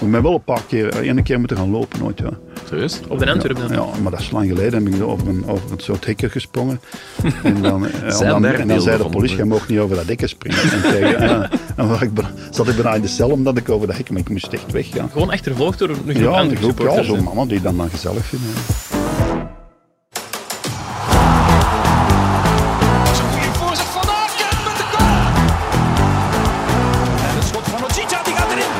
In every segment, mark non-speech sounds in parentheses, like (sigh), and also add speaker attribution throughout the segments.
Speaker 1: Ik ben wel een paar keer, eh, één keer moeten gaan lopen ooit. Ja.
Speaker 2: Serieus?
Speaker 3: Op de Antwerp dan?
Speaker 1: Ja, maar dat is lang geleden. Dan ben ik over een, over een soort hekken gesprongen. En dan, eh,
Speaker 2: Zijn
Speaker 1: en dan,
Speaker 2: daar
Speaker 1: en dan
Speaker 2: beelden
Speaker 1: zei de
Speaker 2: van,
Speaker 1: politie,
Speaker 2: hè?
Speaker 1: je mag niet over dat hekken springen. En, tegen, ja, en waar ik, ben- zat ik bijna in de cel omdat ik over dat hekken, maar ik moest echt weg. Ja,
Speaker 3: Gewoon achtervolgd door een groep
Speaker 1: ja en
Speaker 3: Antwerp
Speaker 1: ik roep ja,
Speaker 3: supporters, hè.
Speaker 1: zo'n mannen die dan, dan gezellig vinden. ja.
Speaker 4: is een goede voorzet van Aken met de goal. En het schot van Ojita, die gaat erin.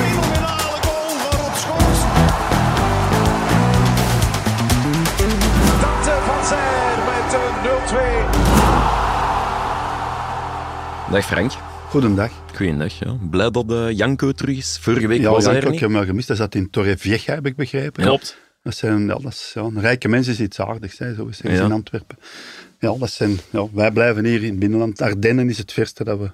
Speaker 4: Fenomenale goal van Rob Schoors. Dante van Zijl met een 0-2.
Speaker 2: Dag Frank.
Speaker 1: Goedendag.
Speaker 2: Goeiedag. Ja. Blij dat eh, Janko terug is. Vorige week
Speaker 1: Ja,
Speaker 2: was hij
Speaker 1: Janko,
Speaker 2: er
Speaker 1: ik
Speaker 2: niet.
Speaker 1: heb hem gemist. Hij zat in Torre Vieja, heb ik begrepen.
Speaker 3: Klopt.
Speaker 1: Dat zijn, ja, dat is, ja, een rijke mensen is iets aardigs, hè, zo is het
Speaker 2: Ja.
Speaker 1: in Antwerpen. Ja, dat zijn, ja, wij blijven hier in het binnenland. Ardennen is het verste dat we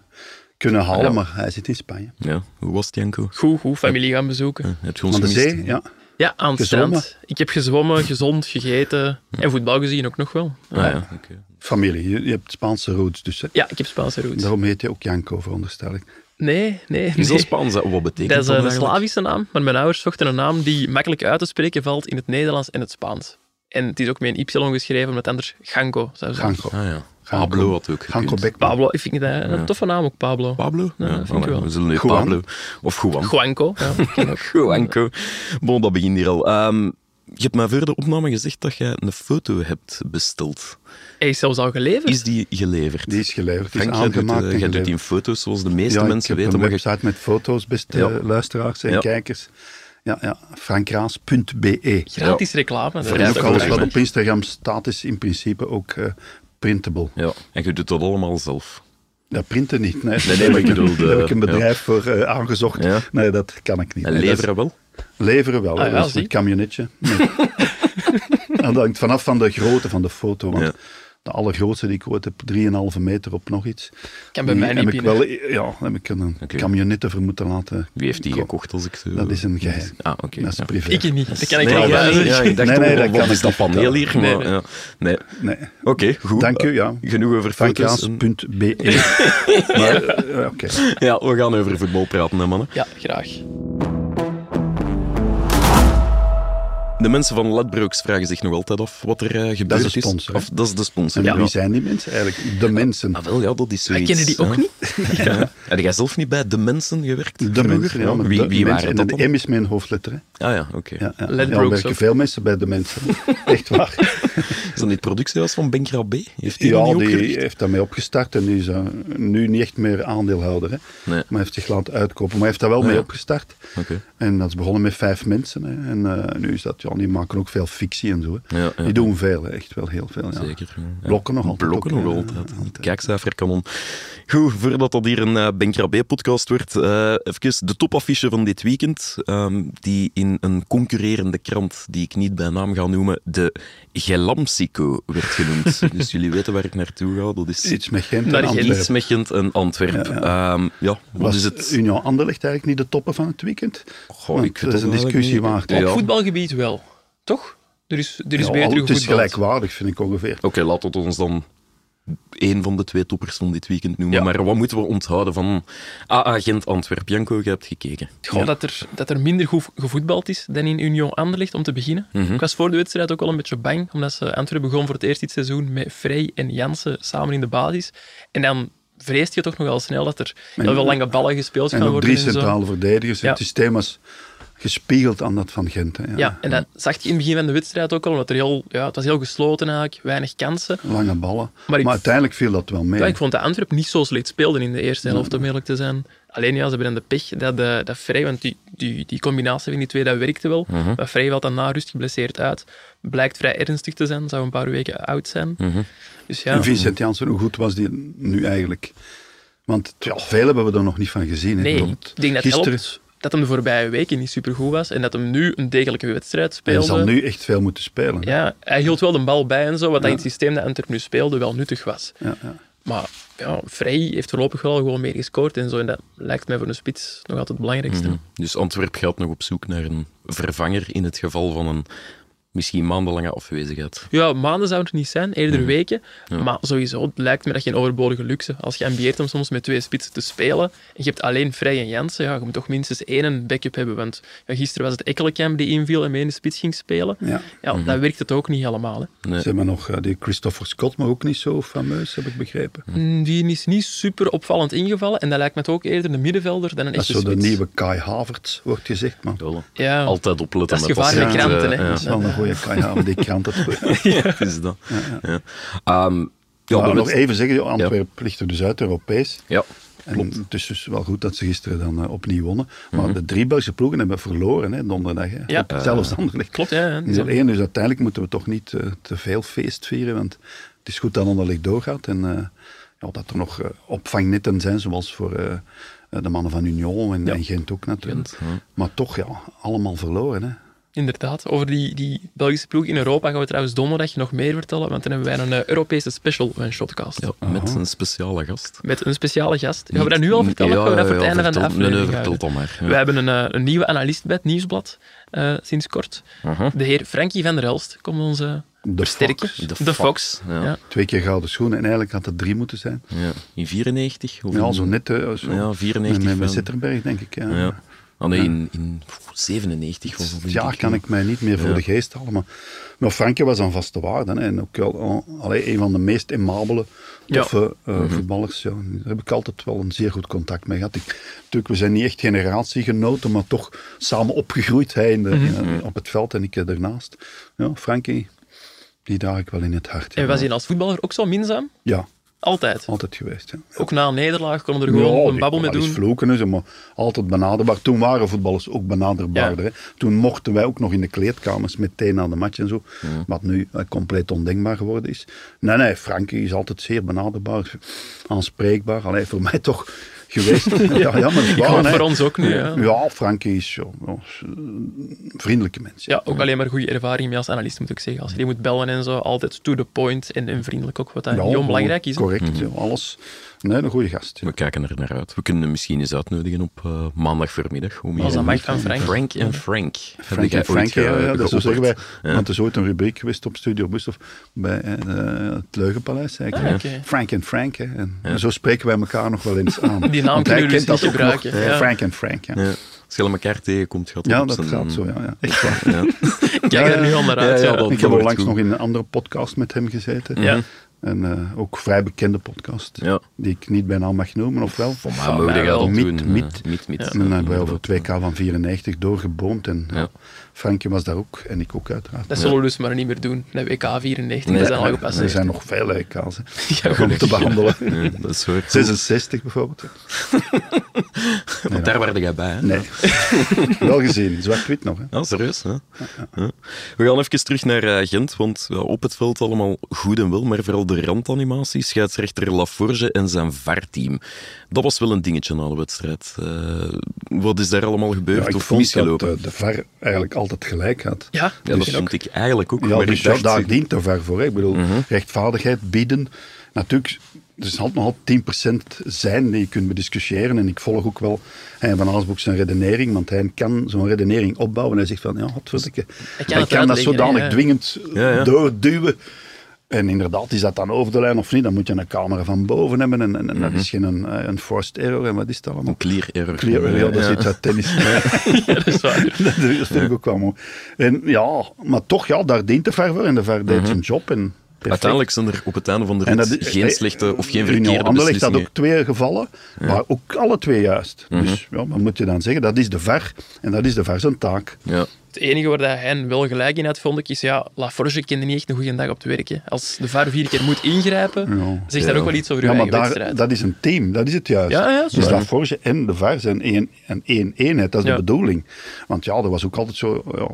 Speaker 1: kunnen halen,
Speaker 2: Ja.
Speaker 1: maar hij zit in Spanje.
Speaker 2: Ja. Hoe was het, Janko?
Speaker 3: Goed, goed. Familie gaan bezoeken.
Speaker 2: Heb je ons
Speaker 1: Aan de
Speaker 2: gemist?
Speaker 1: zee, ja.
Speaker 3: Ja, aan het
Speaker 1: Gezwommen?
Speaker 3: strand. Ik heb gezwommen, gezond, gegeten en voetbal gezien ook nog wel.
Speaker 2: Ah, ja. oké.
Speaker 1: Familie, je, je hebt Spaanse roots dus. Hè.
Speaker 3: Ja, ik heb Spaanse roots.
Speaker 1: Daarom heet je ook Janko, veronderstel ik.
Speaker 3: Nee, nee,
Speaker 2: Is dat
Speaker 3: nee.
Speaker 2: Spaans? hè? Wat betekent
Speaker 3: Dat is eh, een
Speaker 2: eigenlijk?
Speaker 3: Slavische naam, maar mijn ouders zochten een naam die makkelijk uit te spreken valt in het Nederlands en het Spaans. En het is ook met een Y geschreven, omdat anders Ganko zou zijn.
Speaker 1: Ganko.
Speaker 2: Ah ja.
Speaker 1: Ganko.
Speaker 2: Pablo had ook
Speaker 1: Ganko
Speaker 2: gekund.
Speaker 1: Beckman.
Speaker 3: Pablo, ik vind dat een toffe naam ook, Pablo.
Speaker 2: Pablo? Ja,
Speaker 3: dat vind ik
Speaker 2: voilà.
Speaker 3: wel.
Speaker 2: We zullen weer
Speaker 1: Juan.
Speaker 2: Pablo. Of Juan.
Speaker 3: Juanco. Ja, ken ik ook.
Speaker 2: (laughs) Juanco. Bon, dat begint hier al. Ehm, je hebt mij voor de opname gezegd dat jij een foto hebt besteld.
Speaker 3: (laughs) Hij is zelfs al geleverd.
Speaker 2: Is die geleverd?
Speaker 1: Die is geleverd, die is
Speaker 2: Frank, jij doet,
Speaker 1: aangemaakt
Speaker 2: eh,
Speaker 1: en
Speaker 2: jij doet
Speaker 1: geleverd.
Speaker 2: die foto's zoals de meeste
Speaker 1: ja,
Speaker 2: mensen
Speaker 1: ik heb
Speaker 2: weten.
Speaker 1: een
Speaker 2: Maar je-
Speaker 1: website met foto's, beste
Speaker 2: Ja.
Speaker 1: luisteraars en
Speaker 2: Ja.
Speaker 1: kijkers. Ja, ja, frankraas.be.
Speaker 3: Gratis reclame. dat
Speaker 2: Voor
Speaker 3: is
Speaker 1: En
Speaker 2: dat
Speaker 1: ook
Speaker 3: toch
Speaker 1: alles
Speaker 2: is
Speaker 3: prachtig.
Speaker 1: wat
Speaker 2: waar.
Speaker 1: op Instagram staat is in principe ook eh, printable.
Speaker 2: ja, en je doet dat allemaal zelf.
Speaker 1: Ja, printen niet. Nee,
Speaker 2: nee,
Speaker 1: Daar
Speaker 2: maar
Speaker 1: (laughs)
Speaker 2: ik
Speaker 1: heb
Speaker 2: bedoel de-
Speaker 1: daar heb ik een
Speaker 2: ja.
Speaker 1: bedrijf voor eh, aangezocht.
Speaker 2: Ja.
Speaker 1: Nee, dat kan ik niet.
Speaker 2: En
Speaker 1: Nee, dat is-
Speaker 2: leveren wel?
Speaker 1: leveren wel,
Speaker 3: Ah, ja,
Speaker 1: dat is
Speaker 3: zie.
Speaker 1: een
Speaker 3: (laughs)
Speaker 1: camionetje. Nee. En dat hangt vanaf van de grootte van de foto. Want
Speaker 2: Ja.
Speaker 1: de allergrootste die ik ooit heb, 3,5 meter op nog iets.
Speaker 3: Kan bij
Speaker 1: Die
Speaker 3: mij niet
Speaker 1: heb ik
Speaker 3: binnen.
Speaker 1: wel, Ja, heb ik een
Speaker 2: Oké.
Speaker 1: camionette voor moeten laten.
Speaker 2: Wie heeft die
Speaker 1: Kom.
Speaker 2: gekocht als ik zo...
Speaker 1: Dat is een geheim.
Speaker 2: Ah, oké.
Speaker 1: Dat is
Speaker 2: ja.
Speaker 1: privé.
Speaker 3: Ik niet. Dat kan ik
Speaker 2: nee,
Speaker 3: wel
Speaker 2: ja,
Speaker 3: zeggen.
Speaker 2: ja, ik dacht,
Speaker 1: Nee,
Speaker 2: nee,
Speaker 1: nee, dat
Speaker 2: wat
Speaker 1: kan
Speaker 2: is
Speaker 1: ik
Speaker 2: dat
Speaker 1: niet
Speaker 2: paneel
Speaker 1: vertellen.
Speaker 2: hier? Maar,
Speaker 3: Nee,
Speaker 2: Ja, nee.
Speaker 1: Nee,
Speaker 2: Oké, goed. Eh,
Speaker 1: Dank u, ja.
Speaker 2: Genoeg over foto's. en-
Speaker 1: frankraas.be. E. Maar, eh, Oké.
Speaker 2: (laughs) Ja, we gaan over voetbal praten, hè, mannen.
Speaker 3: Ja, graag.
Speaker 2: De mensen van Ladbrokes vragen zich nog altijd af wat er eh, gebeurd
Speaker 1: de sponsor, hè?
Speaker 2: Of, dat is de sponsor,
Speaker 1: En
Speaker 2: ja.
Speaker 1: wie zijn die mensen eigenlijk? De mensen.
Speaker 2: Ah, wel, ja, dat is
Speaker 3: Ik
Speaker 2: zoiets.
Speaker 3: kende die ook
Speaker 2: hè.
Speaker 3: niet.
Speaker 2: (laughs) Ja. Heb jij zelf niet bij de mensen gewerkt?
Speaker 1: De
Speaker 2: vroeger?
Speaker 1: mensen, ja. maar
Speaker 2: Wie,
Speaker 1: de
Speaker 2: wie
Speaker 1: mensen.
Speaker 2: waren
Speaker 1: En
Speaker 2: dat
Speaker 1: de
Speaker 2: dan?
Speaker 1: M is mijn hoofdletter. Hè.
Speaker 2: Ah ja, oké.
Speaker 1: Ja, ja.
Speaker 3: Let
Speaker 1: Ja,
Speaker 3: Brooks
Speaker 1: er werken
Speaker 3: ook.
Speaker 1: veel mensen bij de
Speaker 2: (laughs)
Speaker 1: mensen. Echt waar.
Speaker 2: Is dat niet het productiehuis van Benkra B? Heeft die dat
Speaker 1: Ja,
Speaker 2: niet
Speaker 1: die
Speaker 2: opgericht?
Speaker 1: heeft daarmee opgestart en die is eh, nu niet echt meer aandeelhouder. Hè.
Speaker 2: Nee.
Speaker 1: Maar heeft zich laten uitkopen. Maar hij heeft daar wel
Speaker 2: Ah,
Speaker 1: mee
Speaker 2: ja.
Speaker 1: opgestart.
Speaker 2: Oké.
Speaker 1: En dat is begonnen met vijf mensen. Hè. En eh, nu is dat, ja, die maken ook veel fictie en zo. Hè.
Speaker 2: Ja, ja.
Speaker 1: Die doen veel, hè. echt wel heel veel. Ja.
Speaker 2: Zeker. ja.
Speaker 1: Blokken nog altijd
Speaker 2: Blokken
Speaker 1: ook,
Speaker 2: nog
Speaker 1: ja,
Speaker 2: altijd.
Speaker 1: ja,
Speaker 2: Het Kijkcijferkanon. Goed, voordat dat hier een eh Benkra B-podcast wordt, eh, even de topaffiche van dit weekend, ehm, die in een concurrerende krant, die ik niet bij naam ga noemen, de Gelamsico werd
Speaker 1: (laughs)
Speaker 2: genoemd. dus jullie weten waar ik naartoe ga. Dat is
Speaker 1: Iets met Gent
Speaker 3: Naar
Speaker 1: en
Speaker 3: Gent.
Speaker 2: iets
Speaker 1: Antwerpen.
Speaker 2: met Gent en Antwerpen. Ehm, Ja, wat
Speaker 1: Was
Speaker 2: is het?
Speaker 1: Union Anderlecht eigenlijk niet de toppen van het weekend?
Speaker 2: Goh,
Speaker 1: Want
Speaker 2: ik
Speaker 1: dat is
Speaker 2: weet
Speaker 1: een
Speaker 2: het eigenlijk
Speaker 1: discussie
Speaker 2: niet.
Speaker 1: waard.
Speaker 2: Ja.
Speaker 3: Op voetbalgebied wel. Toch? Er is, er is
Speaker 1: Ja, al-
Speaker 3: beter
Speaker 1: het is
Speaker 3: gevoetbald.
Speaker 1: gelijkwaardig, vind ik ongeveer.
Speaker 2: Oké, laat het ons dan één van de twee toppers van dit weekend noemen.
Speaker 3: Ja.
Speaker 2: Maar wat moeten we onthouden van AA Gent Antwerpen? Janko, je hebt gekeken.
Speaker 3: Gewoon dat, er, dat er minder goed gevoetbald is dan in Union Anderlecht, om te beginnen.
Speaker 1: Mhm.
Speaker 3: Ik was voor de wedstrijd ook al een beetje bang, omdat ze Antwerpen begon voor het eerst dit seizoen met Frey en Jansen samen in de basis. En dan vreest je toch nogal snel dat er heel veel lange ballen gespeeld
Speaker 1: En
Speaker 3: gaan
Speaker 1: ook
Speaker 3: worden.
Speaker 1: drie
Speaker 3: en zo.
Speaker 1: centrale verdedigers.
Speaker 3: Ja.
Speaker 1: Het systeem was gespiegeld aan dat van Gent. Hè. Ja.
Speaker 3: Ja, en dat zag je in het begin van de wedstrijd ook al, omdat er heel, ja, het was heel gesloten eigenlijk, weinig kansen.
Speaker 1: Lange ballen.
Speaker 3: Maar
Speaker 1: Maar,
Speaker 3: ik-
Speaker 1: uiteindelijk viel dat wel mee.
Speaker 3: Ja, ik vond dat Antwerp niet zo slecht speelden in de eerste helft, om eerlijk te zijn. Alleen ja, ze hebben dan de pech dat, eh dat Frey, want die, die, die combinatie van die twee, dat werkte wel. Maar Frey valt dan na rust geblesseerd uit. Blijkt vrij ernstig te zijn, zou een paar weken oud zijn. Dus ja,
Speaker 1: En Vincent Janssen, hoe goed was die nu eigenlijk? Want ja, veel hebben we er nog niet van gezien. hè.
Speaker 3: nee,
Speaker 1: Bijvoorbeeld
Speaker 3: ik denk dat het
Speaker 1: gisteren,
Speaker 3: helpt dat hem de voorbije weken niet supergoed was en dat hem nu een degelijke wedstrijd
Speaker 1: Hij
Speaker 3: speelde.
Speaker 1: zal nu echt veel moeten spelen. hè.
Speaker 3: Ja, hij hield wel de bal bij en zo, wat dat in het systeem dat Antwerp nu speelde wel nuttig was.
Speaker 1: Ja, ja.
Speaker 3: Maar ja, Frey heeft voorlopig wel gewoon meer gescoord en zo. En dat lijkt mij voor een spits nog
Speaker 2: Mhm.
Speaker 3: altijd het belangrijkste.
Speaker 2: Dus Antwerp gaat nog op zoek naar een vervanger in het geval van een misschien maandenlange afwezigheid.
Speaker 3: Ja, maanden zou het niet zijn, eerder weken. Maar sowieso het lijkt me dat geen overbodige luxe. Als je ambieert om soms met twee spitsen te spelen en je hebt alleen Vrij en Jansen, ja, je moet toch minstens één backup hebben. Want ja, gisteren was het Ekkelenkamp die inviel en mee in de spits ging spelen.
Speaker 1: Ja.
Speaker 3: dat werkt het ook niet helemaal. Hè.
Speaker 2: Nee.
Speaker 1: Ze hebben nog eh, die Christopher Scott, maar ook niet zo fameus, heb ik begrepen.
Speaker 3: Mm, Die is niet super opvallend ingevallen en dat lijkt me toch eerder een middenvelder dan een
Speaker 1: Dat is
Speaker 3: echte
Speaker 1: zo de
Speaker 3: spits.
Speaker 1: nieuwe Kai Havertz, wordt gezegd, maar...
Speaker 2: Wel,
Speaker 3: Ja.
Speaker 2: Altijd opletten
Speaker 3: Dat is
Speaker 2: met
Speaker 3: gevaar
Speaker 1: met
Speaker 2: soort,
Speaker 3: kranten,
Speaker 2: eh,
Speaker 3: hè.
Speaker 2: ja.
Speaker 1: Dat is wel een (laughs) goede Kai Havertz, die krant het.
Speaker 3: (laughs)
Speaker 2: Het is dat. Ja. Ehm, ja,
Speaker 1: Maar
Speaker 2: de
Speaker 1: nog
Speaker 2: wet-
Speaker 1: even zeggen, Antwerpen ligt er dus uit, Europees.
Speaker 2: Ja,
Speaker 1: En het is dus wel goed dat ze gisteren dan eh, opnieuw wonnen. Maar de drie Belgische ploegen hebben verloren hè, donderdag. Hè.
Speaker 3: Ja.
Speaker 1: Op- Zelfs Anderlecht.
Speaker 3: Klopt, ja, ja. Die
Speaker 1: Dus,
Speaker 3: zijn-
Speaker 1: één, dus uiteindelijk moeten we toch niet eh, te veel feest vieren. Want het is goed dat Anderlecht doorgaat. En eh, ja, dat er nog eh, opvangnetten zijn, zoals voor eh, eh, de mannen van Union en, en Gent ook natuurlijk. Maar toch, ja, allemaal verloren. Hè.
Speaker 3: Inderdaad, over die, die Belgische ploeg in Europa gaan we trouwens donderdag nog meer vertellen, want dan hebben wij een eh, Europese special van Shotcast.
Speaker 2: ja, met een speciale gast.
Speaker 3: Met een speciale gast. Gaan we dat nu al vertellen?
Speaker 2: Ja,
Speaker 3: of gaan we dat
Speaker 2: ja,
Speaker 3: voor het
Speaker 2: ja,
Speaker 3: einde van de
Speaker 2: vertel- nee, nee,
Speaker 3: aflevering
Speaker 2: vertel dan
Speaker 3: houden?
Speaker 2: maar, ja.
Speaker 3: We hebben een, eh, een nieuwe analist bij het Nieuwsblad eh, sinds kort. De heer Frankie van der Elst komt ons eh,
Speaker 1: De
Speaker 3: versterken.
Speaker 1: Fox.
Speaker 2: De
Speaker 3: De
Speaker 2: Fox,
Speaker 3: Fox.
Speaker 2: ja.
Speaker 3: Ja.
Speaker 1: Twee keer gouden schoenen. En eigenlijk had het drie moeten zijn.
Speaker 2: Ja. In 94? Of
Speaker 1: Ja,
Speaker 2: in-
Speaker 1: zo net. eh, zo.
Speaker 2: Mhm. Ja, 94
Speaker 1: Met, met
Speaker 2: van-
Speaker 1: Zitterberg, denk ik. Ja. Dus
Speaker 2: Ja. Ah, nee, in, in 97 was het. denk
Speaker 1: Ja,
Speaker 2: ik,
Speaker 1: kan
Speaker 2: ja.
Speaker 1: ik mij niet meer voor de geest halen. Maar, maar Frankie was aan vaste waarde. Hè, en ook wel oh, allee, een van de meest immabele, toffe eh,
Speaker 2: Mhm.
Speaker 1: voetballers. Ja. Daar heb ik altijd wel een zeer goed contact mee gehad. Ik, natuurlijk, we zijn niet echt generatiegenoten, maar toch samen opgegroeid. Hij in de,
Speaker 2: Mhm.
Speaker 1: in- op het veld en ik eh, ernaast. Ja, Frankie, die draag ik wel in het hart.
Speaker 3: En was hij als voetballer ook zo minzaam?
Speaker 1: Ja,
Speaker 2: Oh.
Speaker 3: Altijd.
Speaker 1: altijd geweest. Ja.
Speaker 3: Ook na een nederlaag kon er gewoon
Speaker 1: Ja,
Speaker 3: een babbel mee
Speaker 1: wel eens
Speaker 3: doen.
Speaker 1: vloeken en zo, maar altijd benaderbaar. Toen waren voetballers ook benaderbaarder.
Speaker 3: Ja.
Speaker 1: Hè. Toen mochten wij ook nog in de kleedkamers meteen na de match en zo. Wat nu eh, compleet ondenkbaar geworden is. Nee, nee, Frankie is altijd zeer benaderbaar, aanspreekbaar. Alleen voor mij toch geweest.
Speaker 3: (laughs)
Speaker 1: ja, ja, maar het is waar,
Speaker 3: hoop
Speaker 1: hè.
Speaker 3: voor ons ook nu, ja.
Speaker 1: Ja, Frankie is zo, ja, is een vriendelijke mens.
Speaker 3: Ja, ook alleen maar goede ervaring mee als analist, moet ik zeggen. Als je die moet bellen en zo, altijd to the point en, en vriendelijk ook, wat dat
Speaker 1: Ja,
Speaker 3: heel
Speaker 2: oh,
Speaker 3: belangrijk is. hè. Mhm.
Speaker 1: Correct, ja, alles. Nee, een goede gast. ja.
Speaker 2: We kijken er naar uit. We kunnen hem misschien eens uitnodigen op eh maandagvermiddag. Om hier
Speaker 3: Als dat
Speaker 2: een-
Speaker 3: mag van Frank.
Speaker 2: Frank en Frank. Heb
Speaker 1: Frank
Speaker 2: jij
Speaker 1: en
Speaker 2: ooit
Speaker 1: Frank,
Speaker 2: ge-
Speaker 1: ja, ja, dat zo
Speaker 2: geopperd?
Speaker 1: zeggen wij.
Speaker 2: Ja.
Speaker 1: Want er is ooit een rubriek geweest op Studio Busthof bij eh, het Leugenpaleis. eigenlijk.
Speaker 3: Ah, oké.
Speaker 1: Frank en Frank. Hè. En zo spreken wij elkaar nog wel eens aan.
Speaker 3: (laughs) Die naam
Speaker 1: Want hij kent
Speaker 3: kunnen jullie
Speaker 1: dat
Speaker 3: dus
Speaker 1: ook
Speaker 3: niet
Speaker 1: nog.
Speaker 3: gebruiken, ja.
Speaker 1: Frank en Frank, ja. Ja,
Speaker 2: Ja. Als je elkaar tegenkomt, gaat het op
Speaker 1: dat
Speaker 2: zijn-
Speaker 1: gaat zo, ja. ja. Echt waar.
Speaker 3: Kijk er nu al naar uit.
Speaker 2: Ja,
Speaker 3: Ja,
Speaker 2: ja, dat-
Speaker 1: Ik heb al
Speaker 2: wordt
Speaker 1: langs
Speaker 2: goed.
Speaker 1: nog in een andere podcast met hem gezeten.
Speaker 3: Ja.
Speaker 1: En eh, ook vrij bekende podcast.
Speaker 2: Ja.
Speaker 1: Die ik niet bij naam mag noemen, of wel?
Speaker 2: Voor mij mogen jij
Speaker 3: wel.
Speaker 2: dat
Speaker 1: Miet,
Speaker 2: doen. eh,
Speaker 1: Miet.
Speaker 2: Miet, Miet.
Speaker 1: En dan hebben wij over het WK van 94 doorgeboomd. En
Speaker 2: Ja.
Speaker 1: Frankje was daar ook, en ik ook uiteraard.
Speaker 3: Dat zullen we dus maar niet meer doen. De WK 94,
Speaker 2: Nee,
Speaker 3: dat zijn al
Speaker 2: nee,
Speaker 1: Er
Speaker 3: gepasseerd.
Speaker 1: zijn nog veel EK's hè, om te
Speaker 2: gelukkig, ja.
Speaker 1: behandelen.
Speaker 2: Ja, dat is waar.
Speaker 1: 66 bijvoorbeeld.
Speaker 2: Want daar waren jij bij, hè?
Speaker 1: Nee. (laughs) Wel gezien, zwart-wit nog. Hè.
Speaker 2: Ja, serieus. Hè? Ja. We gaan even terug naar eh, Gent, want ja, op het veld allemaal goed en wel, maar vooral de randanimatie, scheidsrechter Laforge en zijn VAR-team. Dat was wel een dingetje na de wedstrijd. Eh, wat is daar allemaal gebeurd
Speaker 1: Ja, ik
Speaker 2: of
Speaker 1: vond dat
Speaker 2: misgelopen?
Speaker 1: eh, de VAR eigenlijk altijd gelijk had.
Speaker 3: Ja,
Speaker 2: ja, dat
Speaker 3: dus-
Speaker 2: vond ik eigenlijk ook.
Speaker 1: Ja,
Speaker 2: maar
Speaker 1: dus
Speaker 2: ik
Speaker 1: ja,
Speaker 2: dacht-
Speaker 1: daar dient de VAR voor. hè. Ik bedoel, rechtvaardigheid bieden. Natuurlijk, er is altijd nogal 10% zijn die je kunt bediscussiëren. En ik volg ook wel Hein van Aasbroek zijn redenering. Want hij kan zo'n redenering opbouwen. Hij zegt van, ja, godverdikke. Hij
Speaker 3: kan het
Speaker 1: dat
Speaker 3: uitleggen,
Speaker 1: zodanig
Speaker 3: hè.
Speaker 1: dwingend
Speaker 2: Ja, ja.
Speaker 1: doorduwen. En inderdaad, is dat dan over de lijn of niet? Dan moet je een camera van boven hebben. En, en, en dat is geen eh, een, een forced error. En wat is dat allemaal?
Speaker 2: Clear error.
Speaker 1: Clear error, ja, dat is
Speaker 2: Ja.
Speaker 1: iets uit tennis. (laughs)
Speaker 3: dat is waar.
Speaker 1: dat vind ik ook wel mooi. En ja, maar toch, ja, daar dient de VAR voor en de VAR deed zijn job. En perfect.
Speaker 2: Mhm. Uiteindelijk zijn er op het einde van de
Speaker 1: en
Speaker 2: rit geen slechte of geen verkeerde
Speaker 1: Anderlecht had
Speaker 2: beslissingen.
Speaker 1: ook twee gevallen, maar ook alle twee juist.
Speaker 2: Mhm.
Speaker 1: Dus ja, wat moet je dan zeggen? Dat is de VAR en dat is de VAR zijn taak.
Speaker 2: Ja.
Speaker 3: Het enige waar dat hen wel gelijk in had, vond ik, is ja, Laforge kende niet echt een goede dag op het werk. Hè. Als de VAR vier keer moet ingrijpen, zegt dat
Speaker 2: Ja.
Speaker 3: ook wel iets over uw
Speaker 1: Ja, maar
Speaker 3: eigen
Speaker 1: daar,
Speaker 3: wedstrijd.
Speaker 1: dat is een team, dat is het juist.
Speaker 3: Ja, ja, zo
Speaker 1: dus
Speaker 3: is
Speaker 1: dat Forge en de VAR zijn één, een één eenheid, dat is
Speaker 3: Ja.
Speaker 1: de bedoeling. Want ja, er was ook altijd zo, ja,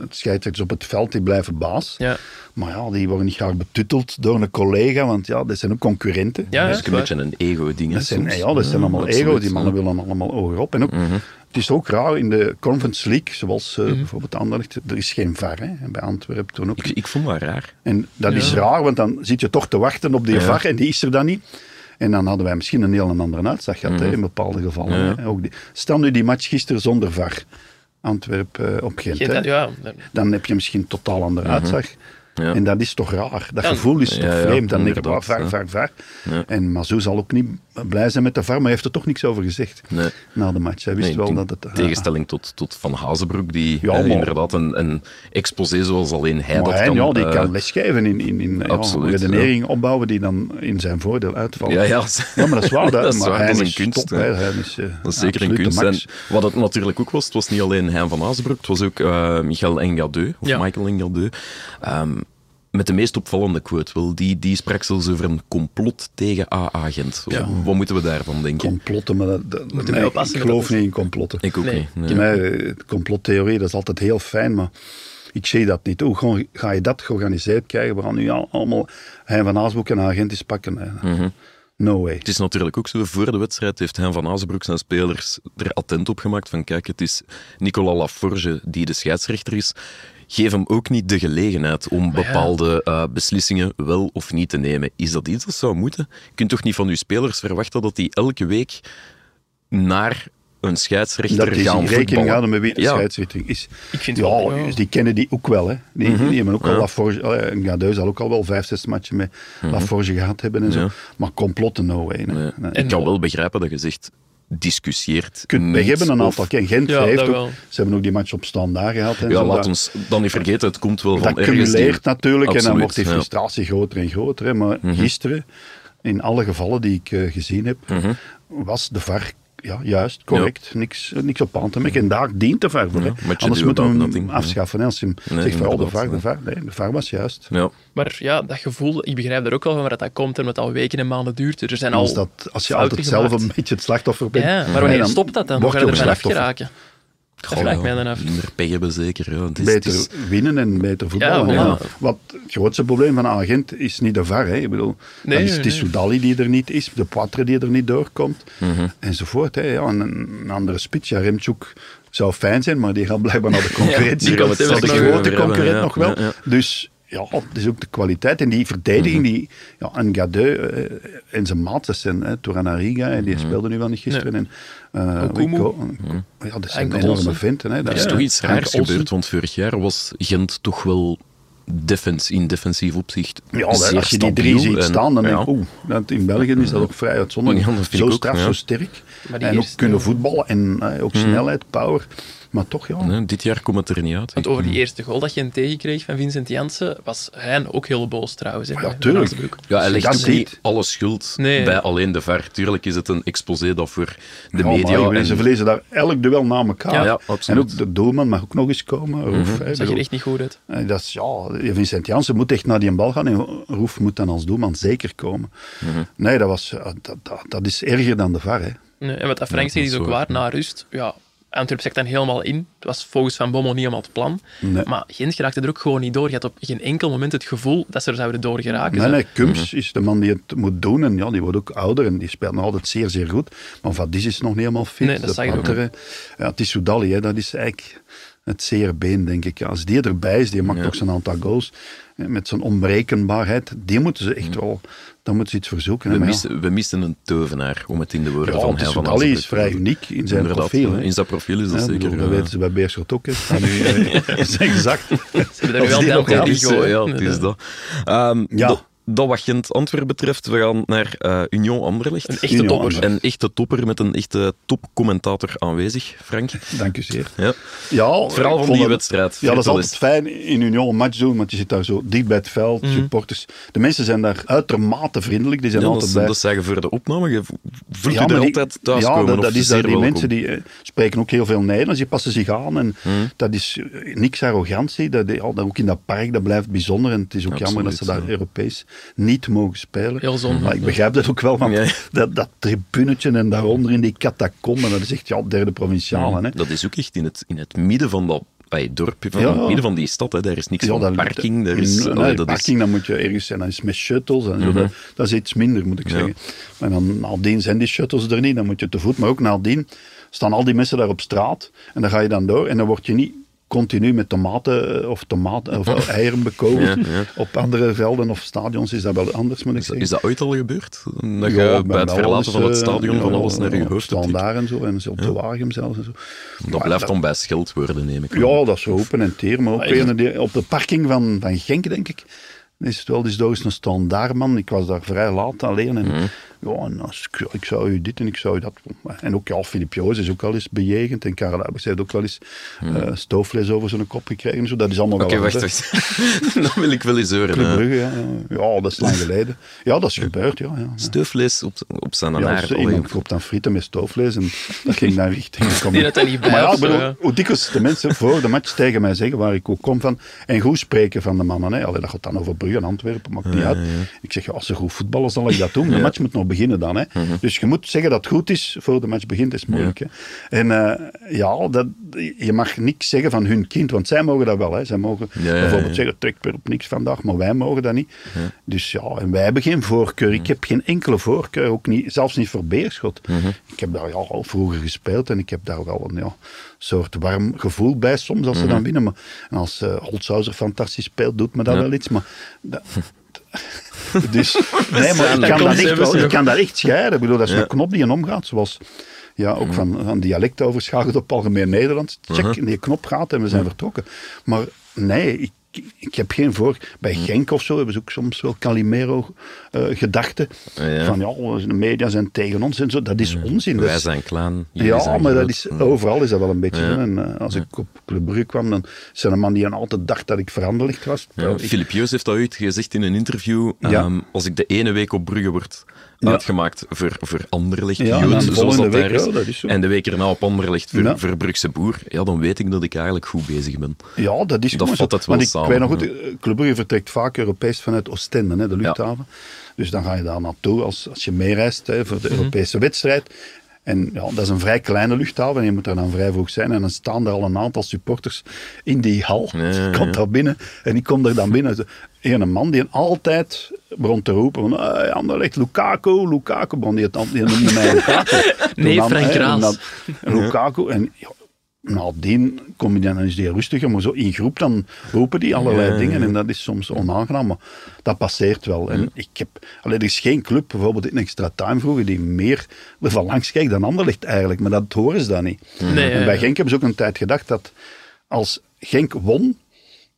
Speaker 1: het scheidsrechters op het veld, die blijven baas.
Speaker 3: Ja.
Speaker 1: Maar ja, die worden niet graag betuteld door een collega, want ja, dat zijn ook concurrenten.
Speaker 3: Ja,
Speaker 2: Dat
Speaker 3: ja,
Speaker 2: is ook een
Speaker 3: waar.
Speaker 2: beetje een ego-ding. hè,
Speaker 1: Dat zijn,
Speaker 2: soms.
Speaker 1: ja, dat zijn allemaal
Speaker 2: absoluut,
Speaker 1: ego, die mannen
Speaker 2: ja.
Speaker 1: willen allemaal ogen op. En ook,
Speaker 3: Mhm.
Speaker 1: Het is ook raar in de Conference League, zoals eh, bijvoorbeeld Anderlecht, er is geen VAR. Hè? En Bij Antwerpen toen ook.
Speaker 2: Ik, ik vond dat raar.
Speaker 1: En dat is raar, want dan zit je toch te wachten op die
Speaker 2: Ja.
Speaker 1: VAR en die is er dan niet. En dan hadden wij misschien een heel andere uitslag gehad hè, in bepaalde gevallen.
Speaker 2: Ja.
Speaker 1: hè. Ook die- stel nu die match gisteren zonder VAR. Antwerpen eh, op Gent.
Speaker 3: Geen-
Speaker 1: hè.
Speaker 3: ja, dat-
Speaker 1: Dan heb je misschien totaal ander uitzag.
Speaker 2: Mhm. Ja.
Speaker 1: En dat is toch raar? Dat
Speaker 3: Ja.
Speaker 1: gevoel is toch
Speaker 2: Ja, ja,
Speaker 1: vreemd? Dan denk ik, waar,
Speaker 2: inderdaad,
Speaker 1: var,
Speaker 2: ja.
Speaker 1: var, var. En Mazou zal ook niet blij zijn met de var, maar hij heeft er toch niks over gezegd
Speaker 2: Nee.
Speaker 1: na de match. Hij wist
Speaker 2: Nee,
Speaker 1: wel
Speaker 2: in
Speaker 1: dat het...
Speaker 2: tegenstelling tot, tot Van Hazenbroek, die
Speaker 1: Ja,
Speaker 2: eh,
Speaker 1: maar-
Speaker 2: inderdaad een, een exposé zoals alleen hij
Speaker 1: Ah, maar
Speaker 2: dat
Speaker 1: hij,
Speaker 2: kan.
Speaker 1: ja, die
Speaker 2: eh,
Speaker 1: kan lesgeven in, in, in ja,
Speaker 2: absoluut,
Speaker 1: redenering opbouwen die dan in zijn voordeel uitvalt.
Speaker 2: Ja, ja.
Speaker 1: Ja, maar dat is
Speaker 2: (laughs)
Speaker 1: waar. Dat,
Speaker 2: Dat is
Speaker 1: maar
Speaker 2: waar,
Speaker 1: hij
Speaker 2: dat is
Speaker 1: is
Speaker 2: een kunst,
Speaker 1: top,
Speaker 2: hè.
Speaker 1: hè. Hij is, eh,
Speaker 2: Dat is zeker een
Speaker 1: absoluut
Speaker 2: kunst.
Speaker 1: de max.
Speaker 2: En wat het natuurlijk ook was, het was niet alleen Hein van Azenbroek, het was ook eh, Michel Engadeu, of
Speaker 3: Ja.
Speaker 2: Michael Engadeu, ehm, met de meest opvallende quote wel. Die, die sprak zelfs over een complot tegen AA-agent. Wat moeten we daarvan denken?
Speaker 1: Complotten, maar dat, dat-
Speaker 3: Moeten
Speaker 1: nee,
Speaker 3: wij
Speaker 1: ik
Speaker 3: oppassen met
Speaker 1: geloof
Speaker 3: dat-
Speaker 1: niet in complotten.
Speaker 2: ik ook
Speaker 3: Nee.
Speaker 2: niet. nee.
Speaker 1: Voor mij, eh, complottheorie, dat is altijd heel fijn, maar ik zie dat niet. Hoe gewoon ga je dat georganiseerd krijgen? We gaan nu al- allemaal Hein van Aasbroek en agentjes pakken. hè.
Speaker 2: Mhm.
Speaker 1: No way.
Speaker 2: Het is natuurlijk ook zo, voor de wedstrijd heeft Hein van Azenbroek zijn spelers er attent op gemaakt van kijk, het is Nicolas Laforge die de scheidsrechter is. Geef hem ook niet de gelegenheid om bepaalde eh, beslissingen wel of niet te nemen. Is dat iets dat zou moeten? Je kunt toch niet van je spelers verwachten dat die elke week naar een scheidsrechter
Speaker 1: Dat is
Speaker 2: gaan
Speaker 1: in rekening
Speaker 2: voetballen?
Speaker 1: houden met wie de
Speaker 2: Ja.
Speaker 1: scheidsrechter is.
Speaker 3: Ik vind
Speaker 1: ja,
Speaker 3: het wel, ja. Mhm.
Speaker 1: dus die kennen die ook wel. Hè. Die, die hebben ook al Laforge, allee, een Gadeu zal ook al wel vijf, zes matchen met
Speaker 3: Mhm.
Speaker 1: Laforge gehad hebben en zo.
Speaker 2: Ja.
Speaker 1: Maar complotten, nou, no way. Nee.
Speaker 2: Nee.
Speaker 1: Nee.
Speaker 2: Ik kan wel begrijpen dat je zegt, discussieert
Speaker 1: Kunt, we
Speaker 2: niet
Speaker 1: hebben een
Speaker 2: of-
Speaker 1: aantal. keer. Gent
Speaker 3: Ja,
Speaker 1: heeft
Speaker 3: dat
Speaker 1: ook,
Speaker 3: wel.
Speaker 1: ze hebben ook die match op standaard gehad. En
Speaker 2: Ja,
Speaker 1: zo,
Speaker 2: laat
Speaker 1: dat-
Speaker 2: ons dan niet vergeten, het komt wel van
Speaker 1: dat
Speaker 2: ergens. die-
Speaker 1: cumuleert natuurlijk en dan
Speaker 2: Absoluut,
Speaker 1: wordt die
Speaker 2: ja. Mhm.
Speaker 1: frustratie groter en groter. Hè. Maar gisteren, in alle gevallen die ik eh, gezien heb,
Speaker 2: Mhm.
Speaker 1: was de VAR ja, juist, correct, niks, eh, niks op aan te merken. En daar dient de VAR voor. hè.
Speaker 2: match
Speaker 1: Anders
Speaker 2: do
Speaker 1: moeten we hem
Speaker 2: about nothing, ja.
Speaker 1: afschaffen. hè. Als je hem zegt van, oh, de
Speaker 2: inderdaad,
Speaker 1: VAR, de
Speaker 2: ja.
Speaker 1: VAR. Nee, de VAR was juist.
Speaker 2: Ja.
Speaker 3: Maar ja, dat gevoel, ik begrijp daar ook wel van waar dat, dat komt en wat al weken en maanden duurt. Er
Speaker 2: Nou,
Speaker 3: zijn al
Speaker 1: Als, dat, als je
Speaker 3: fouten
Speaker 1: altijd zelf
Speaker 3: gemaakt.
Speaker 1: een beetje het slachtoffer bent.
Speaker 3: Ja, maar
Speaker 1: nee,
Speaker 3: wanneer
Speaker 1: dan
Speaker 3: stopt dat dan? Hoe
Speaker 1: word
Speaker 3: ga
Speaker 1: je
Speaker 3: je
Speaker 1: ook
Speaker 3: ervan
Speaker 1: slachtoffer.
Speaker 3: afgeraken? Dat vraag ik mij dan af.
Speaker 2: Minder pech hebben zeker. Ja. Het is- dus- het
Speaker 1: Beter
Speaker 2: is-
Speaker 1: winnen en beter voetballen.
Speaker 3: Ja,
Speaker 1: Ja,
Speaker 3: voilà.
Speaker 1: Wat het grootste probleem van Agent is niet de VAR. Hè. Ik bedoel,
Speaker 3: Nee,
Speaker 1: dan is
Speaker 3: nee,
Speaker 1: het is
Speaker 3: nee.
Speaker 1: Soudali die er niet is, de Poitre die er niet doorkomt, enzovoort. Hè. Ja, en een, een andere spits, ja, Remchuk zou fijn zijn, maar die gaat blijkbaar naar de concurrentie.
Speaker 2: die
Speaker 1: Dat
Speaker 2: gaan we
Speaker 1: is de
Speaker 2: het straks
Speaker 1: grote
Speaker 2: weer hebben,
Speaker 1: concurrent
Speaker 2: ja.
Speaker 1: nog wel.
Speaker 2: Ja, Mhm. ja.
Speaker 1: Dus ja, het is ook de kwaliteit. En die verdediging, die ja, Ngadeu eh, en zijn maat, dat zijn hè, Turanariga, en die
Speaker 2: Mhm.
Speaker 1: speelde nu wel niet gisteren. En, eh,
Speaker 3: Okumu.
Speaker 1: Wiko, ja, dat zijn
Speaker 3: Henk
Speaker 1: enorme
Speaker 3: Olsen.
Speaker 1: venten. Hè. Dat
Speaker 2: Er is
Speaker 1: ja.
Speaker 2: toch iets
Speaker 1: Henk
Speaker 2: raars
Speaker 1: Olsen.
Speaker 2: gebeurd, want vorig jaar was Gent toch wel defens, in defensief opzicht
Speaker 1: Ja, als
Speaker 2: zeer
Speaker 1: je die drie
Speaker 2: stabiel
Speaker 1: ziet
Speaker 2: en-
Speaker 1: staan, dan
Speaker 2: ja.
Speaker 1: denk ik, oeh, dat in België is dat ook vrij uitzonderlijk.
Speaker 2: Ja, dat vind
Speaker 1: zo
Speaker 2: ik ook,
Speaker 1: straf,
Speaker 2: ja. Mhm.
Speaker 1: zo sterk.
Speaker 3: Maar die
Speaker 1: En ook
Speaker 3: eerste-
Speaker 1: kunnen voetballen en eh, ook snelheid, power. Maar toch, ja.
Speaker 2: Nee, dit jaar komt het er niet uit.
Speaker 3: Want over die eerste goal dat je hem tegenkreeg van Vincent Jansen, was hij ook heel boos trouwens. hè,
Speaker 1: Ja,
Speaker 3: bij
Speaker 1: tuurlijk.
Speaker 3: Van Azenbroek.
Speaker 2: Ja, hij legt
Speaker 1: Dat
Speaker 2: ook niet
Speaker 1: niet.
Speaker 2: alle schuld
Speaker 3: Nee.
Speaker 2: bij alleen de VAR. Tuurlijk is het een exposé dat voor de
Speaker 1: ja, maar
Speaker 2: media...
Speaker 1: ik bedoel, Ze verliezen daar elk duel na elkaar.
Speaker 2: Ja, ja,
Speaker 1: en
Speaker 2: absoluut. Mhm.
Speaker 1: ook de doelman mag ook nog eens komen. Roef, hè,
Speaker 3: Zag
Speaker 1: bedoel,
Speaker 3: er echt niet goed uit.
Speaker 1: eh, dat is, ja, Vincent Janssen moet echt naar die bal gaan en Roef moet dan als doelman zeker komen.
Speaker 2: Mhm.
Speaker 1: Nee, dat, was, eh, dat, dat, dat is erger dan de VAR. Hè.
Speaker 3: Nee, en wat dat Frank zegt
Speaker 2: dat
Speaker 3: is
Speaker 2: is
Speaker 3: ook
Speaker 2: zo,
Speaker 3: waar, na rust. Ja, Antwerp zegt dan helemaal in. Het was volgens Van Bommel niet helemaal het plan.
Speaker 1: Nee.
Speaker 3: Maar Gent geraakte er ook gewoon niet door. Je had op geen enkel moment het gevoel dat ze er zouden door geraken.
Speaker 1: Nee,
Speaker 3: Ze-
Speaker 1: nee, Kums
Speaker 3: Mhm.
Speaker 1: is de man die het moet doen. En ja, die wordt ook ouder en die speelt nog altijd zeer, zeer goed. Maar Vadis is nog niet helemaal fit.
Speaker 3: Nee, dat
Speaker 1: De
Speaker 3: zag je ook,
Speaker 1: Pater, hè. Ja, het is Soudali, hè, dat is eigenlijk het zere been, denk ik. Ja, Als die erbij is, die maakt ook zijn aantal goals. hè, Met zijn onberekenbaarheid, die moeten ze
Speaker 3: Mhm.
Speaker 1: echt wel... Dan moeten ze iets verzoeken. hè,
Speaker 2: We
Speaker 1: maar ja.
Speaker 2: misten, we misten een teuvenaar, om het in de woorden
Speaker 1: Ja,
Speaker 2: van
Speaker 1: want
Speaker 2: Hein van
Speaker 1: Soudali is
Speaker 2: Azenbroek te
Speaker 1: vrij
Speaker 2: doen.
Speaker 1: uniek in zijn
Speaker 2: Inderdaad,
Speaker 1: profiel, hè.
Speaker 2: In zijn profiel is dat
Speaker 1: Ja, ik
Speaker 2: zeker.
Speaker 1: bedoel, dat
Speaker 2: ja.
Speaker 1: weten ze bij Beerschot ook. Hè. Maar nu, eh, (laughs) dat is exact.
Speaker 3: Ze hebben er
Speaker 1: Als die
Speaker 3: wel
Speaker 1: nog
Speaker 3: bij
Speaker 1: aan
Speaker 2: Het
Speaker 1: is,
Speaker 3: tegen
Speaker 2: is, eh,
Speaker 3: gegooid.
Speaker 2: ja, het is dat. Ehm,
Speaker 1: Ja.
Speaker 2: dat. Dat wat Gent Antwerpen betreft, we gaan naar eh, Union Anderlecht.
Speaker 3: Een echte
Speaker 1: Union
Speaker 3: topper.
Speaker 1: Anderlecht.
Speaker 2: Een echte topper met een echte topcommentator aanwezig, Frank.
Speaker 1: Dank u zeer.
Speaker 2: Ja.
Speaker 1: Ja, ik
Speaker 2: Het verhaal van
Speaker 1: vond
Speaker 2: die
Speaker 1: dat-
Speaker 2: wedstrijd.
Speaker 1: Ja, dat is
Speaker 2: Vertel
Speaker 1: altijd fijn in Union een match doen, want je zit daar zo dicht bij het veld,
Speaker 3: Mhm.
Speaker 1: supporters. De mensen zijn daar uitermate vriendelijk, die zijn
Speaker 2: Ja, dat,
Speaker 1: altijd
Speaker 2: is-
Speaker 1: bij.
Speaker 2: dat zeggen voor de opname. Je voelt
Speaker 1: Ja,
Speaker 2: u
Speaker 1: maar
Speaker 2: er
Speaker 1: die-
Speaker 2: altijd thuis
Speaker 1: ja,
Speaker 2: komen.
Speaker 1: dat,
Speaker 2: of
Speaker 1: dat is
Speaker 2: zeer
Speaker 1: daar, die
Speaker 2: welkom.
Speaker 1: mensen die eh, spreken ook heel veel Nederlands, die passen zich aan en
Speaker 2: Mhm.
Speaker 1: dat is eh, niks arrogantie. Dat, ja, dat ook in dat park, dat blijft bijzonder en het is ook jammer dat ze daar
Speaker 2: Absoluut, ja.
Speaker 1: Europees niet mogen spelen.
Speaker 3: Heel zonde.
Speaker 1: Maar ik begrijp dat ook wel, want
Speaker 2: Ja.
Speaker 1: dat, dat tribunetje en daaronder in die catacomben, dat is echt ja, derde provinciale. hè.
Speaker 2: Mhm. Dat is ook echt in het, in het midden van dat ay, dorpje, van
Speaker 1: Ja.
Speaker 2: het midden van die stad. Hè. Daar is niks van
Speaker 1: dat-
Speaker 2: parking. Daar
Speaker 1: in-
Speaker 2: is,
Speaker 1: Mm,
Speaker 2: Mhm.
Speaker 1: nee,
Speaker 2: allee, dat
Speaker 1: parking, dan moet je ergens zijn. Dat is met shuttles en zo. dat, dat is iets minder, moet ik zeggen. Maar dan, nadien zijn die shuttles er niet. Dan moet je te voet. Maar ook nadien staan al die mensen daar op straat. En dan ga je dan door. En dan word je niet continu met tomaten eh, of, tomaten,
Speaker 2: (laughs)
Speaker 1: of eieren bekogeld.
Speaker 2: Ja, ja.
Speaker 1: Op andere velden of stadions is dat wel anders, moet ik
Speaker 2: Is,
Speaker 1: zeggen.
Speaker 2: is dat ooit al gebeurd? Dat
Speaker 1: Ja,
Speaker 2: je
Speaker 1: ik ben
Speaker 2: bij het
Speaker 1: wel
Speaker 2: verlaten
Speaker 1: eens,
Speaker 2: van het
Speaker 1: eh,
Speaker 2: stadion van alles naar je
Speaker 1: op
Speaker 2: hoofd hebt.
Speaker 1: Standaard en zo, en zo op de wagen zelfs en zo.
Speaker 2: Dat
Speaker 1: Maar
Speaker 2: blijft dan bij scheldwoorden, neem ik aan.
Speaker 1: Ja, dat is hopen en teer. Maar ook een die- op de parking van, van Genk, denk ik, is het wel eens door eens een standaardman. Ik was daar vrij laat alleen. En, ja, en als ik, ik zou u dit en ik zou u dat. En ook ja, Filip Joos is ook al eens bejegend. En Karel Albers heeft ook wel eens eh, stoofvlees over zijn kop gekregen. en Zo. Dat is allemaal
Speaker 2: Oké,
Speaker 1: wel
Speaker 2: wacht,
Speaker 1: anders, hè.
Speaker 2: wacht. (laughs) dat wil ik wel eens horen.
Speaker 1: Club
Speaker 2: hè.
Speaker 1: Brugge, ja. ja. Ja, dat is lang geleden. Ja, dat is gebeurd, ja. ja.
Speaker 2: Steufvlees op, op zijn
Speaker 1: Ja,
Speaker 2: haar.
Speaker 1: dus
Speaker 2: Allee,
Speaker 1: iemand koopt dan frieten met stoofvlees en dat ging dan richting de
Speaker 3: Die had dat niet bij
Speaker 1: Maar ja,
Speaker 3: of
Speaker 1: ik bedoel,
Speaker 3: zo, ja.
Speaker 1: hoe dikwijls de mensen voor de match tegen mij zeggen waar ik ook kom van en goed spreken van de mannen. Hè. Allee, dat gaat dan over Brugge en Antwerpen, maakt niet uit. Ik zeg, ja, als ze goed voetballen, zal ik dat doen. De match moet nog beginnen dan. Hè.
Speaker 2: Mhm.
Speaker 1: Dus je moet zeggen dat het goed is voor de match begint, is moeilijk. Hè. En eh, ja, dat, je mag niks zeggen van hun kind, want zij mogen dat wel. Hè. Zij mogen
Speaker 2: Ja, ja, ja.
Speaker 1: bijvoorbeeld zeggen, trek weer op niks vandaag, maar wij mogen dat niet. Dus ja, en wij hebben geen voorkeur. Ik heb geen enkele voorkeur, ook niet, zelfs niet voor Beerschot.
Speaker 2: Mhm.
Speaker 1: Ik heb daar ja, al vroeger gespeeld en ik heb daar wel een ja, soort warm gevoel bij soms als
Speaker 2: Mhm.
Speaker 1: ze dan winnen. Maar, en als eh Holshouser fantastisch speelt, doet me dat wel
Speaker 2: (laughs)
Speaker 1: iets. Maar dat, (laughs) dus, nee, maar ik
Speaker 2: dat
Speaker 1: kan
Speaker 3: komt
Speaker 1: dat echt,
Speaker 3: zelfs
Speaker 1: wel,
Speaker 3: nog.
Speaker 1: ik kan dat echt scheiden. Ik bedoel, dat is
Speaker 2: Ja. Mm.
Speaker 1: een knop die je omgaat, zoals... Ja, ook van, van dialect overschakeld op algemeen Nederlands. Check, in die knop gaat en we zijn vertrokken. Maar nee, ik, ik heb geen voor... Bij
Speaker 2: Mm.
Speaker 1: Genk of zo hebben ze ook soms wel Calimero-gedachten.
Speaker 2: Ah, ja.
Speaker 1: Van ja, oh, de media zijn tegen ons en zo. Dat is onzin. Dat
Speaker 2: Wij
Speaker 1: is-
Speaker 2: zijn klein. jullie
Speaker 1: dus- ja,
Speaker 2: zijn
Speaker 1: maar dat
Speaker 2: groot.
Speaker 1: is, overal is dat wel een beetje. zo. En, eh, als ik op Club Brugge kwam, dan zijn er man die aan altijd dacht dat ik veranderlicht was.
Speaker 2: Ja,
Speaker 1: Terwijl ik-
Speaker 2: Filip Joos heeft dat ooit gezegd in een interview.
Speaker 1: Ja.
Speaker 2: ehm, als ik de ene week op Brugge word uitgemaakt voor, voor Anderlecht,
Speaker 1: Ja, en
Speaker 2: Jood,
Speaker 1: dan de
Speaker 2: zoals
Speaker 1: volgende
Speaker 2: dat daar
Speaker 1: week,
Speaker 2: is,
Speaker 1: ja, dat is zo.
Speaker 2: en de week erna op Anderlecht voor,
Speaker 1: Ja.
Speaker 2: voor Brugse boer, ja, dan weet ik dat ik eigenlijk goed bezig ben.
Speaker 1: Ja, dat is
Speaker 2: Dat
Speaker 1: gewoon zo.
Speaker 2: vat het wel
Speaker 1: Want ik
Speaker 2: samen,
Speaker 1: weet nog goed, eh, Club Brugge vertrekt vaak Europees vanuit Oostende, hè, de luchthaven. Dus dan ga je daar naartoe als, als je meereist hè, voor
Speaker 2: Mhm.
Speaker 1: de Europese wedstrijd. En ja, dat is een vrij kleine luchthaven en je moet daar dan vrij vroeg zijn. En dan staan er al een aantal supporters in die hal.
Speaker 2: ja, ja.
Speaker 1: Ik kom daar binnen en ik kom er dan binnen. Zo, En een man die altijd begon te roepen van hey, Anderlecht, Lukaku, Lukaku. Bon, die, het al- die noemde mij Lukaku.
Speaker 2: (laughs)
Speaker 3: Nee,
Speaker 1: Toen dan,
Speaker 3: Frank
Speaker 1: hè, toen
Speaker 3: Kraas.
Speaker 1: dan- (laughs) en Lukaku. En ja, nadien kom je dan, dan is die rustiger, maar zo in groep dan roepen die allerlei dingen. En dat is soms onaangenaam, maar dat passeert wel. En ik heb, allee, er is geen club, bijvoorbeeld in extra time vroeger, die meer ervan langs kijkt dan Anderlecht eigenlijk. Maar dat horen ze dan niet.
Speaker 3: Nee,
Speaker 1: en
Speaker 3: ja,
Speaker 1: bij
Speaker 3: ja.
Speaker 1: Genk hebben ze ook een tijd gedacht dat als Genk won,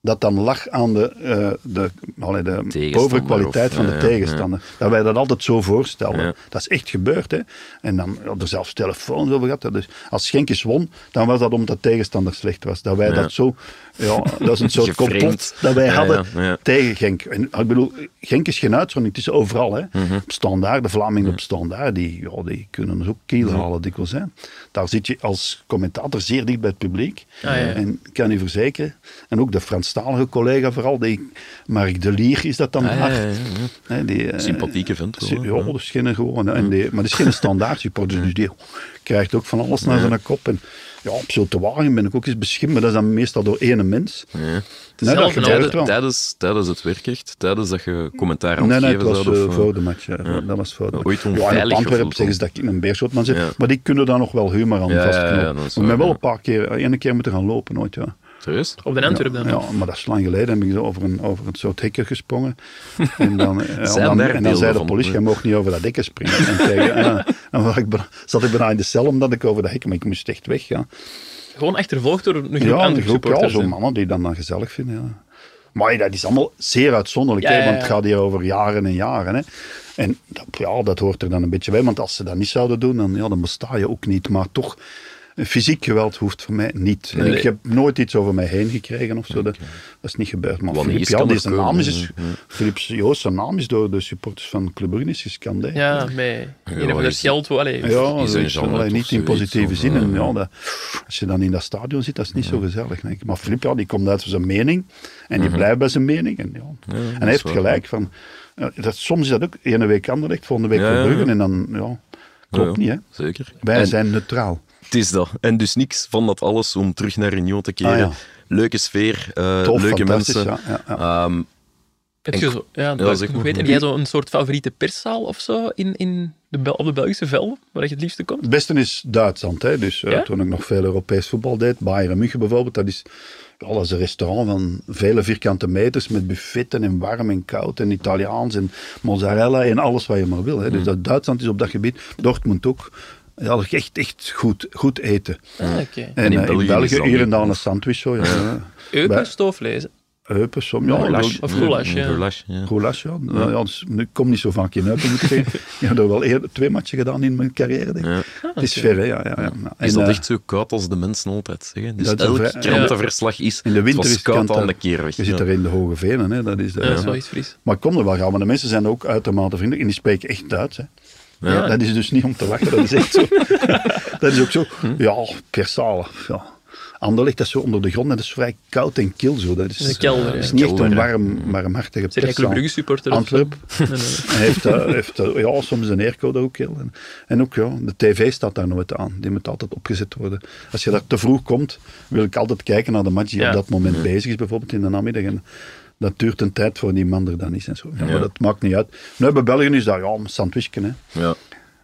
Speaker 1: dat dan lag aan de, eh de, allee, de
Speaker 2: Tegenstander
Speaker 1: povere kwaliteit
Speaker 2: of- eh,
Speaker 1: van de
Speaker 2: ja, ja,
Speaker 1: tegenstander. Dat wij dat altijd zo voorstellen.
Speaker 2: Ja.
Speaker 1: Dat is echt gebeurd. Hè? En dan ja, er zelfs telefoons over gehad. Dus als Schenkjes won, dan was dat omdat tegenstander slecht was. Dat wij dat zo... Ja, dat
Speaker 2: (laughs)
Speaker 1: is een soort
Speaker 2: Geframed.
Speaker 1: complot dat wij
Speaker 2: Ja,
Speaker 1: hadden
Speaker 2: ja, ja.
Speaker 1: tegen Genk. En, ik bedoel, Genk is geen uitzondering. Het is overal. Hè? Op standaard, de Vlamingen op standaard, die, ja, die kunnen dus ook kiel halen dikwijls. Hè? Daar zit je als commentator zeer dicht bij het publiek.
Speaker 3: Ah, ja.
Speaker 1: En ik kan u verzekeren, en ook de Franstalige collega vooral, die Mark de Lier is dat dan
Speaker 2: Ah, ja,
Speaker 1: hard.
Speaker 2: ja, ja,
Speaker 1: Hè, die, eh,
Speaker 2: Sympathieke vent wel,
Speaker 1: sy-
Speaker 2: hè?
Speaker 1: Ja, dat is geen gewoon. hè. En die, maar dat is geen standaard supporter, dus die krijgt ook van alles naar zijn kop. En ja, op zo'n te wagen ben ik ook eens beschimmeld, maar dat is dan meestal door ene mens. Nee, dat
Speaker 3: zelf een
Speaker 2: nou,
Speaker 1: gebeurt wel.
Speaker 2: Tijdens, tijdens het werk echt, tijdens dat je commentaar aan
Speaker 1: Nee,
Speaker 2: het
Speaker 1: nee, het
Speaker 2: geven
Speaker 1: was
Speaker 2: zou,
Speaker 1: eh,
Speaker 2: of, eh,
Speaker 1: voor de match. ja. Dat was voor de match.
Speaker 2: Ooit
Speaker 1: Ja, en op
Speaker 2: onveilig
Speaker 1: Antwerpen
Speaker 2: gevoeld
Speaker 1: zeggen ze dat ik in een beerschotman zit. Maar die kunnen daar nog wel humor aan
Speaker 2: ja, ja,
Speaker 1: vastknopen.
Speaker 2: dat is
Speaker 1: maar ik
Speaker 2: waar,
Speaker 1: ben wel
Speaker 2: ja.
Speaker 1: een paar keer, eh, ene keer moeten gaan lopen ooit, ja.
Speaker 2: Serieus?
Speaker 3: Op de Antwerp dan.
Speaker 1: Ja, maar dat is lang geleden. heb ik zo over een, over een soort hekken
Speaker 2: (laughs)
Speaker 1: gesprongen. En dan, eh,
Speaker 2: Zijn
Speaker 1: dan,
Speaker 2: daar
Speaker 1: en dan
Speaker 2: beelden
Speaker 1: zei de
Speaker 2: van?
Speaker 1: politie, jij mag niet over dat hekken springen. En tegen, en, dan- dan was ik, bijna- zat ik bijna in de cel omdat ik over dat hekken... Maar ik moest echt weg, ja.
Speaker 3: Gewoon achtervolgd door een groep
Speaker 1: Ja, een
Speaker 3: andere
Speaker 1: groep ja,
Speaker 3: supporters.
Speaker 1: zo'n
Speaker 3: hè.
Speaker 1: mannen die dan, dan gezellig vinden, ja. Maar dat is allemaal zeer uitzonderlijk,
Speaker 3: Ja,
Speaker 1: hè,
Speaker 3: ja,
Speaker 1: want het
Speaker 3: ja.
Speaker 1: gaat hier over jaren en jaren. Hè. En dat, ja, dat hoort er dan een beetje bij, want als ze dat niet zouden doen, dan, ja, dan besta je ook niet. Maar toch, eh, fysiek geweld hoeft voor mij niet. En
Speaker 2: Nee.
Speaker 1: ik heb nooit iets over mij heen gekregen of zo, dat, dat is niet gebeurd. Maar
Speaker 2: Wanneer
Speaker 1: Filip
Speaker 2: is, kan
Speaker 1: Jan, die
Speaker 2: er
Speaker 1: zijn
Speaker 2: komen,
Speaker 1: naam is, is, Filip Joost, zijn naam is door de supporters van Club Brugge is gescandeerd.
Speaker 3: Ja, met...
Speaker 2: Ja,
Speaker 3: Hier hebben
Speaker 2: is-
Speaker 3: er geld voor. Allee,
Speaker 1: Ja,
Speaker 2: Is een
Speaker 1: zoiets,
Speaker 2: genre
Speaker 1: allee,
Speaker 2: toch
Speaker 1: niet in
Speaker 2: zoiets,
Speaker 1: positieve
Speaker 2: of,
Speaker 1: zin. En
Speaker 2: eh,
Speaker 1: ja, dat- als je dan in dat stadion zit, dat is niet zo gezellig. Denk ik. Maar Filip, ja, die komt uit voor zijn mening. En die blijft bij zijn mening. En, ja. en
Speaker 2: Mhm. is
Speaker 1: hij heeft
Speaker 2: waar,
Speaker 1: gelijk. Van, ja, dat, soms is dat ook ene week Anderlecht, volgende week
Speaker 2: Ja,
Speaker 1: voor
Speaker 2: ja, ja.
Speaker 1: Brugge. En dan, ja, klopt
Speaker 2: Ja,
Speaker 1: niet,
Speaker 2: ja,
Speaker 1: hè.
Speaker 2: Zeker.
Speaker 1: Wij
Speaker 2: En-
Speaker 1: zijn neutraal.
Speaker 2: Het is dat. En dus niks van dat alles om terug naar Union te keren.
Speaker 1: Ah, ja.
Speaker 2: Leuke sfeer, eh,
Speaker 1: Tof,
Speaker 2: leuke
Speaker 1: fantastisch,
Speaker 2: mensen.
Speaker 1: ja, ja,
Speaker 2: Ehm,
Speaker 3: Heb je zo, ja, dat
Speaker 2: zeg
Speaker 3: ik
Speaker 2: maar.
Speaker 3: weet. Heb jij zo een soort favoriete perszaal of zo in, in de, Bel- op de Belgische velden, waar je het liefste komt?
Speaker 1: Het beste is Duitsland. Hè? Dus eh,
Speaker 3: Ja?
Speaker 1: toen ik nog veel Europees voetbal deed, Bayern München bijvoorbeeld, dat is, ja, dat is een restaurant van vele vierkante meters met buffetten en warm en koud en Italiaans en mozzarella en alles wat je maar wil. Hè? Dus dat Duitsland is op dat gebied, Dortmund ook, ja, dat is echt, echt goed, goed eten.
Speaker 3: Ah, oké.
Speaker 1: En,
Speaker 2: in
Speaker 1: eh,
Speaker 2: België
Speaker 1: in
Speaker 2: is
Speaker 1: België
Speaker 2: dat
Speaker 1: hier en
Speaker 2: niet.
Speaker 1: daar een sandwich. Zo, ja.
Speaker 3: Eupen,
Speaker 1: Bij-
Speaker 3: stooflezen.
Speaker 1: Heupen, som, ja,
Speaker 2: Goulash.
Speaker 1: wel-
Speaker 3: Of goulash, ja.
Speaker 2: Goulash, ja.
Speaker 1: Goulash, ja. Nou ja, dus, nu kom niet zo vaak in Heupen, moet ik zeggen.
Speaker 2: (laughs)
Speaker 1: Ik heb er wel eerder twee matchen gedaan in mijn carrière, denk ik.
Speaker 2: Ja.
Speaker 1: Het is ver, hè. Ja, ja, ja. En,
Speaker 2: Is dat
Speaker 1: eh,
Speaker 2: echt zo koud als de mensen altijd zeggen? Dus
Speaker 1: dat is een
Speaker 2: elk
Speaker 1: vrij-
Speaker 2: krantenverslag is
Speaker 1: In de winter is
Speaker 2: het was
Speaker 1: het
Speaker 2: koud
Speaker 1: kant-
Speaker 2: aan de keer weg.
Speaker 1: Je zit
Speaker 2: ja.
Speaker 1: er in de hoge venen, hè. Dat is de,
Speaker 3: Ja, dat is
Speaker 1: ja.
Speaker 3: wel iets Fries.
Speaker 1: Maar kom er wel gaan, maar de mensen zijn ook uitermate vriendelijk en die spreken echt Duits. Hè.
Speaker 3: Ja.
Speaker 1: Dat is dus niet om te lachen, dat is echt
Speaker 3: (laughs)
Speaker 1: zo. dat is ook zo.
Speaker 3: Hm.
Speaker 1: Ja, persalen. Ja. Anderlecht, dat is zo onder de grond en dat is vrij koud en kil zo. Dat is,
Speaker 3: is een kelder,
Speaker 1: dat is
Speaker 3: ja.
Speaker 1: niet echt een
Speaker 2: Kelder,
Speaker 1: warm, warmhartige
Speaker 3: Zijn jij
Speaker 1: perszaal.
Speaker 3: Club Brugge supporter? of zo?
Speaker 1: Antwerp. (laughs)
Speaker 3: Nee, nee, nee.
Speaker 1: Hij heeft, eh, heeft eh, ja, soms een airco daar ook heel. En, en ook, ja, de tv staat daar nooit aan. Die moet altijd opgezet worden. Als je daar te vroeg komt, wil ik altijd kijken naar de match die
Speaker 3: Ja.
Speaker 1: op dat moment bezig is, bijvoorbeeld in de namiddag. En dat duurt een tijd voor die man er dan is en zo. Ja,
Speaker 2: Ja.
Speaker 1: Maar dat maakt niet uit. Nu, bij België is dat ja, een sandwichje. Hè.
Speaker 2: Ja.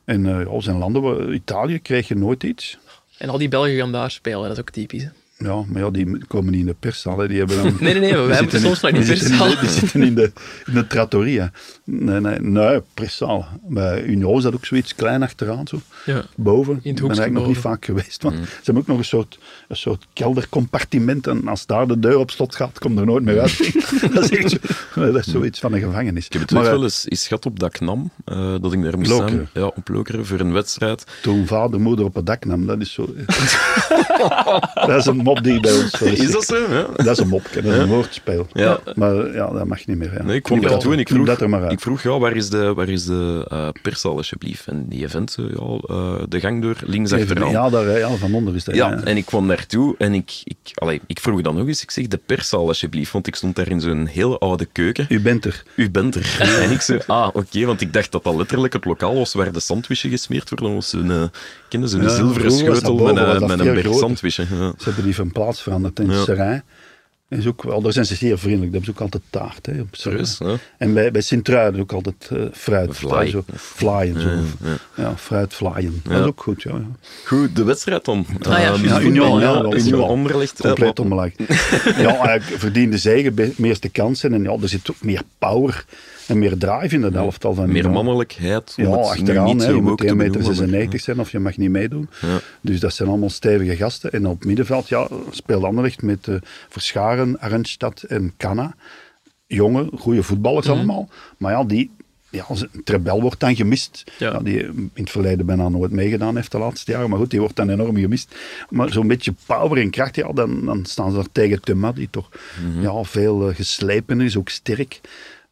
Speaker 1: En eh, ja, zijn landen, waar- Italië krijg je nooit iets.
Speaker 3: En al die Belgen gaan daar spelen, dat is ook typisch. hè.
Speaker 1: Ja, maar ja, die komen niet in de perszaal. hè. Die hebben dan...
Speaker 3: Nee, nee, nee, maar wij
Speaker 1: zitten
Speaker 3: moeten soms naar die
Speaker 1: die zitten in de-
Speaker 3: perszaal.
Speaker 1: Die zitten in de, in de trattoria. Nee, nee, nee, perszaal. Bij Unio is dat ook zoiets klein achteraan, zo.
Speaker 3: Ja.
Speaker 1: Boven.
Speaker 3: In het
Speaker 1: ben
Speaker 3: hoekje
Speaker 1: eigenlijk nog niet
Speaker 3: boven.
Speaker 1: vaak geweest. Want Ze hebben ook nog een soort, een soort keldercompartiment. En als daar de deur op slot gaat, kom er nooit meer uit. (laughs) dat, is echt zo, dat is zoiets van een gevangenis.
Speaker 2: Ik heb het
Speaker 1: Maar,
Speaker 2: ooit
Speaker 1: eh,
Speaker 2: wel eens eens gehad op dat knam, eh, dat ik daar moest
Speaker 1: Lokeren.
Speaker 2: staan. Ja, op Lokeren, voor een wedstrijd.
Speaker 1: Toen vader moeder op het dak nam, dat is zo... (laughs) dat is een mop die bij ons...
Speaker 2: Is dat zo? Ja.
Speaker 1: Dat is een mopje, dat is een woordspel.
Speaker 2: Ja.
Speaker 1: Maar ja, dat mag niet meer. Ja.
Speaker 2: Nee, ik vond
Speaker 1: Knip
Speaker 2: dat toen en ik
Speaker 1: knip
Speaker 2: vroeg,
Speaker 1: dat er maar uit.
Speaker 2: ik vroeg ja, waar is de, waar is de eh, perszaal alsjeblieft? En die event, eh, ja, eh, de gang door, links
Speaker 1: Even-
Speaker 2: achteraan.
Speaker 1: ja, daar, ja, van onder is dat.
Speaker 2: Ja,
Speaker 1: ja.
Speaker 2: en ik kwam daartoe en ik, ik, allee, ik vroeg dan nog eens, ik zeg de perszaal alsjeblieft, want ik stond daar in zo'n hele oude keuken.
Speaker 1: U bent er.
Speaker 2: U bent er. En ik zei, ah, oké, want ik dacht dat dat letterlijk het lokaal was waar de sandwichen gesmeerd worden. Dat was zo'n, eh, kennen ze, een
Speaker 1: Ja,
Speaker 2: zilveren
Speaker 1: vroeger was
Speaker 2: schotel
Speaker 1: dat boven,
Speaker 2: met,
Speaker 1: was dat
Speaker 2: een met een
Speaker 1: veel
Speaker 2: berg
Speaker 1: groter.
Speaker 2: sandwichen. Ja.
Speaker 1: Ze hebben die van plaats veranderd in
Speaker 2: Ja.
Speaker 1: het Serijn. Is ook, wel, daar zijn ze zeer vriendelijk. Daar hebben ze ook altijd taart. Hè, op Serijn.
Speaker 2: Serieus, ja.
Speaker 1: En bij, bij Sint-Truiden ook altijd eh, fruit.
Speaker 2: Vlaai.
Speaker 1: Zo, vlaaien. Zo. Ja, fruit vlaaien. Dat is ook goed, ja. ja.
Speaker 2: Goed, de wedstrijd dan.
Speaker 3: ja,
Speaker 2: Ehm,
Speaker 3: juist,
Speaker 1: Union,
Speaker 2: voetbal,
Speaker 1: Ah, ja,
Speaker 2: dat
Speaker 1: ja,
Speaker 2: is
Speaker 1: Union.
Speaker 2: wel Anderlecht, eh,
Speaker 1: Compleet
Speaker 2: maar-
Speaker 1: onbelangrijk.
Speaker 2: (laughs)
Speaker 1: ja, eigenlijk verdiende zegen, be- meeste kansen. En ja, er zit ook meer power en meer drive in dat elftal van
Speaker 2: Meer
Speaker 1: Union.
Speaker 2: mannelijkheid. om
Speaker 1: Ja,
Speaker 2: het nu
Speaker 1: achteraan.
Speaker 2: niet
Speaker 1: hè
Speaker 2: zo
Speaker 1: je
Speaker 2: ook
Speaker 1: moet
Speaker 2: te
Speaker 1: 1,96 meter
Speaker 2: benoemen, maar-
Speaker 1: 96 zijn of je mag niet meedoen. Dus dat zijn allemaal stevige gasten. En op middenveld ja, speelt Anderlecht met eh, Verscharen, Arnstad en Canna. Jonge, goede voetballers
Speaker 2: Mhm.
Speaker 1: allemaal. Maar ja, die... Ja, ze- Trebel wordt dan gemist.
Speaker 3: Ja.
Speaker 1: Ja, die in het verleden bijna nooit meegedaan heeft de laatste jaren. Maar goed, die wordt dan enorm gemist. Maar zo'n beetje power en kracht, ja, dan, dan staan ze daar tegen Tumma, die toch
Speaker 2: Mhm.
Speaker 1: ja, veel eh, geslepen is, ook sterk.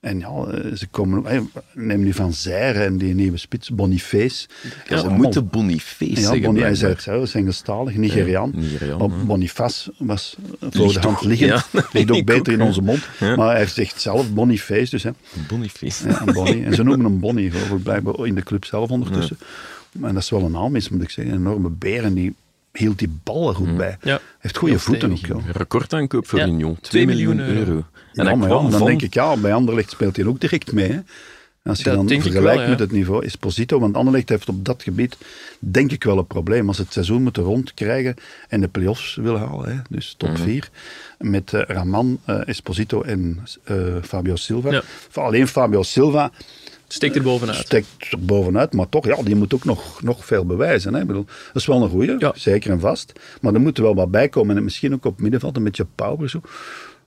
Speaker 1: En ja, eh, ze komen... eh, Neem nu Van Zijre en die nieuwe spits, Boniface.
Speaker 2: Ja,
Speaker 1: Dat
Speaker 2: we
Speaker 1: is
Speaker 2: moeten Boniface
Speaker 1: ja, Boni,
Speaker 2: zeggen.
Speaker 1: hij
Speaker 2: blijkbaar.
Speaker 1: zei het zelf, is Engelstalig, Nigeriaan.
Speaker 2: Ja, Nigeriaan,
Speaker 1: Maar
Speaker 2: ja.
Speaker 1: Boniface was voor de hand
Speaker 2: ook-
Speaker 1: liggend.
Speaker 2: ja.
Speaker 1: Ligt
Speaker 2: (laughs)
Speaker 1: ook
Speaker 2: Ik ook,
Speaker 1: beter in
Speaker 2: ja.
Speaker 1: onze mond. Maar hij zegt zelf Boniface, dus hè.
Speaker 2: Boniface.
Speaker 1: Ja, Bonnie. En ze noemen hem Bonnie, geloof ik, blijkbaar in de club zelf ondertussen. Maar dat is wel een naam is, moet ik zeggen. Een enorme beer en die hield die ballen
Speaker 2: Mm.
Speaker 1: goed bij.
Speaker 3: Ja.
Speaker 1: Heeft goede
Speaker 3: Heel
Speaker 1: voeten ook,
Speaker 3: stevig.
Speaker 1: joh.
Speaker 2: Recordaankoop voor
Speaker 3: Ja,
Speaker 2: Union. 2
Speaker 3: 2
Speaker 2: miljoen
Speaker 3: miljoen
Speaker 2: euro.
Speaker 3: euro.
Speaker 2: En
Speaker 1: Ja,
Speaker 2: hij
Speaker 1: maar ja,
Speaker 2: kwam
Speaker 1: dan
Speaker 2: van...
Speaker 1: denk ik, ja, bij Anderlecht speelt hij ook direct mee. Hè? Als je
Speaker 3: Dat
Speaker 1: dan
Speaker 3: denk ik
Speaker 1: vergelijkt
Speaker 3: wel, ja.
Speaker 1: met het niveau Esposito, want Anderlecht heeft op dat gebied denk ik wel een probleem. Als ze het seizoen moeten rondkrijgen en de play-offs wil halen, hè? dus
Speaker 3: Mhm.
Speaker 1: top 4, met eh, Raman, eh, Esposito en eh, Fabio Silva.
Speaker 3: Ja.
Speaker 1: Alleen Fabio Silva
Speaker 3: Steekt er bovenuit.
Speaker 1: steekt er bovenuit, maar toch, ja, die moet ook nog, nog veel bewijzen. Hè? Ik bedoel, dat is wel een goeie,
Speaker 3: Ja.
Speaker 1: zeker en vast. Maar er moet er wel wat bij komen. En misschien ook op middenveld een beetje power. Zo.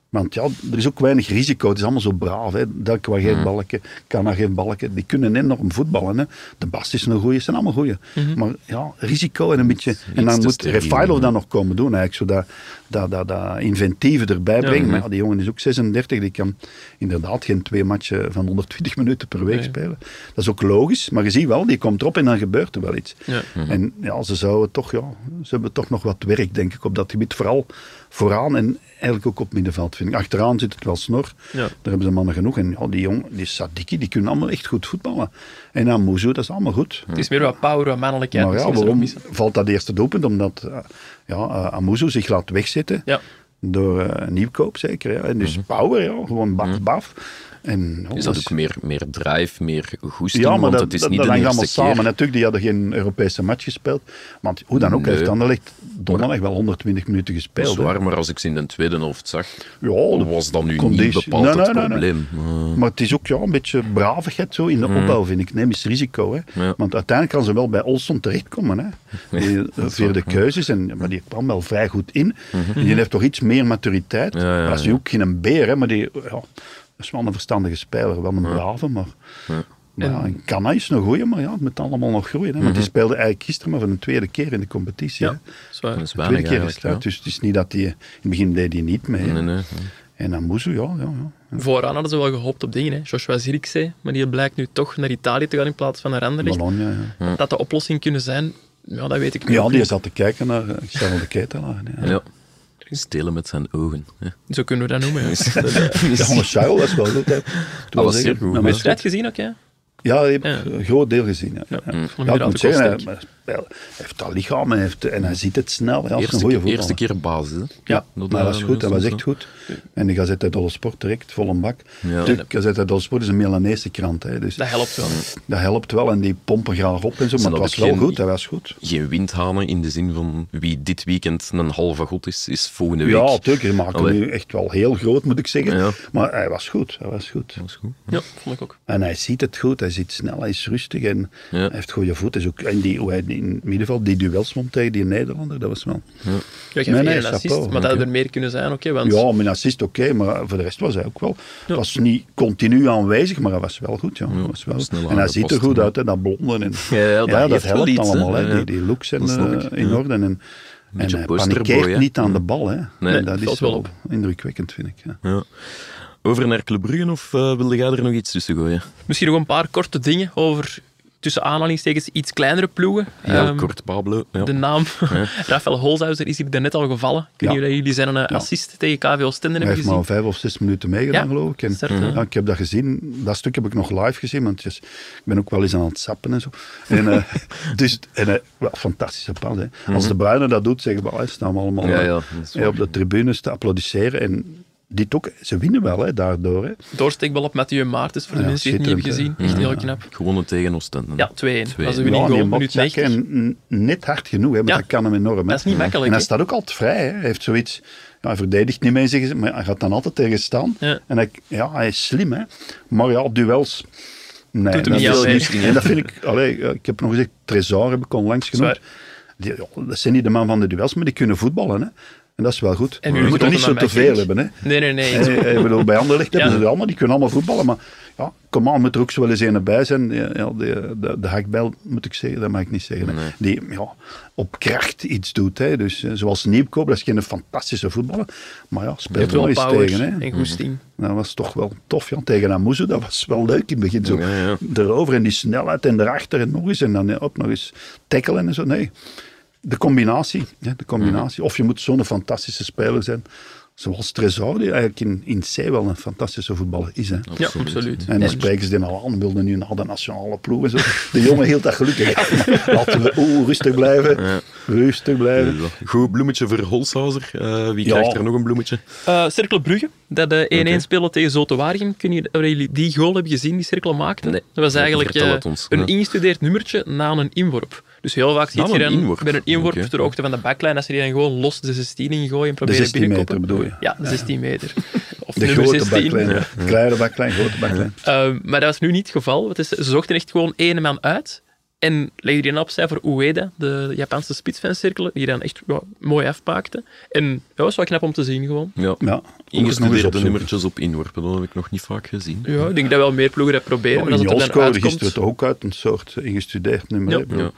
Speaker 1: Want ja, er is ook weinig risico. Het is allemaal zo braaf. Hè? Delk waar
Speaker 3: Mm.
Speaker 1: geen balken, Kana geen balken. Die kunnen enorm voetballen. Hè? De Bast is een goeie, het zijn allemaal goeie.
Speaker 3: Mhm.
Speaker 1: Maar ja, risico en een beetje... En dan
Speaker 2: te
Speaker 1: moet
Speaker 2: steriel,
Speaker 1: Refailov
Speaker 2: ja.
Speaker 1: dat nog komen doen. Eigenlijk, zo dat, dat, dat, dat inventieve erbij brengen. Maar ja, die jongen is ook 36. Die kan inderdaad geen twee matchen van 120 minuten per week
Speaker 3: Nee.
Speaker 1: spelen. Dat is ook logisch, maar je ziet wel, die komt erop en dan gebeurt er wel iets.
Speaker 3: Ja.
Speaker 1: En ja, ze zouden toch, ja, ze hebben toch nog wat werk, denk ik, op dat gebied. Vooral vooraan en eigenlijk ook op middenveld, vind ik. Achteraan zit het wel snor,
Speaker 3: Ja.
Speaker 1: daar hebben ze mannen genoeg. En ja, die jong, die Sadiki, die kunnen allemaal echt goed voetballen. En Amuzu, dat is allemaal goed.
Speaker 3: Het is meer wat power, wat dus mannelijkheid.
Speaker 1: maar ja,
Speaker 3: misschien is er
Speaker 1: waarom
Speaker 3: ook missen.
Speaker 1: valt dat eerste doelpunt? Omdat eh, ja, eh, Amuzu zich laat wegzetten
Speaker 3: Ja.
Speaker 1: door eh, een nieuwkoop, zeker. Ja. En dus power, ja, gewoon baf, baf. En, oh,
Speaker 2: Mhm. Is
Speaker 1: dat
Speaker 2: dat ook meer, meer drive, meer goesting?
Speaker 1: Ja, maar
Speaker 2: want
Speaker 1: dat,
Speaker 2: het is
Speaker 1: dat,
Speaker 2: niet
Speaker 1: dat
Speaker 2: de
Speaker 1: hangt
Speaker 2: eerste
Speaker 1: allemaal
Speaker 2: keer.
Speaker 1: samen. Natuurlijk, die hadden geen Europese match gespeeld. Want hoe dan ook,
Speaker 2: Nee.
Speaker 1: heeft Anderlecht donderdag wel 120 minuten gespeeld. hè.
Speaker 2: Zwaar, maar als ik ze in de tweede helft zag,
Speaker 1: Ja, dat
Speaker 2: was dat nu niet
Speaker 1: conditie-
Speaker 2: bepaald
Speaker 1: Nee, nee,
Speaker 2: het
Speaker 1: nee, nee.
Speaker 2: probleem. Eh, Mm.
Speaker 1: Maar het is ook ja, een beetje bravigheid zo in de opbouw, vind ik. Neem eens risico. Hè.
Speaker 2: Ja.
Speaker 1: Want uiteindelijk kan ze wel bij Olson
Speaker 2: (laughs)
Speaker 1: terechtkomen. Hè. Die, eh, via de keuzes. En, maar die kwam wel vrij goed in. En die heeft toch iets meer maturiteit.
Speaker 2: Mhm. Ja, ja,
Speaker 1: Maar Dat is
Speaker 2: ja.
Speaker 1: nu ook geen beer, hè, maar die ja, dat is wel een verstandige speler. Wel een brave, maar... Maar Ja, en Kana is een goeie, maar ja, het moet allemaal nog groeien. Hè?
Speaker 2: Mhm.
Speaker 1: Want die speelde eigenlijk gisteren maar voor de tweede keer in de competitie.
Speaker 3: Ja,
Speaker 1: hè.
Speaker 3: dat is waar.
Speaker 2: dat is
Speaker 1: De tweede
Speaker 2: weinig
Speaker 1: keer is het
Speaker 2: eigenlijk.
Speaker 1: uit,
Speaker 2: ja.
Speaker 1: dus het is niet dat hij... In het begin deed hij niet mee. hè.
Speaker 2: Nee, nee.
Speaker 1: En dan Moezo, ja, ja, ja.
Speaker 3: Vooraan hadden ze wel gehoopt op dingen. Hè. Joshua Zirkzee, maar die blijkt nu toch naar Italië te gaan in plaats van naar Anderlecht.
Speaker 1: Bologna, ja.
Speaker 3: Dat dat de oplossing kunnen zijn, ja, dat weet ik nu
Speaker 1: Ja,
Speaker 3: ook
Speaker 1: die
Speaker 3: niet.
Speaker 1: zat te kijken naar eh, Charles de Ketelaar. Ja.
Speaker 2: Ja. Stelen met zijn ogen. (laughs) Ja.
Speaker 3: Zo kunnen we dat noemen. Ja.
Speaker 1: Ja, maar Charles was wel goed. Hè.
Speaker 2: dus- was zeer goed.
Speaker 1: Ja, maar-
Speaker 3: Wedstrijd gezien ook, hè?
Speaker 1: ja, je hebt
Speaker 3: Ja.
Speaker 1: een groot deel gezien. Ja, ja.
Speaker 3: hem
Speaker 1: ja ik
Speaker 3: inderdaad
Speaker 1: moet
Speaker 3: ook
Speaker 1: zeggen,
Speaker 3: wel
Speaker 1: hij, hij heeft dat lichaam en, heeft, en hij ziet het snel. Ja, hij is een
Speaker 2: Eerste,
Speaker 1: goede
Speaker 2: keer-
Speaker 1: voetballer.
Speaker 2: eerste keer basis. hè?
Speaker 1: Ja,
Speaker 2: Dat,
Speaker 1: maar
Speaker 2: eh,
Speaker 1: dat was goed, dat was echt
Speaker 2: zo.
Speaker 1: goed. En de Gazette uit Dolle Sport direct, vol een bak.
Speaker 2: Ja.
Speaker 1: Natuurlijk, Gazette uit Dolle Sport is een Milanese krant, hè, dus
Speaker 3: Dat helpt wel.
Speaker 1: dat helpt wel en die pompen graag op en zo, maar
Speaker 2: Zijn
Speaker 1: het
Speaker 2: dat
Speaker 1: was
Speaker 2: ook
Speaker 1: wel
Speaker 2: geen-
Speaker 1: goed, dat was goed.
Speaker 2: Geen windhanen in de zin van wie dit weekend een halve god is, is volgende week.
Speaker 1: Ja, natuurlijk, hij maakt hem
Speaker 2: Allee.
Speaker 1: nu echt wel heel groot, moet ik zeggen.
Speaker 2: Ja.
Speaker 1: Maar hij was goed, hij was goed.
Speaker 2: Dat is goed.
Speaker 3: Ja, vond ik ook.
Speaker 1: En hij ziet het goed, hij zit snel, hij is rustig en
Speaker 2: Ja.
Speaker 1: hij heeft goede voet. Is ook, en die, hoe hij die- in het middenveld die duels won tegen die Nederlander, dat was wel...
Speaker 3: Ja, ik
Speaker 1: Nee,
Speaker 3: heb
Speaker 1: nee,
Speaker 3: één assist,
Speaker 1: chapeau.
Speaker 3: maar dat er meer kunnen zijn, oké. want
Speaker 1: Ja, mijn assist oké, maar voor de rest was hij ook wel... was niet continu aanwezig, maar hij was wel goed, ja. was wel,
Speaker 2: snel
Speaker 1: en hij ziet er
Speaker 2: aangepast,
Speaker 1: goed
Speaker 2: ja.
Speaker 1: uit, hè, dat blonde. En,
Speaker 2: Ja, ja, dat heeft wel
Speaker 1: helpt
Speaker 2: iets, hè.
Speaker 1: allemaal, hè.
Speaker 2: Ja, ja.
Speaker 1: Die, die looks zijn
Speaker 2: Dat snap
Speaker 1: eh,
Speaker 2: ik, ja.
Speaker 1: in orde. En, en
Speaker 2: Beetje
Speaker 1: hij
Speaker 2: posterboy, hè. Mm.
Speaker 1: panikeert niet aan de bal, hè.
Speaker 2: Nee,
Speaker 1: En dat
Speaker 3: valt
Speaker 1: is
Speaker 3: wel
Speaker 1: wel
Speaker 3: op.
Speaker 1: indrukwekkend, vind ik. Ja.
Speaker 2: Ja. Over naar Club Brugge of eh, wilde jij er nog iets tussen gooien?
Speaker 3: Misschien nog een paar korte dingen over, tussen aanhalingstekens, iets kleinere ploegen.
Speaker 2: Heel
Speaker 3: Ehm,
Speaker 2: kort, Pablo. Ja.
Speaker 3: De naam (laughs) Rafael Holzhauser is hier net al gevallen. Ik weet
Speaker 1: Ja.
Speaker 3: niet of jullie zijn een assist tegen KV Oostende
Speaker 1: Hij
Speaker 3: hebben
Speaker 1: heeft maar
Speaker 3: gezien.
Speaker 1: vijf of zes minuten meegedaan,
Speaker 3: Ja,
Speaker 1: geloof ik. En,
Speaker 3: start, hè.
Speaker 1: ja, ik heb dat gezien. Dat stuk heb ik nog live gezien, want het is- ik ben ook wel eens aan het sappen en zo. En, eh,
Speaker 2: (laughs)
Speaker 1: dus, en, eh, wel, fantastische pas. Hè. Als de Bruine dat doet, zeggen we, "Ah, staan we allemaal
Speaker 2: Mhm. Ja,
Speaker 1: eh,
Speaker 2: ja, dat is
Speaker 1: eh, op de tribunes te applaudisseren. En dit ook, ze winnen wel hè, daardoor. Hè.
Speaker 3: Doorsteekbal op Mathieu Maartens, voor de
Speaker 1: Ja,
Speaker 3: mensen die het niet hebben gezien.
Speaker 1: schitterend,
Speaker 3: Echt heel knap.
Speaker 2: Gewonnen tegen Oostende.
Speaker 3: Ja, 2-1.
Speaker 2: Twee.
Speaker 3: Dat is een
Speaker 2: Ja,
Speaker 3: winning
Speaker 1: en die
Speaker 3: goal,
Speaker 1: bal
Speaker 3: minuut
Speaker 1: zakken
Speaker 3: 90.
Speaker 1: en n- net hard genoeg, hè, want
Speaker 3: Ja.
Speaker 1: dat kan hem enorm. Hè.
Speaker 3: Dat is niet makkelijk,
Speaker 1: En hij
Speaker 3: hè.
Speaker 1: staat ook altijd vrij. Hè. Hij heeft zoiets... Ja, hij verdedigt niet mee, zeggen ze, maar hij gaat dan altijd tegenstaan.
Speaker 3: Ja.
Speaker 1: En hij, ja, hij is slim, hè. Maar ja, op duels... Nee,
Speaker 3: Doet hem
Speaker 1: dat
Speaker 3: niet
Speaker 1: is
Speaker 3: aan, hè.
Speaker 1: En dat vind ik... Allee, eh, ik heb nog gezegd, Trezor heb ik onlangs genoemd.
Speaker 3: Zwaar.
Speaker 1: Die, ja, dat zijn niet de man van de duels, maar die kunnen voetballen, hè. En dat is wel goed.
Speaker 3: En
Speaker 1: je
Speaker 3: nu
Speaker 1: moet er
Speaker 3: grote
Speaker 1: niet zo
Speaker 3: man
Speaker 1: te
Speaker 3: bij
Speaker 1: veel
Speaker 3: Kings.
Speaker 1: hebben, hè.
Speaker 3: Nee, nee, nee.
Speaker 1: Eh, eh, ik bedoel, bij
Speaker 3: (laughs)
Speaker 1: Anderlecht hebben
Speaker 3: Ja.
Speaker 1: ze het allemaal, die kunnen allemaal voetballen, maar ja, kom aan, moet er ook zo wel eens een bij zijn. Ja, ja, de, de, de hakbel, moet ik zeggen, dat mag ik niet zeggen. hè. Die ja, op kracht iets doet. Hè. Dus, eh, zoals Nieuwkoop, dat is geen fantastische voetballer, maar ja, speelt
Speaker 3: Heeft
Speaker 1: er wel
Speaker 3: wel
Speaker 1: eens
Speaker 3: power
Speaker 1: tegen. Hè.
Speaker 3: en goesting.
Speaker 1: Dat was toch wel tof, ja. tegen Amuzu, dat was wel leuk in het begin. Zo.
Speaker 2: Ja, ja.
Speaker 1: Erover en die snelheid en erachter en nog eens, en dan eh, ook nog eens tackelen en zo. Nee, de combinatie. Hè, de combinatie. Of je moet zo'n fantastische speler zijn, zoals Trezor, die eigenlijk in, in C wel een fantastische voetballer is. Hè.
Speaker 3: Ja, absoluut.
Speaker 1: En dan spreken ze die al aan, wilden nu naar de nationale ploeg en zo. De jongen hield dat gelukkig af. maar Laten we oeh, rustig blijven, rustig blijven.
Speaker 2: Ja. Goed bloemetje voor Holshauser. Eh, wie
Speaker 1: Ja.
Speaker 2: krijgt er nog een bloemetje?
Speaker 3: Eh Cercle Brugge, dat de 1-1
Speaker 2: Oké.
Speaker 3: spelen tegen Zote Waregem. Kun je hebben jullie die goal hebben gezien die Cercle maakte?
Speaker 2: Nee.
Speaker 3: Dat was eigenlijk
Speaker 2: Vertel
Speaker 3: eh,
Speaker 2: het ons.
Speaker 3: een
Speaker 2: Ja.
Speaker 3: ingestudeerd nummertje na een inworp. Dus heel vaak zie
Speaker 2: Na
Speaker 3: je
Speaker 2: een
Speaker 3: dan
Speaker 2: inworp?
Speaker 3: bij een inworp
Speaker 2: Oké.
Speaker 3: ter hoogte van de backlijn, als ze die dan gewoon los de 16 in gooien en proberen
Speaker 1: 16 meter
Speaker 3: binnenkoppen.
Speaker 1: bedoel je?
Speaker 3: Ja, de 16 meter. Of
Speaker 1: De
Speaker 3: nummer
Speaker 1: grote
Speaker 3: 16.
Speaker 1: baklijn, kleine baklijn, grote baklijn.
Speaker 3: Eh, maar dat was nu niet het geval. want het is- ze zochten echt gewoon één man uit. En legde die dan opzij voor Ueda, de Japanse spits van Cirkel, die dan echt ja, mooi afpaakte. En dat was wel knap om te zien gewoon.
Speaker 2: Ja.
Speaker 1: Ja,
Speaker 2: Ingestudeerde
Speaker 1: opzoeken.
Speaker 2: nummertjes op inworpen, dat heb ik nog niet vaak gezien.
Speaker 3: Ja, ik denk dat wel meer ploegen dat proberen. maar
Speaker 1: Ja,
Speaker 3: als
Speaker 1: in
Speaker 3: het er
Speaker 1: Jos
Speaker 3: dan
Speaker 1: scoorde
Speaker 3: uitkomt...
Speaker 1: gisteren toch ook uit een soort ingestudeerd nummer.
Speaker 3: Ja.
Speaker 1: hè, ik bedoel.
Speaker 2: Ja.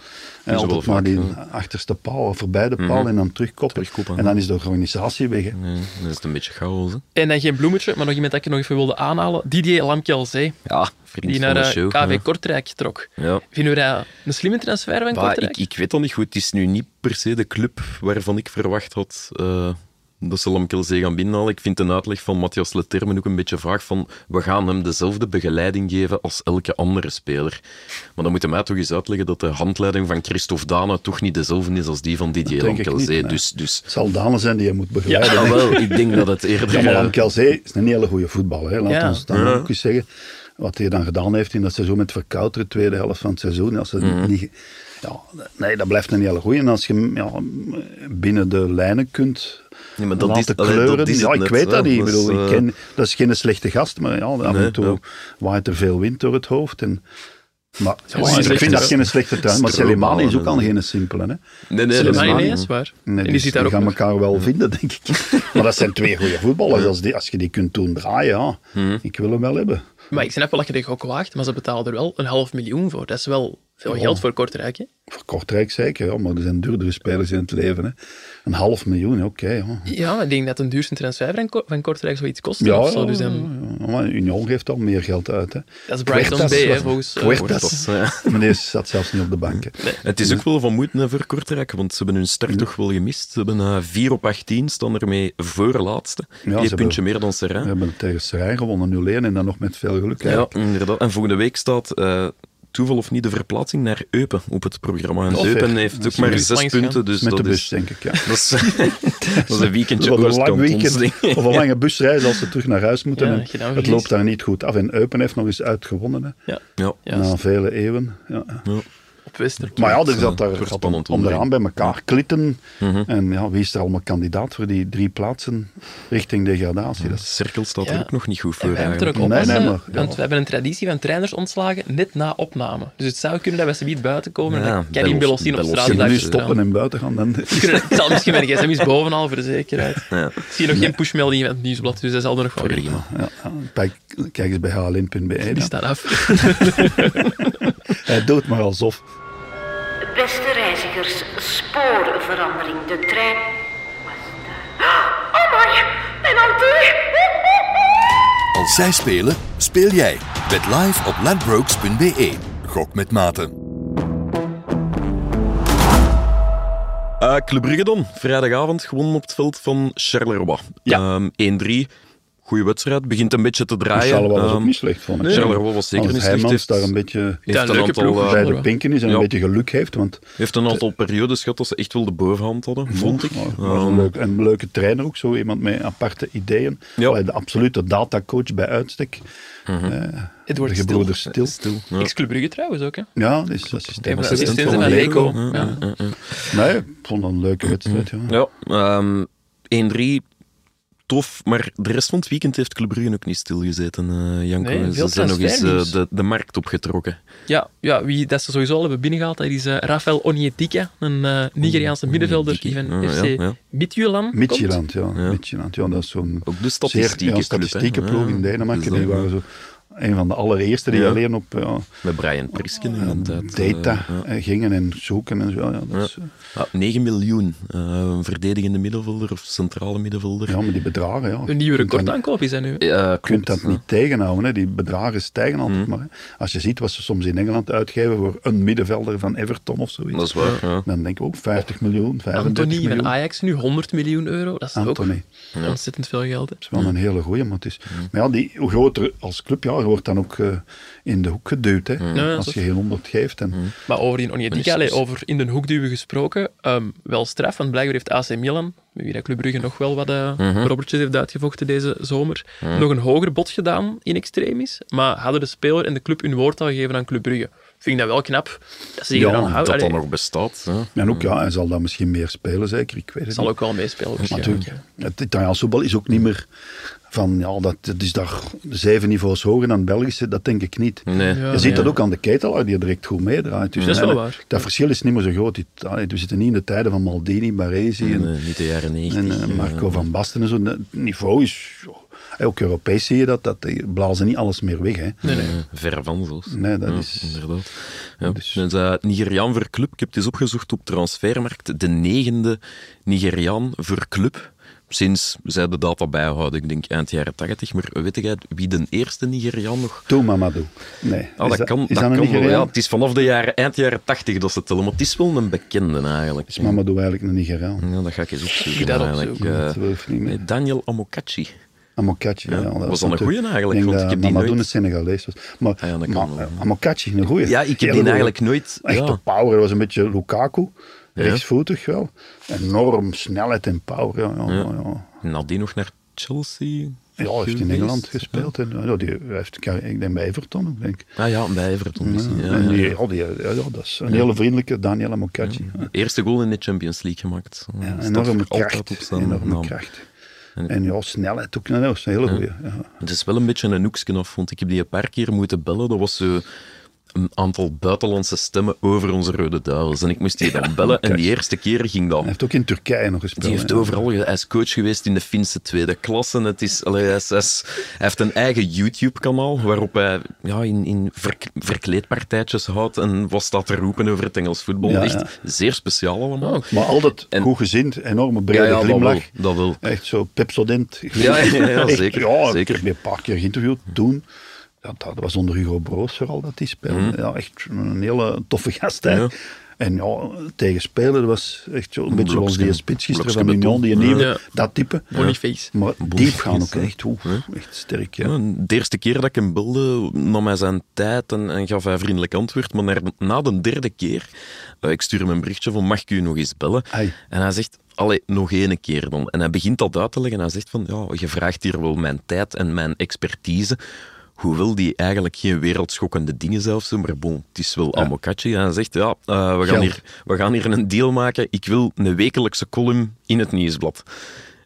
Speaker 1: En
Speaker 2: Is
Speaker 1: altijd
Speaker 2: wel
Speaker 1: maar
Speaker 2: vaak,
Speaker 1: die achterste paal, of voorbij de paal, en dan terugkoppen.
Speaker 2: Terugkoppen,
Speaker 1: en
Speaker 2: ja.
Speaker 1: dan is de organisatie weg. hè.
Speaker 2: Nee, dat is het een beetje chaos. Hè?
Speaker 3: En dan geen bloemetje, maar nog iemand dat ik nog even wilde aanhalen. Didier Lamkelzee,
Speaker 2: Ja, vriend
Speaker 3: die
Speaker 2: van
Speaker 3: naar
Speaker 2: de
Speaker 3: eh,
Speaker 2: show.
Speaker 3: KV
Speaker 2: ja.
Speaker 3: Kortrijk trok.
Speaker 2: Ja.
Speaker 3: Vinden we dat een slimme transfer van
Speaker 2: Bah,
Speaker 3: Kortrijk?
Speaker 2: ik, ik weet dat niet goed. Het is nu niet per se de club waarvan ik verwacht had eh, dat ze Lamkelzee gaan binnenhalen. Ik vind de uitleg van Matthias Leterme ook een beetje vaag van we gaan hem dezelfde begeleiding geven als elke andere speler. Maar dan moet hij mij toch eens uitleggen dat de handleiding van Christophe Dana toch niet dezelfde is als die van Didier
Speaker 1: denk ik niet,
Speaker 2: Lamkelzee.
Speaker 1: nee.
Speaker 2: Dus, dus
Speaker 1: Het zal Dane zijn die je moet begeleiden.
Speaker 2: ja, wel, ik denk dat het eerder...
Speaker 1: Ja, maar
Speaker 2: eh,
Speaker 1: Lamkelzee is een hele goede voetballer. Hè. Laat
Speaker 3: Ja.
Speaker 1: ons dan
Speaker 2: Ja.
Speaker 1: ook eens zeggen wat hij dan gedaan heeft in dat seizoen met Verkouter, tweede helft van het seizoen. Als het
Speaker 2: Mhm.
Speaker 1: niet, ja, nee, dat blijft een hele goede. En als je hem, ja, binnen de lijnen kunt
Speaker 2: Nee, maar dat
Speaker 1: laten
Speaker 2: is- allee, dat
Speaker 1: kleuren...
Speaker 2: is het
Speaker 1: ja, ik
Speaker 2: net,
Speaker 1: weet dat
Speaker 2: hè.
Speaker 1: niet. Ik
Speaker 2: Dat is,
Speaker 1: bedoel, ik
Speaker 2: eh,
Speaker 1: ken, dat is geen slechte gast, maar ja, af
Speaker 2: Nee,
Speaker 1: en toe
Speaker 2: ja.
Speaker 1: waait er veel wind door het hoofd. En, maar
Speaker 3: is
Speaker 1: ja,
Speaker 3: een
Speaker 1: ik
Speaker 3: slechte-
Speaker 1: vind dat geen slechte tuin. Maar
Speaker 2: Stroopwafel,
Speaker 1: Selemani is ook al
Speaker 2: hè.
Speaker 1: geen simpele. Hè.
Speaker 2: Nee, nee, dat is
Speaker 3: Slimani,
Speaker 2: waar.
Speaker 3: nee, dat is waar.
Speaker 1: Nee,
Speaker 3: en die
Speaker 1: dus
Speaker 3: zit daar ook
Speaker 1: gaan
Speaker 3: nog. Mhm.
Speaker 1: elkaar wel vinden, denk
Speaker 3: (laughs)
Speaker 1: ik. Maar dat zijn twee goede voetballers. Als, die, als je die kunt doen draaien, ja.
Speaker 3: Mhm.
Speaker 1: ik wil hem wel hebben.
Speaker 3: Maar ik snap wel dat je de gok waagt, maar ze betalen er wel een half miljoen voor. Dat is wel veel
Speaker 2: Oh.
Speaker 3: geld voor Kortrijk, hè?
Speaker 1: Voor Kortrijk zeker, ja, maar er zijn duurdere spelers in het leven. Hè. Een half miljoen, oké. ja.
Speaker 3: Ja, maar ik denk dat een duurste transfer van, Ko- van Kortrijk zoiets kost.
Speaker 1: Ja,
Speaker 3: of zo. Dus
Speaker 1: ja,
Speaker 3: dan,
Speaker 1: ja, maar Union geeft al meer geld uit. Hè.
Speaker 3: Dat is Brighton
Speaker 1: Puertas
Speaker 3: B, hè,
Speaker 1: was-
Speaker 3: volgens, eh,
Speaker 1: Puertas.
Speaker 2: Puertas,
Speaker 1: (laughs)
Speaker 2: ja.
Speaker 1: Meneer zat zelfs niet op de bank. hè.
Speaker 2: Het is ook wel van moeite hè, voor Kortrijk, want ze hebben hun start toch wel gemist. Ze hebben eh, 4 op 18, staan ermee voorlaatste.
Speaker 1: ze
Speaker 2: Eén
Speaker 1: hebben-
Speaker 2: puntje meer dan
Speaker 1: We
Speaker 2: Serrain.
Speaker 1: hebben tegen Serijn gewonnen, 0-1 en dan nog met veel geluk.
Speaker 2: Ja,
Speaker 1: eigenlijk.
Speaker 2: inderdaad. En volgende week staat, eh, toeval of niet, de verplaatsing naar Eupen op het programma. En
Speaker 1: Of
Speaker 2: Eupen
Speaker 1: echt.
Speaker 2: heeft ook
Speaker 1: Misschien
Speaker 2: maar
Speaker 3: eens
Speaker 2: zes
Speaker 3: langs gaan.
Speaker 2: punten, dus
Speaker 1: Met
Speaker 2: dat
Speaker 1: de bus,
Speaker 2: is...
Speaker 1: denk ik. Ja.
Speaker 2: Dat is, dat is (laughs) een weekendje
Speaker 1: Wat een
Speaker 2: oostkant,
Speaker 1: lang
Speaker 2: ons
Speaker 1: weekend
Speaker 2: ding.
Speaker 1: (laughs) of een lange busreis als ze terug naar huis moeten.
Speaker 3: Ja,
Speaker 1: En
Speaker 3: dat je dan
Speaker 1: het
Speaker 3: verliest.
Speaker 1: loopt daar niet goed af. En Eupen heeft nog eens uitgewonnen. Hè.
Speaker 3: ja,
Speaker 2: Ja.
Speaker 3: ja,
Speaker 1: Na vele eeuwen. Ja.
Speaker 3: op Wester.
Speaker 1: Maar ja,
Speaker 2: wordt,
Speaker 1: er zat
Speaker 2: eh,
Speaker 1: daar
Speaker 2: wordt
Speaker 1: zat
Speaker 2: spannend
Speaker 1: onderaan bij
Speaker 2: onderling. Mhm.
Speaker 1: elkaar klitten. En ja, wie is er allemaal kandidaat voor die drie plaatsen richting degradatie? Dat
Speaker 2: De
Speaker 1: is-
Speaker 2: cirkel staat er
Speaker 3: Ja.
Speaker 2: ook nog niet goed voor.
Speaker 3: En wij moeten er
Speaker 2: eigenlijk.
Speaker 3: ook
Speaker 1: Nee,
Speaker 3: oppassen,
Speaker 1: nee, maar- ja.
Speaker 3: want we hebben een traditie van trainers ontslagen net na opname. Dus het zou kunnen dat we ze niet buiten komen
Speaker 2: Ja,
Speaker 3: en dat
Speaker 2: Belos-
Speaker 3: Karim Belossin op
Speaker 2: Belos-
Speaker 3: straat
Speaker 1: Als je
Speaker 3: blijft
Speaker 1: nu
Speaker 2: blijft
Speaker 1: stoppen
Speaker 3: staan.
Speaker 1: en buiten gaan, dan (laughs)
Speaker 3: Ze (laughs) kunnen- Het zal misschien mijn gsm is bovenal voor de zekerheid.
Speaker 2: Ja.
Speaker 3: Ik zie nog geen pushmelding van het nieuwsblad, dus dat zal er nog wel weer.
Speaker 2: Prima.
Speaker 1: ja, ja, kijk, kijk eens bij hln.be.
Speaker 3: Die
Speaker 1: dan.
Speaker 3: staat
Speaker 2: (laughs)
Speaker 3: af.
Speaker 1: E, Hij doet maar alsof.
Speaker 5: Beste reizigers, sporenverandering. De trein was daar. (gasps) Oh my, mijn auto!
Speaker 6: Als zij spelen, speel jij. Bet live op ladbrokes.be. E. Gok met mate.
Speaker 2: Eh, Club Brugge dan, vrijdagavond gewonnen op het veld van Charleroi.
Speaker 3: Ja.
Speaker 2: Ehm, 1-3, goede wedstrijd, begint een beetje te draaien.
Speaker 1: Charleroi was ook
Speaker 2: Ehm,
Speaker 1: niet slecht, vond ik.
Speaker 2: nee, Charleroi was zeker
Speaker 1: Als
Speaker 2: niet slecht.
Speaker 1: Heijmans
Speaker 2: Heeft-
Speaker 1: daar een beetje
Speaker 2: Heeft
Speaker 3: Ja,
Speaker 2: een,
Speaker 3: leuke
Speaker 2: aantal,
Speaker 3: ploeg.
Speaker 2: eh,
Speaker 1: bij de pinken is en
Speaker 2: Ja.
Speaker 1: een beetje geluk heeft. Want
Speaker 2: heeft een aantal periodes gehad dat ze echt wel de bovenhand hadden, vond ik.
Speaker 1: Ja, was een,
Speaker 2: Ehm,
Speaker 1: leuk, een leuke trainer ook, zo iemand met aparte ideeën.
Speaker 2: Ja.
Speaker 1: Allee, De absolute datacoach bij uitstek.
Speaker 3: Het
Speaker 1: De
Speaker 3: wordt stil.
Speaker 1: gebroeders stil.
Speaker 3: Ex-Club Brugge trouwens ook, hè.
Speaker 1: Ja, die is
Speaker 3: Een
Speaker 1: assistent.
Speaker 3: van de
Speaker 2: assistent
Speaker 3: assistenten
Speaker 2: van
Speaker 3: van
Speaker 2: Leko.
Speaker 3: Leko. Ja.
Speaker 1: Nee, ik vond dat een leuke
Speaker 3: Mm-hmm.
Speaker 1: wedstrijd. Ja.
Speaker 2: ja, ehm, 1-3, tof. Maar de rest van het weekend heeft Club Brugge ook niet stilgezeten, eh, Janko.
Speaker 3: Nee,
Speaker 2: ze
Speaker 3: veel
Speaker 2: zijn nog eens eh,
Speaker 3: transfernieuws.
Speaker 2: de, de markt opgetrokken.
Speaker 3: Ja, ja, wie dat ze sowieso al hebben binnengehaald, dat is eh Rafael Onyedika, een eh, Nigeriaanse middenvelder die van
Speaker 2: Ah, ja,
Speaker 3: FC
Speaker 2: ja.
Speaker 3: Midtjylland komt.
Speaker 1: Midtjylland, ja. Midtjylland, ja, dat is zo'n
Speaker 2: Ook de
Speaker 1: zeer, ja,
Speaker 2: statistiekenclub,
Speaker 1: statistieke
Speaker 2: hè.
Speaker 1: ploeg
Speaker 2: Ja,
Speaker 1: in Denemarken.
Speaker 2: dus
Speaker 1: Die
Speaker 2: dat-
Speaker 1: waren zo een van de allereerste die
Speaker 2: Ja.
Speaker 1: alleen op ja,
Speaker 2: Met Brian Prisken in
Speaker 1: Ehm,
Speaker 2: de tijd. eh,
Speaker 1: data eh, gingen en zoeken en zo. Ja, dat is, eh,
Speaker 2: Ja, 9 ah, miljoen. eh, een verdedigende middenvelder of centrale middenvelder.
Speaker 1: ja, maar die bedragen, ja.
Speaker 3: Een nieuwe
Speaker 1: Je kunt dat-
Speaker 3: recordaankoop is dat nu.
Speaker 2: Ja, Mhm.
Speaker 1: Je kunt dat niet tegenhouden. Hè. Die bedragen stijgen altijd maar. Hè. Als je ziet wat ze soms in Engeland uitgeven voor een middenvelder van Everton of zoiets.
Speaker 2: Dat is waar. Ja.
Speaker 1: Dan denk ik ook 50 miljoen, 35
Speaker 3: Anthony van
Speaker 1: miljoen.
Speaker 3: Ajax nu 100 miljoen euro. Dat is
Speaker 1: Anthony.
Speaker 3: ook ontzettend veel geld. hè.
Speaker 1: is wel een hele goeie, maar het is...
Speaker 2: Mhm.
Speaker 1: Maar ja, die, hoe groter als club, ja, je wordt dan ook eh, in de hoek geduwd,
Speaker 2: Mhm.
Speaker 1: hè.
Speaker 3: Ja,
Speaker 1: als
Speaker 3: dat
Speaker 1: je geen 100 geeft. En,
Speaker 3: Maar over die Onyedika,
Speaker 2: is-
Speaker 3: allee, over in de hoekduwen gesproken, ehm, wel straf, want blijkbaar heeft AC Milan, met wie dat Club Brugge nog wel wat eh
Speaker 2: Mhm.
Speaker 3: robbertjes heeft uitgevochten deze zomer, nog een hoger bod gedaan in extremis, maar hadden de speler en de club hun woord al gegeven aan Club Brugge. Vind ik dat wel knap, dat ze zich
Speaker 1: Ja,
Speaker 3: eraan
Speaker 1: dat
Speaker 2: Dat
Speaker 3: houden.
Speaker 2: dat
Speaker 3: Allee,
Speaker 2: nog bestaat. hè.
Speaker 1: en ook,
Speaker 2: Mhm.
Speaker 1: ja, hij zal dan misschien meer spelen, zeker. Ik weet het
Speaker 3: zal
Speaker 1: niet.
Speaker 3: ook wel meespelen. waarschijnlijk,
Speaker 1: Natuurlijk. Het Italiaans voetbal is ook niet meer van, ja, dat, het is daar zeven niveaus hoger dan het Belgische. Dat denk ik niet.
Speaker 2: Nee.
Speaker 3: Ja,
Speaker 1: je ziet
Speaker 3: nee.
Speaker 1: dat ook aan de ketelaar die er direct goed meedraait. Dus
Speaker 2: Mm.
Speaker 3: Dat is wel
Speaker 1: nee,
Speaker 3: waar.
Speaker 1: Dat verschil is niet meer zo groot. Italië- We zitten niet in de tijden van Maldini, Baresi en,
Speaker 2: Nee, niet de jaren 90.
Speaker 1: en eh,
Speaker 2: ja.
Speaker 1: Marco van Basten en zo. Het niveau is... Hè, ook Europees zie je dat, dat die blazen niet alles meer weg. Hè.
Speaker 3: Nee, nee.
Speaker 2: Ver van zelfs.
Speaker 1: Nee, dat
Speaker 2: Ja,
Speaker 1: is-
Speaker 2: Inderdaad. Ja.
Speaker 1: Dus-
Speaker 2: Dus, eh, Nigeriaan voor club. Ik heb het eens opgezocht op Transfermarkt. De negende Nigeriaan voor club. Sinds zij de data bijhouden, ik denk eind jaren 80. Maar weet jij wie de eerste Nigeriaan nog...
Speaker 1: Toe Mamadou. Nee.
Speaker 2: Ah, dat, kan, dat,
Speaker 1: een
Speaker 2: kan wel.
Speaker 1: Nigeriaan?
Speaker 2: Ja, het is vanaf de jaren, eind jaren 80 dat ze tellen. Maar het is wel een bekende eigenlijk.
Speaker 1: Is Mamadou eigenlijk een Nigeriaan?
Speaker 2: Ja, dat ga ik eens opzoeken.
Speaker 3: Ik dat
Speaker 2: eigenlijk.
Speaker 3: opzoeken,
Speaker 2: Eh,
Speaker 1: dat wil ik niet meer.
Speaker 2: nee, Daniel Amokachi.
Speaker 1: Amokachi, ja.
Speaker 2: Ja,
Speaker 1: dat
Speaker 2: was
Speaker 1: is
Speaker 2: dan een
Speaker 1: natuurlijk-
Speaker 2: goeie eigenlijk,
Speaker 1: Ik
Speaker 2: want
Speaker 1: denk dat
Speaker 2: ik heb die
Speaker 1: Mamadou
Speaker 2: nooit-
Speaker 1: een Senegalees was. Maar,
Speaker 2: Ah ja, dat
Speaker 1: maar
Speaker 2: kan wel,
Speaker 1: eh, Amokachi, een goeie.
Speaker 2: Ja, ik heb die
Speaker 1: Hele goeie.
Speaker 2: eigenlijk nooit-
Speaker 1: Echt
Speaker 2: ja.
Speaker 1: op power, dat was een beetje Lukaku. Rechtsvoetig wel. Enorm snelheid en power, ja. ja, ja. ja.
Speaker 2: Nadien nog naar Chelsea.
Speaker 1: Ja, hij heeft in
Speaker 2: geweest.
Speaker 1: Engeland gespeeld. En, eh, ja, die heeft, ik denk bij Everton ook, denk ik.
Speaker 2: Ah ja, bij Everton. is hij. Ja,
Speaker 1: en
Speaker 2: ja.
Speaker 1: die, ja, die- ja, ja, dat is een hele vriendelijke Daniela Mokachi. Ja.
Speaker 2: Eerste goal in de Champions League gemaakt.
Speaker 1: Ja,
Speaker 2: Staat
Speaker 1: enorme
Speaker 2: voor altijd op
Speaker 1: kracht.
Speaker 2: zijn
Speaker 1: Enorme
Speaker 2: naam.
Speaker 1: kracht. En ja, snelheid ook. Nou, dat is een hele goeie. Ja.
Speaker 2: Het is wel een beetje een hoeksken af, want ik heb die een paar keer moeten bellen. Dat was zo een aantal buitenlandse stemmen over onze Rode Duivels. En ik moest die dan bellen en die eerste keer ging dat...
Speaker 1: Hij heeft ook in Turkije nog gespeeld.
Speaker 2: Die heeft
Speaker 1: hè.
Speaker 2: overal... ge- Hij is coach geweest in de Finse tweede klasse. Het is, allee, hij, is- hij is- hij heeft een eigen YouTube-kanaal waarop hij ja, in, in verk- verkleedpartijtjes houdt en wat staat te roepen over het Engels voetbal.
Speaker 1: Ja,
Speaker 2: Echt
Speaker 1: ja.
Speaker 2: zeer speciaal allemaal.
Speaker 3: Oh,
Speaker 1: Maar altijd
Speaker 2: En-
Speaker 1: goed gezind, enorme brede
Speaker 2: Ja, ja, dat
Speaker 1: glimlach.
Speaker 2: wel, dat wel.
Speaker 1: Echt zo pepsodent.
Speaker 2: (laughs) Ja, ja,
Speaker 1: (laughs)
Speaker 2: ja,
Speaker 1: Echt,
Speaker 2: zeker,
Speaker 1: Ja,
Speaker 2: zeker.
Speaker 1: Ik heb die een paar keer geïnterviewd toen. Dat, dat was onder Hugo Broos vooral dat die speelde. Ja, echt een hele toffe gast. hè.
Speaker 2: Mhm. Ja.
Speaker 1: En ja, tegen spelen was echt zo een beetje zoals die
Speaker 2: blokske-
Speaker 1: spits gisteren van
Speaker 2: blokske
Speaker 1: Union, die
Speaker 2: beton.
Speaker 1: nieuwe,
Speaker 3: Ja.
Speaker 1: dat type.
Speaker 3: Boniface.
Speaker 1: Maar diep
Speaker 2: Boniface,
Speaker 1: gaan ook
Speaker 2: hè.
Speaker 1: echt, oeh, echt sterk. Ja.
Speaker 2: Ja, de eerste keer dat ik hem belde, nam hij zijn tijd en, en gaf hij vriendelijk antwoord. Maar naar- na de derde keer, eh, ik stuur hem een berichtje van, mag ik u nog eens bellen?
Speaker 1: Ai.
Speaker 2: En hij zegt, allee, nog één keer dan. En hij begint dat uit te leggen. Hij zegt van, ja, je vraagt hier wel mijn tijd en mijn expertise. Hoewel die eigenlijk geen wereldschokkende dingen zelfs doen, maar bon, het is wel amokachi. En hij zegt, ja, eh, we, gaan
Speaker 1: Geld.
Speaker 2: hier, we gaan hier een deal maken. Ik wil een wekelijkse column in het nieuwsblad.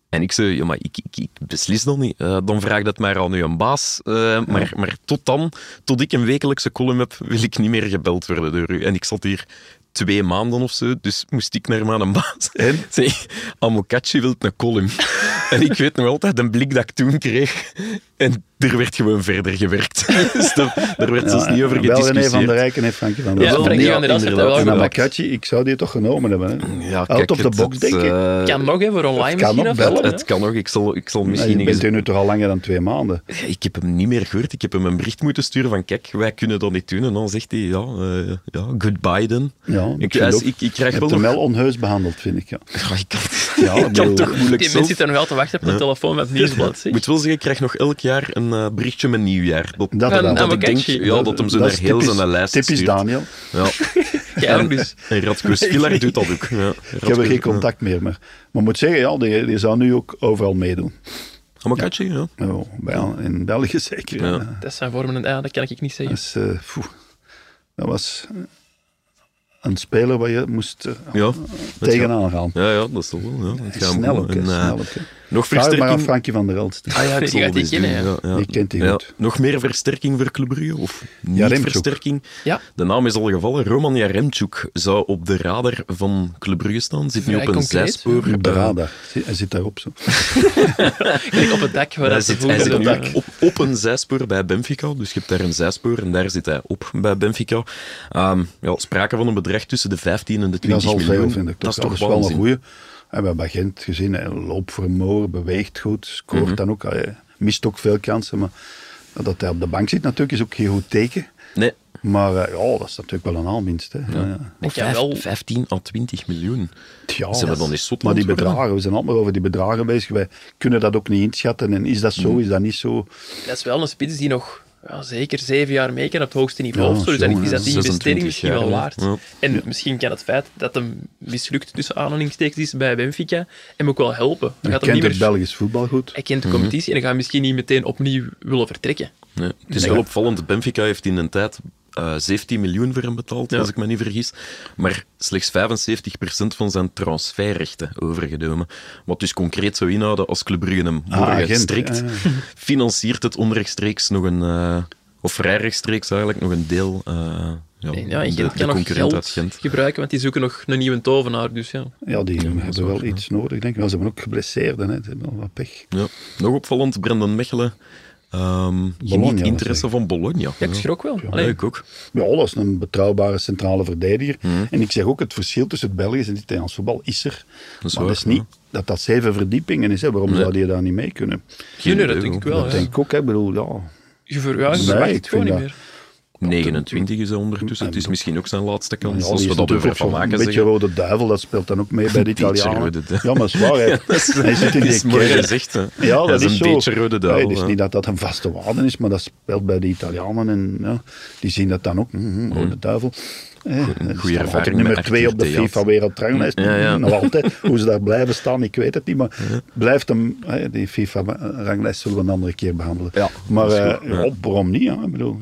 Speaker 2: En ik zei, ja, maar ik, ik, ik beslis dat niet. Eh, dan vraag dat maar aan uw baas. Eh, maar, maar tot dan, tot ik een wekelijkse column heb, wil ik niet meer gebeld worden door u. En ik zat hier twee maanden of zo, dus moest ik naar mijn baas. En? (laughs) Zeg, Amokachi wil een column. (laughs) en ik weet nog altijd een blik dat ik toen kreeg. En er werd gewoon verder gewerkt. (laughs) dus daar, daar werd zelfs
Speaker 1: Ja,
Speaker 2: niet over
Speaker 1: en wel René
Speaker 2: gediscussieerd.
Speaker 1: van der Rijken en Frankie van der
Speaker 3: Ja,
Speaker 2: wel,
Speaker 1: Wel,
Speaker 3: Frankie
Speaker 2: ja,
Speaker 3: van der Ast heeft dat wel
Speaker 1: En
Speaker 2: inderdaad.
Speaker 3: gepakt.
Speaker 1: Abacaci, ik zou die toch genomen hebben. Hè?
Speaker 2: ja,
Speaker 1: Out
Speaker 2: kijk,
Speaker 1: of the
Speaker 2: het-
Speaker 1: box,
Speaker 2: het,
Speaker 1: denk ik.
Speaker 2: eh,
Speaker 3: Kan nog, hè, voor online
Speaker 1: het kan
Speaker 3: misschien?
Speaker 1: nog
Speaker 3: of
Speaker 1: bellen,
Speaker 3: wat,
Speaker 2: het,
Speaker 3: hè?
Speaker 2: het kan nog. Ik zal, ik zal
Speaker 1: Ja,
Speaker 2: misschien
Speaker 1: je
Speaker 2: eens
Speaker 1: bent hier nu toch al langer dan twee
Speaker 2: (laughs)
Speaker 1: maanden.
Speaker 2: Ik heb hem niet meer gehoord. Ik heb hem een bericht moeten sturen van kijk, wij kunnen dat niet doen. En dan zegt hij, ja, eh, ja goodbye then.
Speaker 1: Ja,
Speaker 2: ik,
Speaker 1: vind
Speaker 2: hij is-
Speaker 1: ook.
Speaker 2: ik, ik
Speaker 1: Je
Speaker 2: krijg
Speaker 1: hebt
Speaker 2: wel
Speaker 1: hem
Speaker 2: nog-
Speaker 1: wel onheus behandeld, vind ik. Ja.
Speaker 2: Ja, ik kan,
Speaker 1: Ja,
Speaker 2: (laughs) ik kan
Speaker 1: bedoel-
Speaker 2: toch moeilijk
Speaker 3: Die
Speaker 2: zelf.
Speaker 3: mensen zitten nog wel te wachten op een telefoon met het
Speaker 2: (laughs)
Speaker 3: nieuwsblad. zeg.
Speaker 2: Ik moet wel zeggen, ik krijg nog elk jaar een eh, berichtje met nieuwjaar. Dat,
Speaker 1: Dat
Speaker 3: Van
Speaker 1: wel.
Speaker 2: dat ik denk
Speaker 3: Amokachi.
Speaker 2: ja, dat hem zo
Speaker 1: Dat
Speaker 2: naar
Speaker 1: is
Speaker 2: heel
Speaker 1: typisch-
Speaker 2: zijn lijst
Speaker 1: Typisch
Speaker 2: stuurt.
Speaker 1: Daniel.
Speaker 3: (laughs)
Speaker 2: Ja.
Speaker 3: Ja,
Speaker 2: En,
Speaker 3: dus.
Speaker 2: en Radko Spiller doet dat ook. Ja.
Speaker 1: (laughs) Ik heb er geen contact meer. Maar, maar moet zeggen, ja, die, die zou nu ook overal meedoen.
Speaker 2: Amokachi, ja.
Speaker 1: Ja, bij- in België (laughs) zeker.
Speaker 2: Ja.
Speaker 1: Ja.
Speaker 3: Dat zijn vormen en ja, dat kan ik niet zeggen.
Speaker 1: Dus, eh, poeh, dat was eh, een speler waar je moest eh,
Speaker 2: Ja, dat is-
Speaker 1: tegenaan gaan.
Speaker 2: Ja, ja, dat is toch wel. Ja. Dat
Speaker 1: En
Speaker 2: gaat hem
Speaker 1: Snel
Speaker 2: goed.
Speaker 1: ook. hè,
Speaker 2: En, eh,
Speaker 1: snel ook, hè.
Speaker 2: nog
Speaker 1: Vraag het maar aan
Speaker 2: versterking.
Speaker 1: Frankie van der Elst.
Speaker 2: Ah (laughs) ja,
Speaker 3: Die
Speaker 2: ik zal
Speaker 3: gaat
Speaker 2: wel
Speaker 3: die
Speaker 2: eens
Speaker 3: kennen,
Speaker 2: doen,
Speaker 3: ja.
Speaker 1: Die kent die goed.
Speaker 2: Nog meer versterking voor Club Brugge? Of niet
Speaker 1: Jaremtjouk.
Speaker 2: versterking?
Speaker 3: Ja.
Speaker 2: De naam is al gevallen. Roman Jaremchuk zou op de radar van Club Brugge staan. Zit nu
Speaker 3: Vrij
Speaker 2: op een
Speaker 3: concreet,
Speaker 2: zijspoor.
Speaker 1: Op de
Speaker 2: Eh,
Speaker 1: radar. Hij zit daarop zo.
Speaker 3: Kijk op het dak waar
Speaker 2: Hij
Speaker 3: dat ze
Speaker 2: zit, hij
Speaker 3: vroeger
Speaker 2: zit nu
Speaker 3: dat-
Speaker 2: op, op een zijspoor bij Benfica. Dus je hebt daar een zijspoor en daar zit hij op bij Benfica. Ehm, ja, sprake van een bedrag tussen de 15 en de 20
Speaker 1: Dat is al
Speaker 2: miljoen.
Speaker 1: veel, vind ik.
Speaker 2: Dat is toch
Speaker 1: wel een
Speaker 2: waanzin.
Speaker 1: goeie. En we hebben bij Gent gezien, hè, loopvermogen, beweegt goed, scoort
Speaker 2: Mhm.
Speaker 1: dan ook. Hij mist ook veel kansen, maar dat hij op de bank zit natuurlijk is ook geen goed teken.
Speaker 2: Nee,
Speaker 1: Maar eh, ja, dat is natuurlijk wel een aanwinst. Hè. Ja.
Speaker 3: Ik kan
Speaker 2: vijf-
Speaker 3: wel
Speaker 2: 15 à 20 miljoen.
Speaker 1: Tja,
Speaker 2: Zijn we dan eens zot
Speaker 1: Maar die
Speaker 2: aan het worden?
Speaker 1: bedragen, we zijn allemaal over die bedragen bezig. Wij kunnen dat ook niet inschatten. En is dat
Speaker 2: Mhm.
Speaker 1: zo, is dat niet zo?
Speaker 3: Dat is wel een spits die nog ja, zeker zeven jaar mee kan op het hoogste niveau.
Speaker 1: Ja,
Speaker 3: of zo. Dus dan
Speaker 1: jongen,
Speaker 3: is dat die
Speaker 2: 26
Speaker 3: investering misschien
Speaker 2: jaar,
Speaker 3: wel
Speaker 2: hè.
Speaker 3: waard.
Speaker 2: Ja.
Speaker 3: En misschien kan het feit dat hem mislukt tussen aanhalingstekens is bij Benfica hem ook wel helpen. Dan
Speaker 1: Hij
Speaker 3: gaat hem
Speaker 1: kent
Speaker 3: niet
Speaker 1: het
Speaker 3: meer...
Speaker 1: Belgisch voetbal goed.
Speaker 3: Hij kent
Speaker 2: Mhm.
Speaker 3: de competitie en dan gaat hij misschien niet meteen opnieuw willen vertrekken.
Speaker 2: Nee, het is wel opvallend. Benfica heeft in een tijd eh, 17 miljoen voor hem betaald, als ik me niet vergis. Maar slechts 75% van zijn transferrechten overgenomen. Wat dus concreet zou inhouden als Club Brugge hem
Speaker 1: Ah,
Speaker 2: morgen
Speaker 1: Gent,
Speaker 2: strikt,
Speaker 1: ja,
Speaker 2: (laughs) financiert het onrechtstreeks nog een... eh, of vrij rechtstreeks eigenlijk nog een deel... eh, ja,
Speaker 3: Nee, ja, en
Speaker 2: de,
Speaker 3: Gent
Speaker 2: de
Speaker 3: kan nog
Speaker 2: concurrent
Speaker 3: geld
Speaker 2: uit Gent.
Speaker 3: gebruiken, want die zoeken nog een nieuwe tovenaar. Dus ja.
Speaker 1: Ja, die
Speaker 2: dat
Speaker 1: hebben
Speaker 2: is
Speaker 1: wel
Speaker 2: waar,
Speaker 1: iets nodig, denk ik. Maar ze hebben ook geblesseerden, hè. Ze hebben wel wat pech.
Speaker 2: Ja. Nog opvallend, Brendan Mechelen. ehm
Speaker 1: Bologna,
Speaker 2: geniet
Speaker 1: dat
Speaker 2: interesse
Speaker 1: zeg
Speaker 2: van Bologna.
Speaker 3: ja, ik schrok wel.
Speaker 2: Ja,
Speaker 3: Allee,
Speaker 2: ik ook.
Speaker 1: Ja, dat is een betrouwbare centrale verdediger.
Speaker 2: Mhm.
Speaker 1: En ik zeg ook, het verschil tussen het Belgisch en het Italiaans voetbal is er.
Speaker 2: Dat is
Speaker 1: maar
Speaker 2: waar,
Speaker 1: dat is niet dat dat zeven verdiepingen is. Hè. Waarom
Speaker 2: Nee.
Speaker 1: zou je daar niet mee kunnen?
Speaker 3: nee, nee, dat
Speaker 2: idee,
Speaker 3: denk ik
Speaker 2: hoor.
Speaker 3: wel.
Speaker 1: dat
Speaker 3: ja.
Speaker 1: denk ik ook. Hè. Ik bedoel, ja.
Speaker 3: Je ver, ja, je
Speaker 1: Nee,
Speaker 3: verwacht
Speaker 1: ik
Speaker 3: het gewoon niet
Speaker 1: vind
Speaker 3: meer.
Speaker 2: 29 is hij ondertussen. Het is misschien ook zijn laatste
Speaker 1: Ja,
Speaker 2: kans.
Speaker 1: die
Speaker 2: Als
Speaker 1: is
Speaker 2: we dat
Speaker 1: natuurlijk
Speaker 2: over
Speaker 1: ook
Speaker 2: van
Speaker 1: zo'n
Speaker 2: maken
Speaker 1: beetje
Speaker 2: zeggen.
Speaker 1: rode duivel, dat speelt dan ook mee
Speaker 2: (laughs)
Speaker 1: bij de
Speaker 2: Beetje
Speaker 1: Italianen.
Speaker 2: rode duivel.
Speaker 1: Ja, maar zwaar,
Speaker 2: (laughs)
Speaker 1: hè. Hij zit in
Speaker 2: Het
Speaker 1: die
Speaker 2: is mooi
Speaker 1: kern.
Speaker 2: gezegd. hè.
Speaker 1: Ja, dat,
Speaker 2: Hij
Speaker 1: is,
Speaker 2: een
Speaker 1: zo.
Speaker 2: beetje rode duivel.
Speaker 1: Nee, het is
Speaker 2: hè.
Speaker 1: niet dat dat een vaste waarde is, maar dat speelt bij de Italianen. En ja, die zien dat dan ook. Mhm, Rode duivel. Eh, dat is
Speaker 2: goeie
Speaker 1: dan altijd
Speaker 2: ervaring
Speaker 1: nummer
Speaker 2: met
Speaker 1: twee op de
Speaker 2: Arthur Theat.
Speaker 1: FIFA wereldranglijst.
Speaker 2: Ja, ja.
Speaker 1: Nog altijd. Hoe ze daar blijven staan, ik weet het niet. Maar blijft hem, eh, die FIFA-ranglijst zullen we een andere keer behandelen.
Speaker 2: Ja,
Speaker 1: maar
Speaker 2: dat is
Speaker 1: eh,
Speaker 2: goed, ja.
Speaker 1: ja, waarom niet? Ja? Ik bedoel,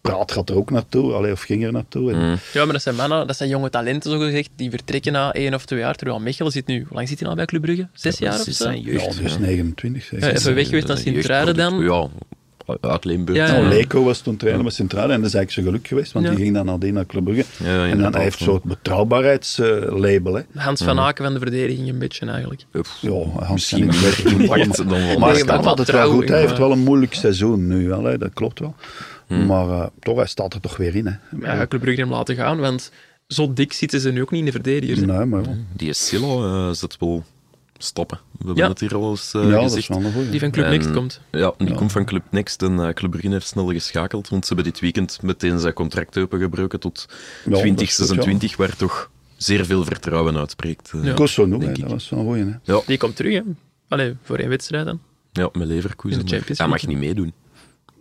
Speaker 1: Praat gaat er ook naartoe, allee, of ging er naartoe. En
Speaker 2: Mhm.
Speaker 3: Ja, maar dat zijn mannen, dat zijn jonge talenten, zogezegd, die vertrekken na één of twee jaar. Terwijl Mechelen zit nu, hoe lang zit hij nou bij Club Brugge? Zes jaar of
Speaker 2: Ze
Speaker 3: zo?
Speaker 2: zijn
Speaker 1: Ja,
Speaker 3: Ja,
Speaker 2: jeugd.
Speaker 1: dus
Speaker 2: ja.
Speaker 1: 29 zeker.
Speaker 3: even weg geweest
Speaker 2: Dat is
Speaker 3: naar
Speaker 2: een
Speaker 3: Sint-Truiden dan.
Speaker 2: jeugdproduct. Ja, uit Limburg.
Speaker 3: Ja, ja.
Speaker 1: Nou, Leko was toen trainer met Centrale en dat is eigenlijk zijn geluk geweest, want
Speaker 3: Ja.
Speaker 1: die ging dan nadien naar Club Brugge.
Speaker 2: Ja, ja,
Speaker 1: en dan
Speaker 2: inderdaad,
Speaker 1: hij heeft
Speaker 2: ja.
Speaker 1: zo'n soort betrouwbaarheidslabel. hè.
Speaker 3: Hans van Aken van de verdediging een beetje eigenlijk.
Speaker 1: ja, Hans
Speaker 2: Misschien
Speaker 1: kan
Speaker 2: (laughs)
Speaker 1: ik beter
Speaker 2: meer
Speaker 1: doen, maar-
Speaker 2: impact dan wel.
Speaker 1: Maar hij
Speaker 3: Nee, maar
Speaker 1: staat altijd wel
Speaker 3: trouw,
Speaker 1: goed. Hij
Speaker 3: ja.
Speaker 1: heeft wel een moeilijk seizoen nu, wel, hè. dat klopt wel.
Speaker 2: Hm.
Speaker 1: Maar eh, toch, hij staat er toch weer in. Hè.
Speaker 3: Maar ja, Club Brugge hem laten gaan, want zo dik zitten ze nu ook niet in de verdedigers. hè.
Speaker 1: Nee, maar ja.
Speaker 2: Die Silla eh zit wel stappen. We hebben
Speaker 3: Ja.
Speaker 2: het hier al eens eh,
Speaker 1: ja, dat is
Speaker 2: gezegd.
Speaker 1: wel een goeie.
Speaker 3: Die van Club
Speaker 2: En-
Speaker 3: Next komt.
Speaker 2: Ja, die komt van Club Next en eh, Club Brugge heeft snel geschakeld, want ze hebben dit weekend meteen zijn contract opengebroken tot
Speaker 1: dat is
Speaker 2: 2026, waar toch zeer veel vertrouwen uitspreekt. eh,
Speaker 3: Ja.
Speaker 1: Kosonou, hè,
Speaker 2: denk ik.
Speaker 1: dat was wel een goeie. Hè.
Speaker 3: Die komt terug, hè. Allee, voor één wedstrijd dan.
Speaker 2: Ja, met Leverkusen.
Speaker 3: In de
Speaker 2: maar
Speaker 3: Champions
Speaker 2: hij mag
Speaker 3: League.
Speaker 2: niet meedoen.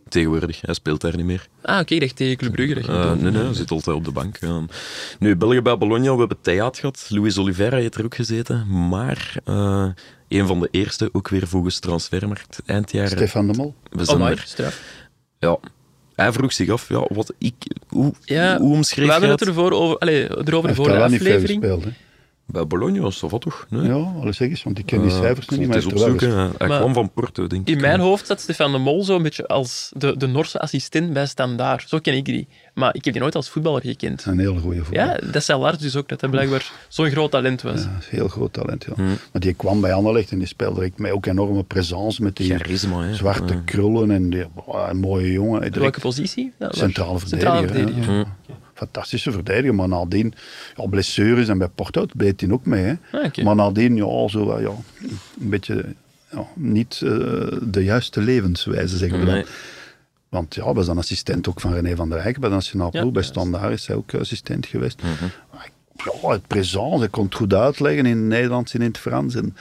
Speaker 2: Tegenwoordig, hij speelt daar niet meer.
Speaker 3: Ah, oké, ik dacht tegen Club Brugge. dat je
Speaker 2: Eh,
Speaker 3: bedoelt.
Speaker 2: nee, nee, hij zit altijd op de bank. ja. Nu, België bij Bologna, we hebben Theaat gehad. Luis Oliveira heeft er ook gezeten. Maar eh, een van de eerste, ook weer volgens Transfermarkt, eindjaar.
Speaker 1: Stefan de Mol.
Speaker 2: we
Speaker 3: Oh,
Speaker 2: zijn
Speaker 3: maar,
Speaker 2: er.
Speaker 3: straf.
Speaker 2: Ja. Hij vroeg zich af, ja, wat ik, hoe,
Speaker 3: Ja,
Speaker 2: hoe omschreef jij
Speaker 3: we hebben
Speaker 2: het?
Speaker 3: het ervoor over, allee, erover
Speaker 1: Hij
Speaker 3: voor
Speaker 1: heeft
Speaker 3: de
Speaker 1: daar niet veel
Speaker 3: aflevering.
Speaker 1: gespeeld. Hè.
Speaker 2: Bij Bologna was dat wat toch? Nee?
Speaker 1: Ja, alles zeg eens, want ik ken die
Speaker 2: Eh,
Speaker 1: cijfers
Speaker 2: ik
Speaker 1: niet,
Speaker 2: moet
Speaker 1: maar hij
Speaker 2: het
Speaker 1: heeft
Speaker 2: eens
Speaker 1: er wel
Speaker 2: opzoeken.
Speaker 1: gespeeld.
Speaker 2: Hij
Speaker 3: Maar-
Speaker 2: kwam van Porto, denk ik.
Speaker 3: In mijn hoofd zat Stefan de Mol zo'n beetje als de, de Norse assistent bij Standaard. Zo ken ik die. Maar ik heb die nooit als voetballer gekend.
Speaker 1: Een hele goede voetbal.
Speaker 3: Ja, dat zei Lars dus ook, dat hij blijkbaar zo'n groot talent was.
Speaker 1: Dat is een heel groot talent,
Speaker 2: Mm.
Speaker 1: ja. Maar die kwam bij Anderlecht en die speelde direct met ook enorme présence met die
Speaker 2: Charisma, hè. Mm.
Speaker 1: zwarte
Speaker 2: Ja.
Speaker 1: krullen en die oh, een mooie jongen. Direct
Speaker 3: Op welke positie? Ja,
Speaker 1: centrale
Speaker 3: waar?
Speaker 1: verdediger.
Speaker 3: Centrale verdediger.
Speaker 1: hè.
Speaker 2: Mm.
Speaker 1: Ja. Fantastische verdediger, maar nadien, ja, blessures en bij Porto dat beet hij ook mee. Hè.
Speaker 3: Ah, oké.
Speaker 1: Maar nadien, ja, zo, wel, ja, een beetje ja, niet eh, de juiste levenswijze, zeggen we
Speaker 2: Nee.
Speaker 1: dan. Want ja, was dan assistent ook van René van der Eyck bij de Nationaal
Speaker 3: Ja,
Speaker 1: Ploeg. bij
Speaker 3: juist.
Speaker 1: Standaard is hij ook eh, assistent geweest. Maar Ja, het présence, hij kon het goed uitleggen in het Nederlands en in het Frans. En,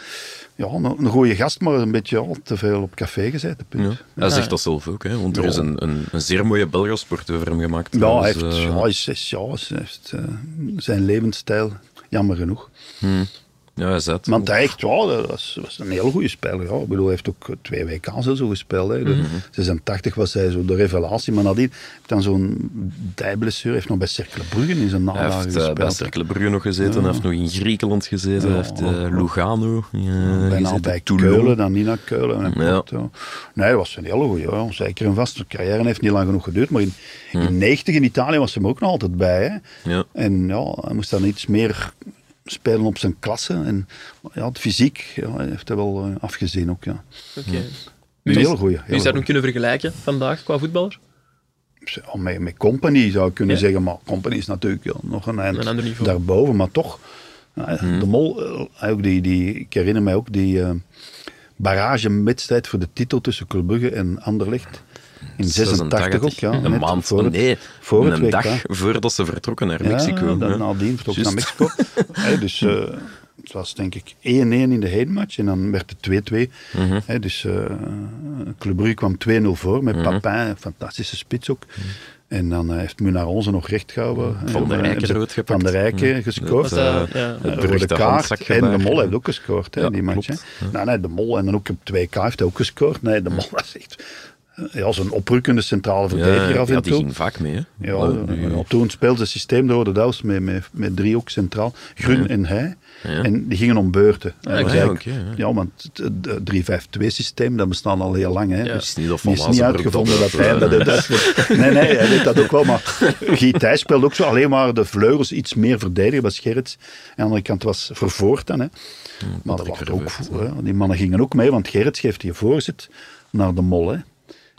Speaker 1: ja, een, een goede gast, maar een beetje ja, te veel op café gezeten,
Speaker 2: Ja.
Speaker 1: punt.
Speaker 2: Hij zegt dat zelf ook, hè, want er
Speaker 1: Ja.
Speaker 2: is een, een, een zeer mooie Belgasport over hem gemaakt.
Speaker 1: Ja, hij
Speaker 2: Dus,
Speaker 1: heeft,
Speaker 2: eh,
Speaker 1: ja, hij is zes jaar, hij heeft eh, zijn levensstijl, jammer genoeg.
Speaker 2: ja, hij zei het.
Speaker 1: Want hij echt, ja, dat was, was een heel goede speler. Ja. Ik bedoel, hij heeft ook twee WK's en zo gespeeld. Hè. De
Speaker 2: Mhm.
Speaker 1: 86 was hij zo de revelatie, maar nadien heeft dan zo'n dijblessure, heeft nog bij Cercle Brugge in zijn
Speaker 2: Hij
Speaker 1: nadagen
Speaker 2: heeft eh, bij
Speaker 1: gespeeld. hè.
Speaker 2: Cercle Brugge nog gezeten, hij heeft nog in Griekenland gezeten, hij heeft eh, Lugano eh,
Speaker 1: Bijna
Speaker 2: gezeten,
Speaker 1: bij
Speaker 2: Toulon.
Speaker 1: Keulen, dan niet naar Keulen. En
Speaker 2: Ja.
Speaker 1: Porto. Nee, dat was een hele goede. Ja. Zeker een vaste carrière. heeft niet lang genoeg geduurd. Maar in, in 90 in Italië was hij hem ook nog altijd bij. Hè.
Speaker 2: Mhm. Ja.
Speaker 1: En ja, hij moest dan iets meer spelen op zijn klasse. En maar ja, het fysiek ja, hij heeft hij wel eh, afgezien ook. Ja.
Speaker 3: Oké. Dus-
Speaker 1: Een hele goeie. hele
Speaker 3: Wie zou je
Speaker 1: goeie.
Speaker 3: hem kunnen vergelijken vandaag qua voetballer?
Speaker 1: Ja, met, met Company zou ik kunnen
Speaker 3: Ja.
Speaker 1: zeggen, maar Company is natuurlijk ja, nog een eind
Speaker 3: Een ander niveau.
Speaker 1: daarboven, maar toch. eh,
Speaker 2: Mhm.
Speaker 1: De Mol, eh, ook die, die, ik herinner mij ook die eh barragewedstrijd voor de titel tussen Club Brugge en Anderlecht. In 86 ook, ja.
Speaker 2: Een
Speaker 1: net
Speaker 2: maand,
Speaker 1: voor het-
Speaker 2: nee,
Speaker 1: voor het
Speaker 2: een
Speaker 1: WK.
Speaker 2: dag voordat ze vertrokken naar Mexico.
Speaker 1: Ja,
Speaker 2: hè.
Speaker 1: dan nadien vertrok
Speaker 2: Juist.
Speaker 1: naar Mexico.
Speaker 2: (laughs)
Speaker 1: Hè, dus eh, het was denk ik 1-1 in de heenmatch en dan werd het 2-2.
Speaker 2: Mhm.
Speaker 1: Hè, dus eh Club Brugge kwam 2-0 voor
Speaker 2: Mhm.
Speaker 1: met Papin, fantastische spits ook. En dan eh, heeft Munaron ze nog recht gehouden. hè,
Speaker 2: Mhm. Van der
Speaker 1: maar
Speaker 2: Rijken
Speaker 1: hebben ze
Speaker 2: rood gepakt.
Speaker 1: Van der Rijken gescoord.
Speaker 2: Dat, eh,
Speaker 1: Eh,
Speaker 3: ja. Het
Speaker 1: eh,
Speaker 2: beruchte
Speaker 1: rode kaart.
Speaker 2: handzakje
Speaker 1: En de
Speaker 2: daar.
Speaker 1: Mol heeft ook gescoord, hè,
Speaker 2: Ja,
Speaker 1: die match.
Speaker 2: klopt. Mhm.
Speaker 1: hè. Nou, nee, de Mol en dan ook op 2K heeft hij ook gescoord. Nee, de Mol (laughs) was echt... ja, zo'n oprukkende centrale verdediger af en
Speaker 2: ja,
Speaker 1: toe.
Speaker 2: die ging vaak mee. Hè?
Speaker 1: Ja,
Speaker 2: Maar
Speaker 1: ja,
Speaker 2: nu-
Speaker 1: ja, toen speelde het systeem de Rode Duivels met, met, met driehoek centraal. Grun en hij. En die gingen om beurten. En
Speaker 3: oké.
Speaker 1: eigenlijk-
Speaker 2: Ja, oké, ja.
Speaker 1: ja, want het 3-5-2-systeem, dat bestaat al heel lang. Hè.
Speaker 3: Ja.
Speaker 1: Dus
Speaker 2: Het is niet of
Speaker 1: die
Speaker 2: Van
Speaker 1: is niet
Speaker 2: Lazenburg
Speaker 1: uitgevonden dat
Speaker 2: dat-
Speaker 1: hij dat, dat, dat-
Speaker 2: (laughs)
Speaker 1: Nee, nee, hij weet dat ook wel. Maar Guy Thijs speelde ook zo. Alleen maar de vleugels iets meer verdedigen bij Scherrits. En aan de andere kant was Vervoort dan. Hè. maar dat was ook,
Speaker 2: Vervoort,
Speaker 1: voor, hè. die mannen gingen ook mee, want Gerrits geeft hier voorzit naar de mol. Hè.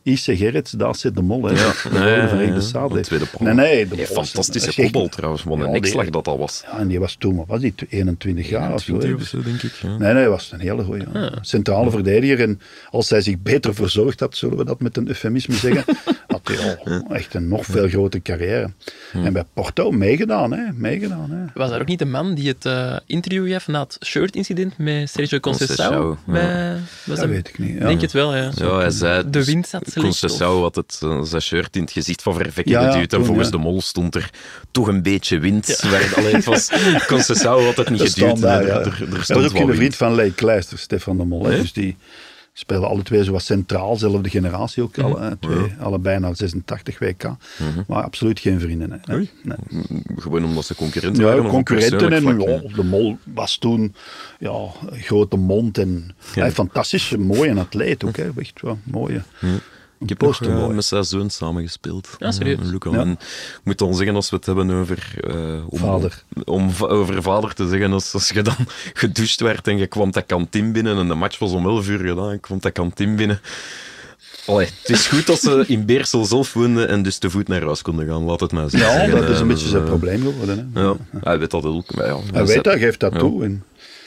Speaker 1: IC Gerrits, daar zit de mol. Hè. De
Speaker 2: Ja, ja,
Speaker 1: Rode
Speaker 2: ja,
Speaker 1: Verenigde
Speaker 2: ja.
Speaker 1: Staten.
Speaker 2: De tweede pol.
Speaker 1: dus Nee, nee. De
Speaker 2: Ja,
Speaker 1: mol is-
Speaker 2: fantastische
Speaker 1: dat is echt-
Speaker 2: kopbal trouwens. Wat
Speaker 1: Ja,
Speaker 2: een
Speaker 1: die-
Speaker 2: nekslag dat dat was.
Speaker 1: Ja, en die was toen, wat was die, 21 jaar of zo? hè.
Speaker 2: 20 of
Speaker 1: Dus-
Speaker 2: zo, denk ik. Ja.
Speaker 1: Nee, nee, hij was een hele goeie. ja. Centrale verdediger. En als hij zich beter verzorgd had, zullen we dat met een eufemisme
Speaker 2: (laughs)
Speaker 1: zeggen, had hij al echt een nog veel grotere carrière. En bij Porto meegedaan, hè. Meegedaan, hè.
Speaker 3: Was dat ook niet de man die het eh, interview gaf na het shirt-incident met Sergio Conceição?
Speaker 2: Conceição, ja.
Speaker 3: Bij- was
Speaker 1: Dat weet ik niet. Ja.
Speaker 3: Denk het wel, ja.
Speaker 2: Ja, hij zei...
Speaker 3: De wind zat slecht,
Speaker 2: Conceição had het, eh, zijn shirt in het gezicht van Vervekke
Speaker 1: Ja, ja,
Speaker 2: geduwd. En
Speaker 1: toen,
Speaker 2: volgens
Speaker 1: ja.
Speaker 2: de mol stond er toch een beetje wind. Waar, alleen, het was, Conceição had het niet
Speaker 1: Dat
Speaker 2: geduwd.
Speaker 1: stond daar,
Speaker 2: en
Speaker 1: ja.
Speaker 2: er, er, er
Speaker 1: Dat
Speaker 2: stond
Speaker 1: was ook
Speaker 2: wel
Speaker 1: een
Speaker 2: wind.
Speaker 1: vriend van Leij Kleister, Stefan de Mol. hè.
Speaker 2: Nee?
Speaker 1: Dus die spelen alle twee zo wat centraal, zelfde generatie ook.
Speaker 2: Mhm.
Speaker 1: Alle, hè. twee, Allebei naar 86 WK. Maar absoluut geen vrienden, hè.
Speaker 2: Oei.
Speaker 1: Nee.
Speaker 2: Gewoon omdat ze concurrenten
Speaker 1: Ja,
Speaker 2: waren. of op
Speaker 1: concurrenten. En
Speaker 2: persoonlijk vlak,
Speaker 1: ja, de mol was toen ja, een grote mond. En, Hij, fantastisch, een mooie atleet ook. Hè, echt wel, mooie.
Speaker 2: Mhm. Ik heb nog
Speaker 1: Poster
Speaker 2: eh,
Speaker 1: boy.
Speaker 2: met zijn zoon samengespeeld.
Speaker 3: Ah, serieus?
Speaker 2: Ja, Luca.
Speaker 1: Ja.
Speaker 2: En ik moet dan zeggen, als we het hebben over... eh, om,
Speaker 1: Vader.
Speaker 2: Om va- over vader te zeggen, als, als je dan (laughs) gedoucht werd en je kwam dat kantine binnen en de match was om 11 uur gedaan, je kwam dat kantine binnen. Allee, het is goed dat ze in Beersel zelf woonden en dus te voet naar huis konden gaan, laat het maar zeggen.
Speaker 1: Ja, dat is
Speaker 2: Eh,
Speaker 1: een beetje
Speaker 2: dus,
Speaker 1: zijn
Speaker 2: eh,
Speaker 1: probleem geworden. Hè.
Speaker 2: Ja, hij weet dat ook. Maar ja,
Speaker 1: Hij weet dat, geeft dat
Speaker 2: ja.
Speaker 1: toe. En,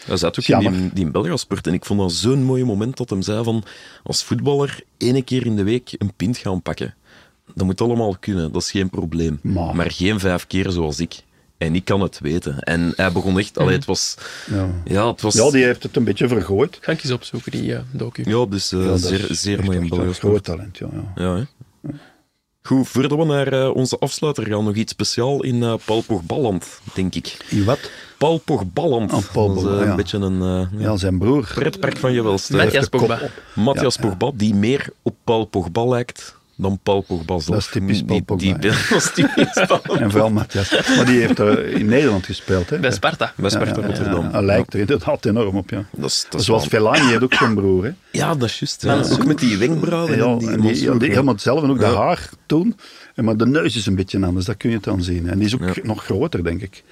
Speaker 2: hij zat ook
Speaker 1: Jammer.
Speaker 2: in die, die Belgasport. En ik vond dat zo'n mooi moment dat hem zei van... Als voetballer één keer in de week een pint gaan pakken. Dat moet allemaal kunnen, dat is geen probleem.
Speaker 1: Maar-
Speaker 2: geen vijf keer zoals ik. En ik kan het weten. En hij begon echt... Allee, het was... Ja, het was...
Speaker 1: Mhm. ja, die heeft het een beetje vergooid.
Speaker 3: Ga ik eens opzoeken, die eh, docu.
Speaker 2: ja, dus eh,
Speaker 1: Ja, dat is
Speaker 2: zeer, zeer
Speaker 1: echt
Speaker 2: mooi in
Speaker 1: echt wel een
Speaker 2: Belgasport.
Speaker 1: groot talent, ja. ja.
Speaker 2: Ja, hè? Goed, voordat we naar eh, onze afsluiter gaan, nog iets speciaal in eh Paul Pogballand, denk ik.
Speaker 1: In wat?
Speaker 2: Paul Pogballand.
Speaker 1: Ah, Paul
Speaker 2: dat is eh,
Speaker 1: Pogba, ja.
Speaker 2: een beetje een eh,
Speaker 1: Ja, zijn broer.
Speaker 2: pretpark van je welste.
Speaker 3: Met Jas
Speaker 1: de kop
Speaker 3: Pogba.
Speaker 1: op.
Speaker 2: Matthias
Speaker 1: Ja,
Speaker 2: Pogba, die meer op Paul Pogba lijkt dan Paul Pogba zelf.
Speaker 1: is typisch Paul
Speaker 2: Die- Die,
Speaker 1: Pogba,
Speaker 2: (laughs) dat is typisch
Speaker 1: (laughs)
Speaker 2: Paul.
Speaker 1: En vooral Matthias. Maar die heeft eh, in Nederland gespeeld. Hè.
Speaker 3: Bij Sparta.
Speaker 2: Bij Sparta
Speaker 1: Ja, ja,
Speaker 2: Rotterdam.
Speaker 1: ja, hij lijkt er inderdaad enorm op, ja.
Speaker 2: Dat is- dat is
Speaker 1: Zoals
Speaker 2: wel-
Speaker 1: Fellaini heeft ook zijn broer, hè.
Speaker 2: Ja, dat is juist. ja. Ook met die wenkbrauwen.
Speaker 1: Ja,
Speaker 2: en die,
Speaker 1: en die, ja, die helemaal hetzelfde. En ook
Speaker 2: Ja.
Speaker 1: de haar toen. En Maar de neus is een beetje anders, dat kun je dan zien. En die is ook nog groter, denk ik.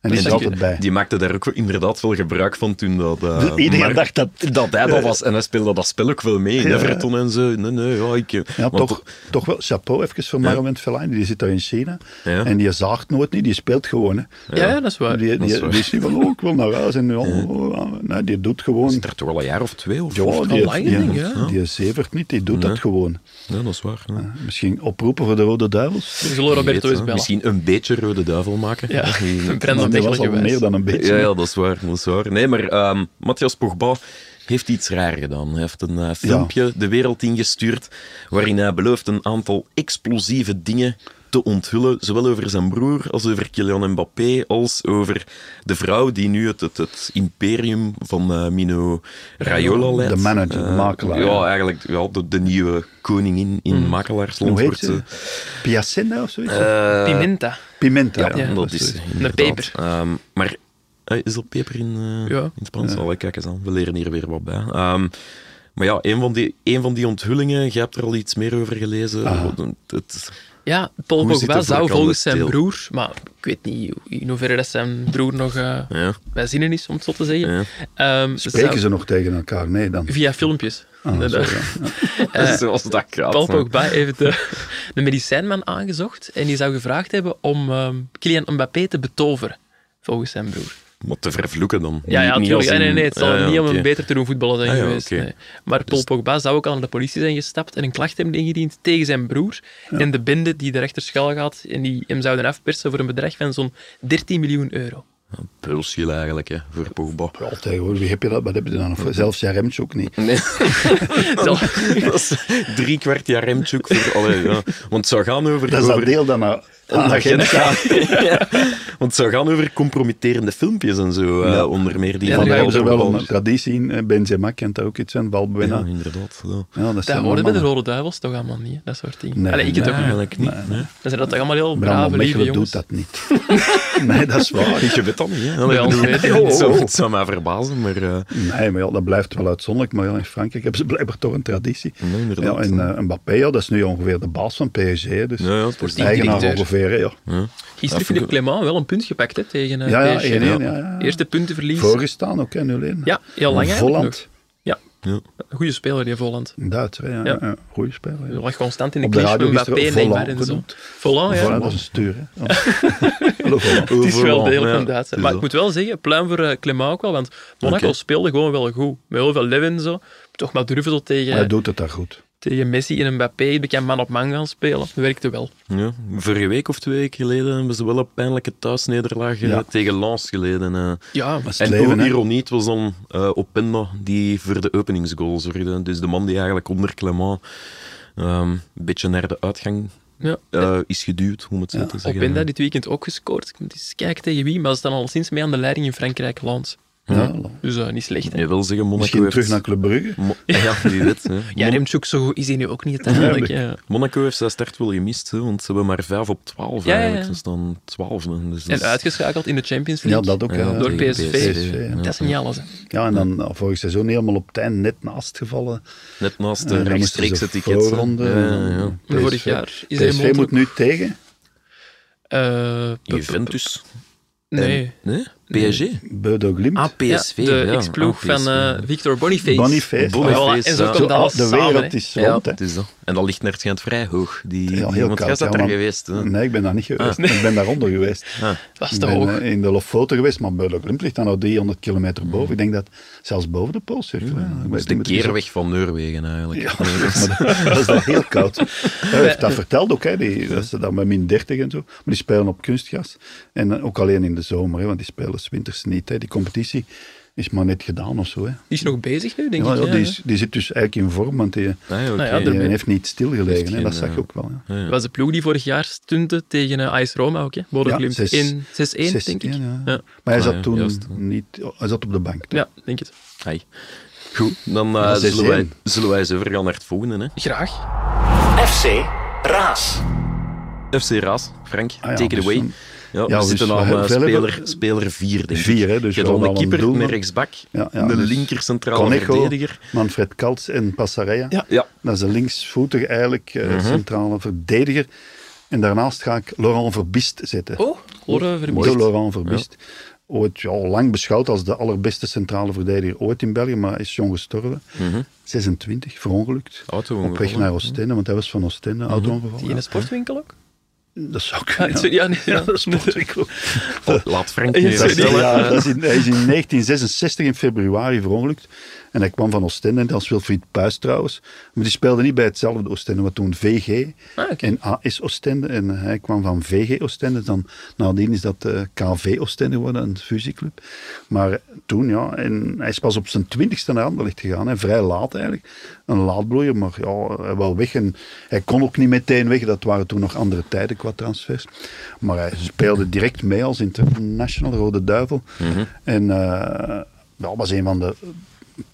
Speaker 1: En die is er
Speaker 2: Dus die,
Speaker 1: altijd bij.
Speaker 2: die maakte daar ook wel- inderdaad wel gebruik van toen dat... eh,
Speaker 1: Iedereen
Speaker 2: Mark-
Speaker 1: dacht dat...
Speaker 2: dat hij dat was. En hij speelde dat spel ook wel mee. in
Speaker 1: Ja.
Speaker 2: Everton en zo. Nee, nee, ja, ik... eh,
Speaker 1: Ja,
Speaker 2: want
Speaker 1: toch, toch wel. Chapeau even voor Marouane Fellaini. Die zit daar in China.
Speaker 2: Ja.
Speaker 1: En die zaagt nooit niet. Die speelt gewoon. Hè.
Speaker 3: Ja, ja, dat is waar.
Speaker 1: Die, die,
Speaker 2: is waar.
Speaker 1: die is niet van, oh, ik wil naar huis. En, ja, oh, ah, nee, die doet gewoon...
Speaker 2: Zit er toch al een jaar of twee? Of,
Speaker 1: Ja,
Speaker 2: of-
Speaker 1: Oh, die,
Speaker 3: lang,
Speaker 1: die,
Speaker 3: denk ik, ja.
Speaker 1: die zevert niet. Die doet dat gewoon.
Speaker 2: Ja, dat is waar. ja.
Speaker 1: Misschien oproepen voor de Rode Duivels.
Speaker 3: We zullen
Speaker 2: Wie weet,
Speaker 3: Roberto
Speaker 2: hè.
Speaker 3: eens bellen.
Speaker 2: Misschien een beetje rode duivel maken.
Speaker 3: Ja,
Speaker 2: (laughs) Die-
Speaker 1: Maar
Speaker 3: Brandon
Speaker 1: die was al
Speaker 3: Mechelen
Speaker 1: meer dan een beetje.
Speaker 2: Ja, ja, dat is waar. Dat is waar. Nee, maar ehm Matthias Pogba heeft iets raar gedaan. Hij heeft een eh, filmpje de wereld ingestuurd waarin hij belooft een aantal explosieve dingen te onthullen, zowel over zijn broer als over Kylian Mbappé, als over de vrouw die nu het, het, het imperium van eh, Mino Raiola leidt.
Speaker 1: De manager, de
Speaker 2: Eh,
Speaker 1: makelaar,
Speaker 2: Ja,
Speaker 1: ja. Mm.
Speaker 2: eigenlijk ja, de, de nieuwe koningin in makelaarsland.
Speaker 1: Hoe heet
Speaker 2: wordt,
Speaker 1: ze? Piacenza of zoiets?
Speaker 2: eh,
Speaker 3: Pimenta.
Speaker 1: Pimenta.
Speaker 2: ja, dat
Speaker 1: is
Speaker 2: is
Speaker 1: het.
Speaker 2: inderdaad.
Speaker 3: peper.
Speaker 2: Ehm, maar eh, is dat peper in, eh,
Speaker 3: Ja.
Speaker 2: in het Spaans? Allee, kijk eens aan, we leren hier weer wat bij. Ehm, maar ja, een van, die, een van die onthullingen, jij hebt er al iets meer over gelezen.
Speaker 3: Ah.
Speaker 2: Wat een-
Speaker 3: (laughs)
Speaker 2: Het,
Speaker 3: Ja, Paul
Speaker 2: Hoe zit
Speaker 3: Pogba
Speaker 2: de
Speaker 3: zou
Speaker 2: voorkant
Speaker 3: volgens zijn
Speaker 2: deel?
Speaker 3: broer, maar ik weet niet hoe- in hoeverre dat zijn broer nog eh,
Speaker 2: Ja.
Speaker 3: bij zinnen is, om het zo te zeggen. Ehm,
Speaker 1: Spreken
Speaker 3: zou-
Speaker 1: ze nog tegen elkaar? Nee, dan.
Speaker 3: Via filmpjes.
Speaker 1: Ah,
Speaker 3: Dat-
Speaker 1: zo,
Speaker 3: dat-
Speaker 1: ja.
Speaker 3: Eh,
Speaker 2: zoals dat gaat.
Speaker 3: Paul Pogba heeft de, de medicijnman aangezocht en die zou gevraagd hebben om ehm Kylian Mbappé te betoveren, volgens zijn broer.
Speaker 2: Maar te vervloeken dan.
Speaker 3: Ja, ja,
Speaker 2: Niet- niet als
Speaker 3: natuurlijk. Nee, nee,
Speaker 2: in-
Speaker 3: nee, het zal
Speaker 2: Ah, ja,
Speaker 3: niet om
Speaker 2: oké.
Speaker 3: hem beter te doen voetballen zijn
Speaker 2: Ah, ja,
Speaker 3: geweest.
Speaker 2: oké.
Speaker 3: nee. Maar
Speaker 1: Dus-
Speaker 3: Paul Pogba zou ook al naar de politie zijn gestapt en een klacht hebben ingediend tegen zijn broer en de bende die de rechter schal gaat en die hem zouden afpersen voor een bedrag van zo'n 13 miljoen euro.
Speaker 1: Oh.
Speaker 2: Pulsje eigenlijk, hè, voor Pogba. (laughs)
Speaker 1: Ja, tegenwoordig heb je dat, wat heb je dan nog? Zelfs zijn remtje ook niet.
Speaker 2: Nee.
Speaker 1: (laughs)
Speaker 3: Zelf-
Speaker 2: dat is drie kwart jaar remtjoek voor... Allee, ja. Want het zou gaan over...
Speaker 1: Dat is dat
Speaker 2: over-
Speaker 1: deel Ah, dat naar
Speaker 2: Een
Speaker 3: Ah,
Speaker 2: agent. (laughs) Ja. Want ze gaan over compromitterende filmpjes en zo, eh, onder meer. Die
Speaker 3: Ja,
Speaker 2: van
Speaker 1: Maar
Speaker 3: daar
Speaker 1: daar hebben ze wel
Speaker 2: Walter Walter.
Speaker 1: een traditie in. Eh, Benzema kent daar ook iets van,
Speaker 2: Ja,
Speaker 1: Balbuena. Ja,
Speaker 2: inderdaad. Ja.
Speaker 1: dat
Speaker 3: Dat
Speaker 1: zijn
Speaker 3: hoorde bij de
Speaker 1: mannen.
Speaker 3: Rode Duivels toch allemaal niet, hè, dat soort dingen.
Speaker 1: Nee,
Speaker 3: Allee, ik het
Speaker 1: nee.
Speaker 3: ook niet.
Speaker 2: Eigenlijk niet. Nee.
Speaker 3: Dan zijn dat toch allemaal heel
Speaker 1: Bram
Speaker 3: brave,
Speaker 1: van
Speaker 3: lieve
Speaker 1: Mechelen
Speaker 3: jongens.
Speaker 1: doet dat niet. (laughs) nee, dat is waar.
Speaker 2: Ik weet dat niet. Hè.
Speaker 3: Bij ons
Speaker 2: Ik bedoel,
Speaker 3: weten we
Speaker 2: het
Speaker 3: het
Speaker 2: zou-
Speaker 3: niet.
Speaker 2: Het zou mij verbazen, maar... eh,
Speaker 1: Nee, maar ja, dat blijft wel uitzonderlijk. Maar ja, in Frankrijk hebben ze blijkbaar toch een traditie.
Speaker 2: Nee, inderdaad.
Speaker 1: Ja, en eh, Mbappé, ja, dat is nu ongeveer de baas van PSG. Dus
Speaker 2: Ja, ja, het
Speaker 1: de
Speaker 2: wordt
Speaker 1: eigenaar
Speaker 3: directeur.
Speaker 1: ongeveer. hè, Ja.
Speaker 3: Gisteren
Speaker 2: vind
Speaker 3: vind
Speaker 2: ik-
Speaker 3: ik Clement wel een punt gepakt hè, tegen eh,
Speaker 1: Ja, ja,
Speaker 3: PSG.
Speaker 1: 1-1, ja, ja.
Speaker 3: Eerste puntenverlies.
Speaker 1: Voorgestaan ook, hè, 0-1.
Speaker 3: Ja, heel lang eigenlijk
Speaker 1: Volland,
Speaker 3: Ja,
Speaker 2: ja.
Speaker 3: goede speler die Volland.
Speaker 1: een Duitser, ja.
Speaker 3: Ja.
Speaker 1: ja. Goeie speler.
Speaker 3: Je
Speaker 1: Ja.
Speaker 3: lag constant in de
Speaker 1: Op de
Speaker 3: clinch met
Speaker 1: radio
Speaker 3: Mbappé
Speaker 1: gisteren
Speaker 3: neembaar
Speaker 1: Volland
Speaker 3: en zo.
Speaker 1: genoemd.
Speaker 3: Volland, ja.
Speaker 1: Voilà, dat is een stuur, hè.
Speaker 3: (laughs)
Speaker 1: Ja. Hallo, Volland.
Speaker 3: Het is wel
Speaker 2: Overal,
Speaker 3: deel
Speaker 2: ja.
Speaker 3: van Duits.
Speaker 2: Het is
Speaker 3: Maar
Speaker 2: dat.
Speaker 3: ik moet wel zeggen, pluim voor eh, Clement ook wel, want Monaco
Speaker 2: Oké.
Speaker 3: speelde gewoon wel goed. Met heel veel leven en zo. Toch maar durven zo tegen,
Speaker 1: Maar hij doet het daar goed.
Speaker 3: tegen Messi en Mbappé, bekend man op man gaan spelen. Dat werkte wel.
Speaker 2: Ja, vorige week of twee weken geleden hebben ze wel een pijnlijke thuisnederlaag eh,
Speaker 1: Ja.
Speaker 2: tegen Lens geleden. eh.
Speaker 3: Ja,
Speaker 1: Dat is het
Speaker 2: En
Speaker 1: leven,
Speaker 2: hoe
Speaker 1: hè.
Speaker 2: ironie, het was dan eh Openda die voor de openingsgoal zorgde. Dus de man die eigenlijk onder Clement ehm, een beetje naar de uitgang
Speaker 3: ja.
Speaker 2: eh, is geduwd, om het zo te zeggen. eh.
Speaker 3: Openda dit weekend ook gescoord. Ik moet eens kijken tegen wie, maar ze staan al sinds mee aan de leiding in Frankrijk land.
Speaker 1: Ja.
Speaker 3: Dus eh, niet slecht. Hè.
Speaker 2: Je wil zeggen, Monaco
Speaker 1: Misschien
Speaker 2: heeft...
Speaker 1: terug naar Club Brugge.
Speaker 2: Mo- (laughs) ja, wie weet. Hè.
Speaker 3: Ja,
Speaker 2: Mon-
Speaker 3: Remchuk zo goed is hij nu ook niet uiteindelijk. ja.
Speaker 2: Monaco heeft zijn start wel gemist, hè, want ze hebben maar 5 op 12
Speaker 3: Ja, ja,
Speaker 2: eigenlijk.
Speaker 3: ja.
Speaker 2: Ze staan 12. hè, Dus dat
Speaker 3: En
Speaker 2: is-
Speaker 3: uitgeschakeld in de Champions
Speaker 1: Ja,
Speaker 3: League.
Speaker 1: dat ook.
Speaker 2: Ja,
Speaker 1: hè.
Speaker 3: door
Speaker 2: tegen
Speaker 3: PSV.
Speaker 1: ja.
Speaker 3: Dat is niet alles. hè.
Speaker 1: Ja, en dan nou, vorig seizoen helemaal op het eind, net naast gevallen.
Speaker 2: Net naast
Speaker 1: Eh,
Speaker 2: de
Speaker 1: dan moesten
Speaker 2: rechtstreeks
Speaker 1: ze
Speaker 2: etiket. hè.
Speaker 1: voorronde.
Speaker 2: Ja, ja.
Speaker 3: Maar vorig
Speaker 1: PSV
Speaker 3: jaar is hij
Speaker 1: PSV moet
Speaker 3: mogelijk...
Speaker 1: nu tegen.
Speaker 3: eh, p- p-
Speaker 2: Juventus.
Speaker 3: Nee.
Speaker 2: Nee? PSG?
Speaker 1: Beudo Glimt.
Speaker 2: Ah, PSV.
Speaker 3: Ja, de
Speaker 2: ja.
Speaker 3: ex-ploeg
Speaker 1: oh,
Speaker 2: Ah,
Speaker 3: van
Speaker 2: PSV.
Speaker 3: eh, Victor Boniface.
Speaker 1: Boniface.
Speaker 2: Boniface.
Speaker 3: Voilà, en zo
Speaker 2: ja.
Speaker 3: komt
Speaker 1: Zo, ah,
Speaker 3: alles
Speaker 1: de
Speaker 3: samen.
Speaker 1: wereld
Speaker 3: hè.
Speaker 1: is
Speaker 2: Ja,
Speaker 1: rond, hè.
Speaker 2: het is dat. En dat ligt naar het schijnt vrij hoog. Die,
Speaker 1: Ja,
Speaker 2: die-
Speaker 1: heel
Speaker 2: want jij
Speaker 1: koud.
Speaker 2: zat
Speaker 1: ja,
Speaker 2: daar
Speaker 1: maar-
Speaker 2: geweest. Hè? Ah.
Speaker 1: Nee, ik ben daar niet geweest. Ik ben daaronder geweest.
Speaker 3: Dat is
Speaker 1: Ik
Speaker 3: te
Speaker 1: ben
Speaker 3: hoog.
Speaker 1: eh, in de Lofoten geweest, maar Beudo Glimt ligt dan al 300 kilometer boven. Ik denk dat zelfs boven de Poolcirkel. hè. Ik weet
Speaker 2: Dat Hmm. is
Speaker 1: niet,
Speaker 2: de
Speaker 1: moet ik eens-
Speaker 2: keerweg van Noorwegen eigenlijk.
Speaker 1: Ja,
Speaker 2: Nee, dat is-
Speaker 1: (laughs) maar dat is dan heel koud.
Speaker 2: (laughs)
Speaker 1: Hij heeft dat verteld ook, hè, die, dat ze dan met min 30 en zo. Maar die spelen op kunstgas. En eh, ook alleen in de zomer, hè, want die spelen 's winters niet. Hè. Die competitie is maar net gedaan of zo. Hè.
Speaker 3: Die is nog bezig nu, denk
Speaker 1: Ja,
Speaker 3: ik.
Speaker 1: ja,
Speaker 3: ja,
Speaker 1: die,
Speaker 3: hè.
Speaker 1: is- die zit dus eigenlijk in vorm, want die,
Speaker 2: Ah, ja, oké.
Speaker 3: Nou ja,
Speaker 1: die
Speaker 3: er-
Speaker 1: heeft niet stilgelegen. Hè.
Speaker 2: geen,
Speaker 1: Dat zag
Speaker 2: eh,
Speaker 1: ik ook wel. Ja.
Speaker 3: Dat was de ploeg die vorig jaar stunte tegen eh, AS Roma ook. hè. Bodo
Speaker 1: Ja,
Speaker 3: Klimt
Speaker 1: zes-
Speaker 3: in 6-1, denk
Speaker 1: 16,
Speaker 3: ik.
Speaker 1: ja.
Speaker 3: Ja.
Speaker 1: Maar hij
Speaker 2: Ah,
Speaker 1: zat
Speaker 2: ja,
Speaker 1: toen
Speaker 2: juist.
Speaker 1: niet... oh, Hij zat op de bank. toch?
Speaker 3: Ja, denk het.
Speaker 2: Hai. Goed, dan eh,
Speaker 1: Ja,
Speaker 2: zullen, wij,
Speaker 1: 6-1.
Speaker 2: zullen wij eens overgaan naar het volgende. Hè?
Speaker 3: Graag.
Speaker 7: FC Raas.
Speaker 2: FC Raas, Frank,
Speaker 1: Ah ja,
Speaker 2: take it
Speaker 1: dus
Speaker 2: away.
Speaker 1: dan-
Speaker 2: Ja, we
Speaker 1: dus
Speaker 2: zitten aan
Speaker 1: we
Speaker 2: eh,
Speaker 1: hebben-
Speaker 2: speler, speler 4, denk ik.
Speaker 1: Vier, hè, dus
Speaker 2: Je
Speaker 1: we
Speaker 2: hebt al
Speaker 1: hadden
Speaker 2: een
Speaker 1: al een
Speaker 2: keeper, een
Speaker 1: doelman.
Speaker 2: rechtsbak,
Speaker 1: Ja, ja,
Speaker 2: een
Speaker 1: dus
Speaker 2: linker centrale
Speaker 1: Conejo,
Speaker 2: verdediger.
Speaker 1: Manfred Kaltz en Passarella.
Speaker 3: Ja.
Speaker 2: Ja. Mhm.
Speaker 1: Dat is een linksvoetig eigenlijk eh, centrale verdediger. En daarnaast ga ik Laurent Verbist zetten.
Speaker 3: Oh, Lore
Speaker 1: Mooi.
Speaker 3: Verbiest.
Speaker 1: Laurent Verbist. Ooit ja, lang beschouwd als de allerbeste centrale verdediger ooit in België, maar is jong gestorven.
Speaker 3: Mhm.
Speaker 1: 26, verongelukt.
Speaker 2: Auto-ongeval,
Speaker 1: Op weg naar Oostende, want hij was van Oostende, auto-ongeval.
Speaker 3: Mhm. Die in
Speaker 1: ja.
Speaker 3: een sportwinkel ook?
Speaker 1: Dat zou
Speaker 3: Ah,
Speaker 1: kunnen.
Speaker 3: sorry, ja, nee,
Speaker 1: (laughs)
Speaker 3: ja.
Speaker 1: dat is sportwinkel.
Speaker 3: (laughs)
Speaker 2: Oh, laat Frank
Speaker 3: Ja,
Speaker 2: nu
Speaker 1: Dat is-
Speaker 3: sorry.
Speaker 2: herstellen.
Speaker 1: ja, dat is in, hij is in 1966 in februari verongelukt. En hij kwam van Oostende, als Wilfried Puis trouwens. Maar die speelde niet bij hetzelfde Oostende, wat toen VG
Speaker 3: Ah, oké.
Speaker 1: en AS Oostende. En eh, hij kwam van VG Oostende. Dan, nadien is dat eh, KV Oostende geworden, een fusieclub. Maar toen, ja. En hij is pas op zijn twintigste naar Anderlecht gegaan. Hè, vrij laat eigenlijk. Een laadbloeier, maar ja, hij wou weg. En hij kon ook niet meteen weg. Dat waren toen nog andere tijden qua transfers. Maar hij speelde direct mee als international Rode Duivel. En eh, dat was een van de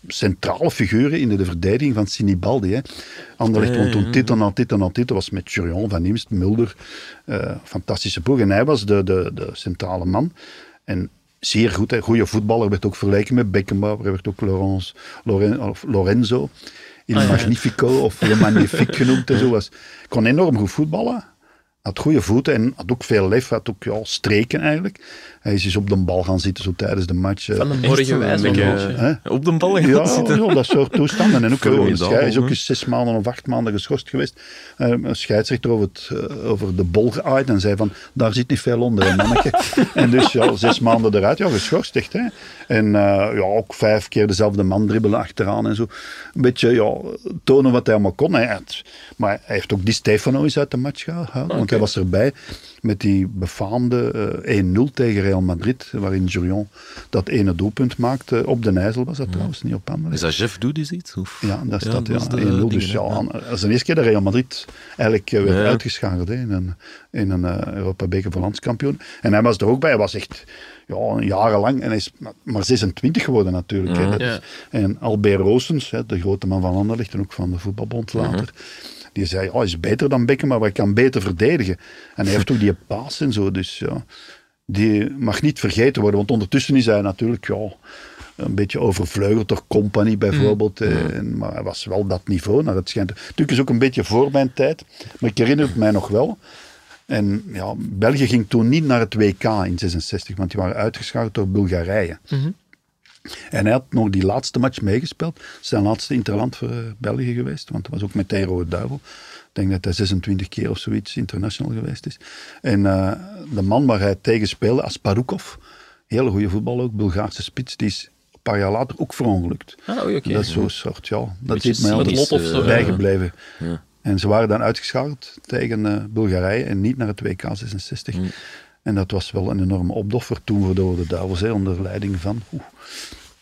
Speaker 1: centrale figuren in de verdediging van Sinibaldi. Hè. Anderlecht won toen dit en dan dit en dan dit. Dat was met Jurion van Imst, Mulder. eh, fantastische ploeg. En hij was de, de, de centrale man. En zeer goed. Hè. Goede voetballer. Werd ook vergeleken met Beckenbauer. Hij werd ook Laurens, Loren, of Lorenzo in Magnifico of Le Magnifique genoemd. En zo. Was, kon enorm goed voetballen. Had goede voeten en had ook veel lef. Had ook ja, streken eigenlijk. Hij is dus op de bal gaan zitten zo tijdens de match. eh,
Speaker 3: Van de morgen wijs.
Speaker 2: Ik, eh,
Speaker 3: Ja,
Speaker 1: hè?
Speaker 2: op de bal gaan
Speaker 1: ja,
Speaker 2: zitten.
Speaker 1: ja, dat soort toestanden. En ook
Speaker 2: Formidabel,
Speaker 1: gewoon, hij is ook
Speaker 2: hè?
Speaker 1: eens zes maanden of acht maanden geschorst geweest. Eh, een scheidsrechter over, het, eh, over de bol geaaid en zei van, daar zit niet veel onder, hè, manneke. en dus ja, zes maanden eruit, ja, geschorst echt. Hè. En eh, ja, ook vijf keer dezelfde man dribbelen achteraan en zo. Een beetje ja, tonen wat hij allemaal kon. Hij had- maar hij heeft ook Di Stefano eens uit de match gehaald, want Hij was erbij met die befaamde eh, 1-0 tegen Real Madrid, waarin Jurion dat ene doelpunt maakte. Op de IJssel was dat trouwens, niet op Anderlecht.
Speaker 2: Is dat Jeff Doedies iets? Of?
Speaker 1: Ja, dat staat ja,
Speaker 2: is de
Speaker 1: 1-0. Dus
Speaker 2: dingen,
Speaker 1: ja,
Speaker 2: hè.
Speaker 1: aan- dat is de eerste keer dat Real Madrid eigenlijk eh, werd
Speaker 2: Ja.
Speaker 1: uitgeschakeld hè, in een, in een eh, Europa Beker van landskampioen. En hij was er ook bij. Hij was echt ja, jarenlang. En hij is maar- maar 26 geworden natuurlijk.
Speaker 2: Mhm.
Speaker 1: hè. Dat is-
Speaker 3: Ja.
Speaker 1: En Albert Roosens, hè, de grote man van Anderlecht en ook van de voetbalbond
Speaker 2: Mhm.
Speaker 1: later... Die zei, oh, hij is beter dan Bekken, maar hij kan beter verdedigen. En hij heeft ook die paas en zo, dus ja. Die mag niet vergeten worden, want ondertussen is hij natuurlijk, ja, een beetje overvleugeld door Company bijvoorbeeld. eh, en- maar hij was wel dat niveau naar het schijnt. Natuurlijk is ook een beetje voor mijn tijd, maar ik herinner het mij nog wel. En ja, België ging toen niet naar het WK in 66, want die waren uitgeschakeld door Bulgarije.
Speaker 3: Mhm.
Speaker 1: En hij had nog die laatste match meegespeeld. Zijn laatste interland voor eh, België geweest. Want hij was ook meteen Rode Duivel. Ik denk dat hij 26 keer of zoiets international geweest is. En eh, de man waar hij tegen speelde, Asparukov. Hele goede voetbal ook, Bulgaarse spits. Die is een paar jaar later ook verongelukt.
Speaker 3: Ah, oei, oké.
Speaker 1: Dat is zo'n soort, ja. Dat
Speaker 2: Beetje
Speaker 1: zit mij altijd
Speaker 2: cynisch,
Speaker 3: lot of zo, ja.
Speaker 1: bijgebleven.
Speaker 2: Ja.
Speaker 1: En ze waren dan uitgeschakeld tegen eh, Bulgarije en niet naar het WK 66. En dat was wel een enorme opdoffer toen voor de Rode Duivels, hè, onder leiding van... Oeh,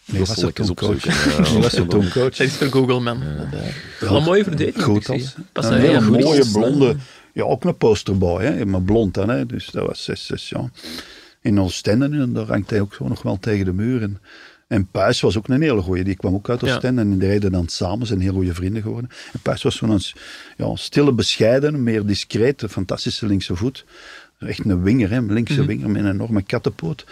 Speaker 1: nee,
Speaker 2: Dat
Speaker 1: was
Speaker 2: zal
Speaker 1: er
Speaker 2: ik eens
Speaker 1: toen coach?
Speaker 2: opzoeken, ja.
Speaker 1: Die (laughs) was er toen coach?
Speaker 3: Dat is voor Google, man. Dat, eh, wel een mooie verdediging.
Speaker 1: Goed
Speaker 3: zie je.
Speaker 1: als. eh,
Speaker 3: Pas
Speaker 1: een
Speaker 3: daar
Speaker 1: hele
Speaker 3: heel goed
Speaker 1: mooie
Speaker 3: als,
Speaker 1: blonde... Ja, ook een posterboy, hè, maar blond dan. Hè, dus dat was 6-6, ja. In Oostende, en daar hangt hij ook zo nog wel tegen de muur. En, en Puis was ook een hele goeie. Die kwam ook uit
Speaker 3: Ja.
Speaker 1: Oostende en die reden dan samen. Zijn heel goede vrienden geworden. En Puis was zo'n ja, stille, bescheiden, meer discreet, fantastische linkse voet. Echt een winger, hè, een linkse winger met een enorme kattenpoot.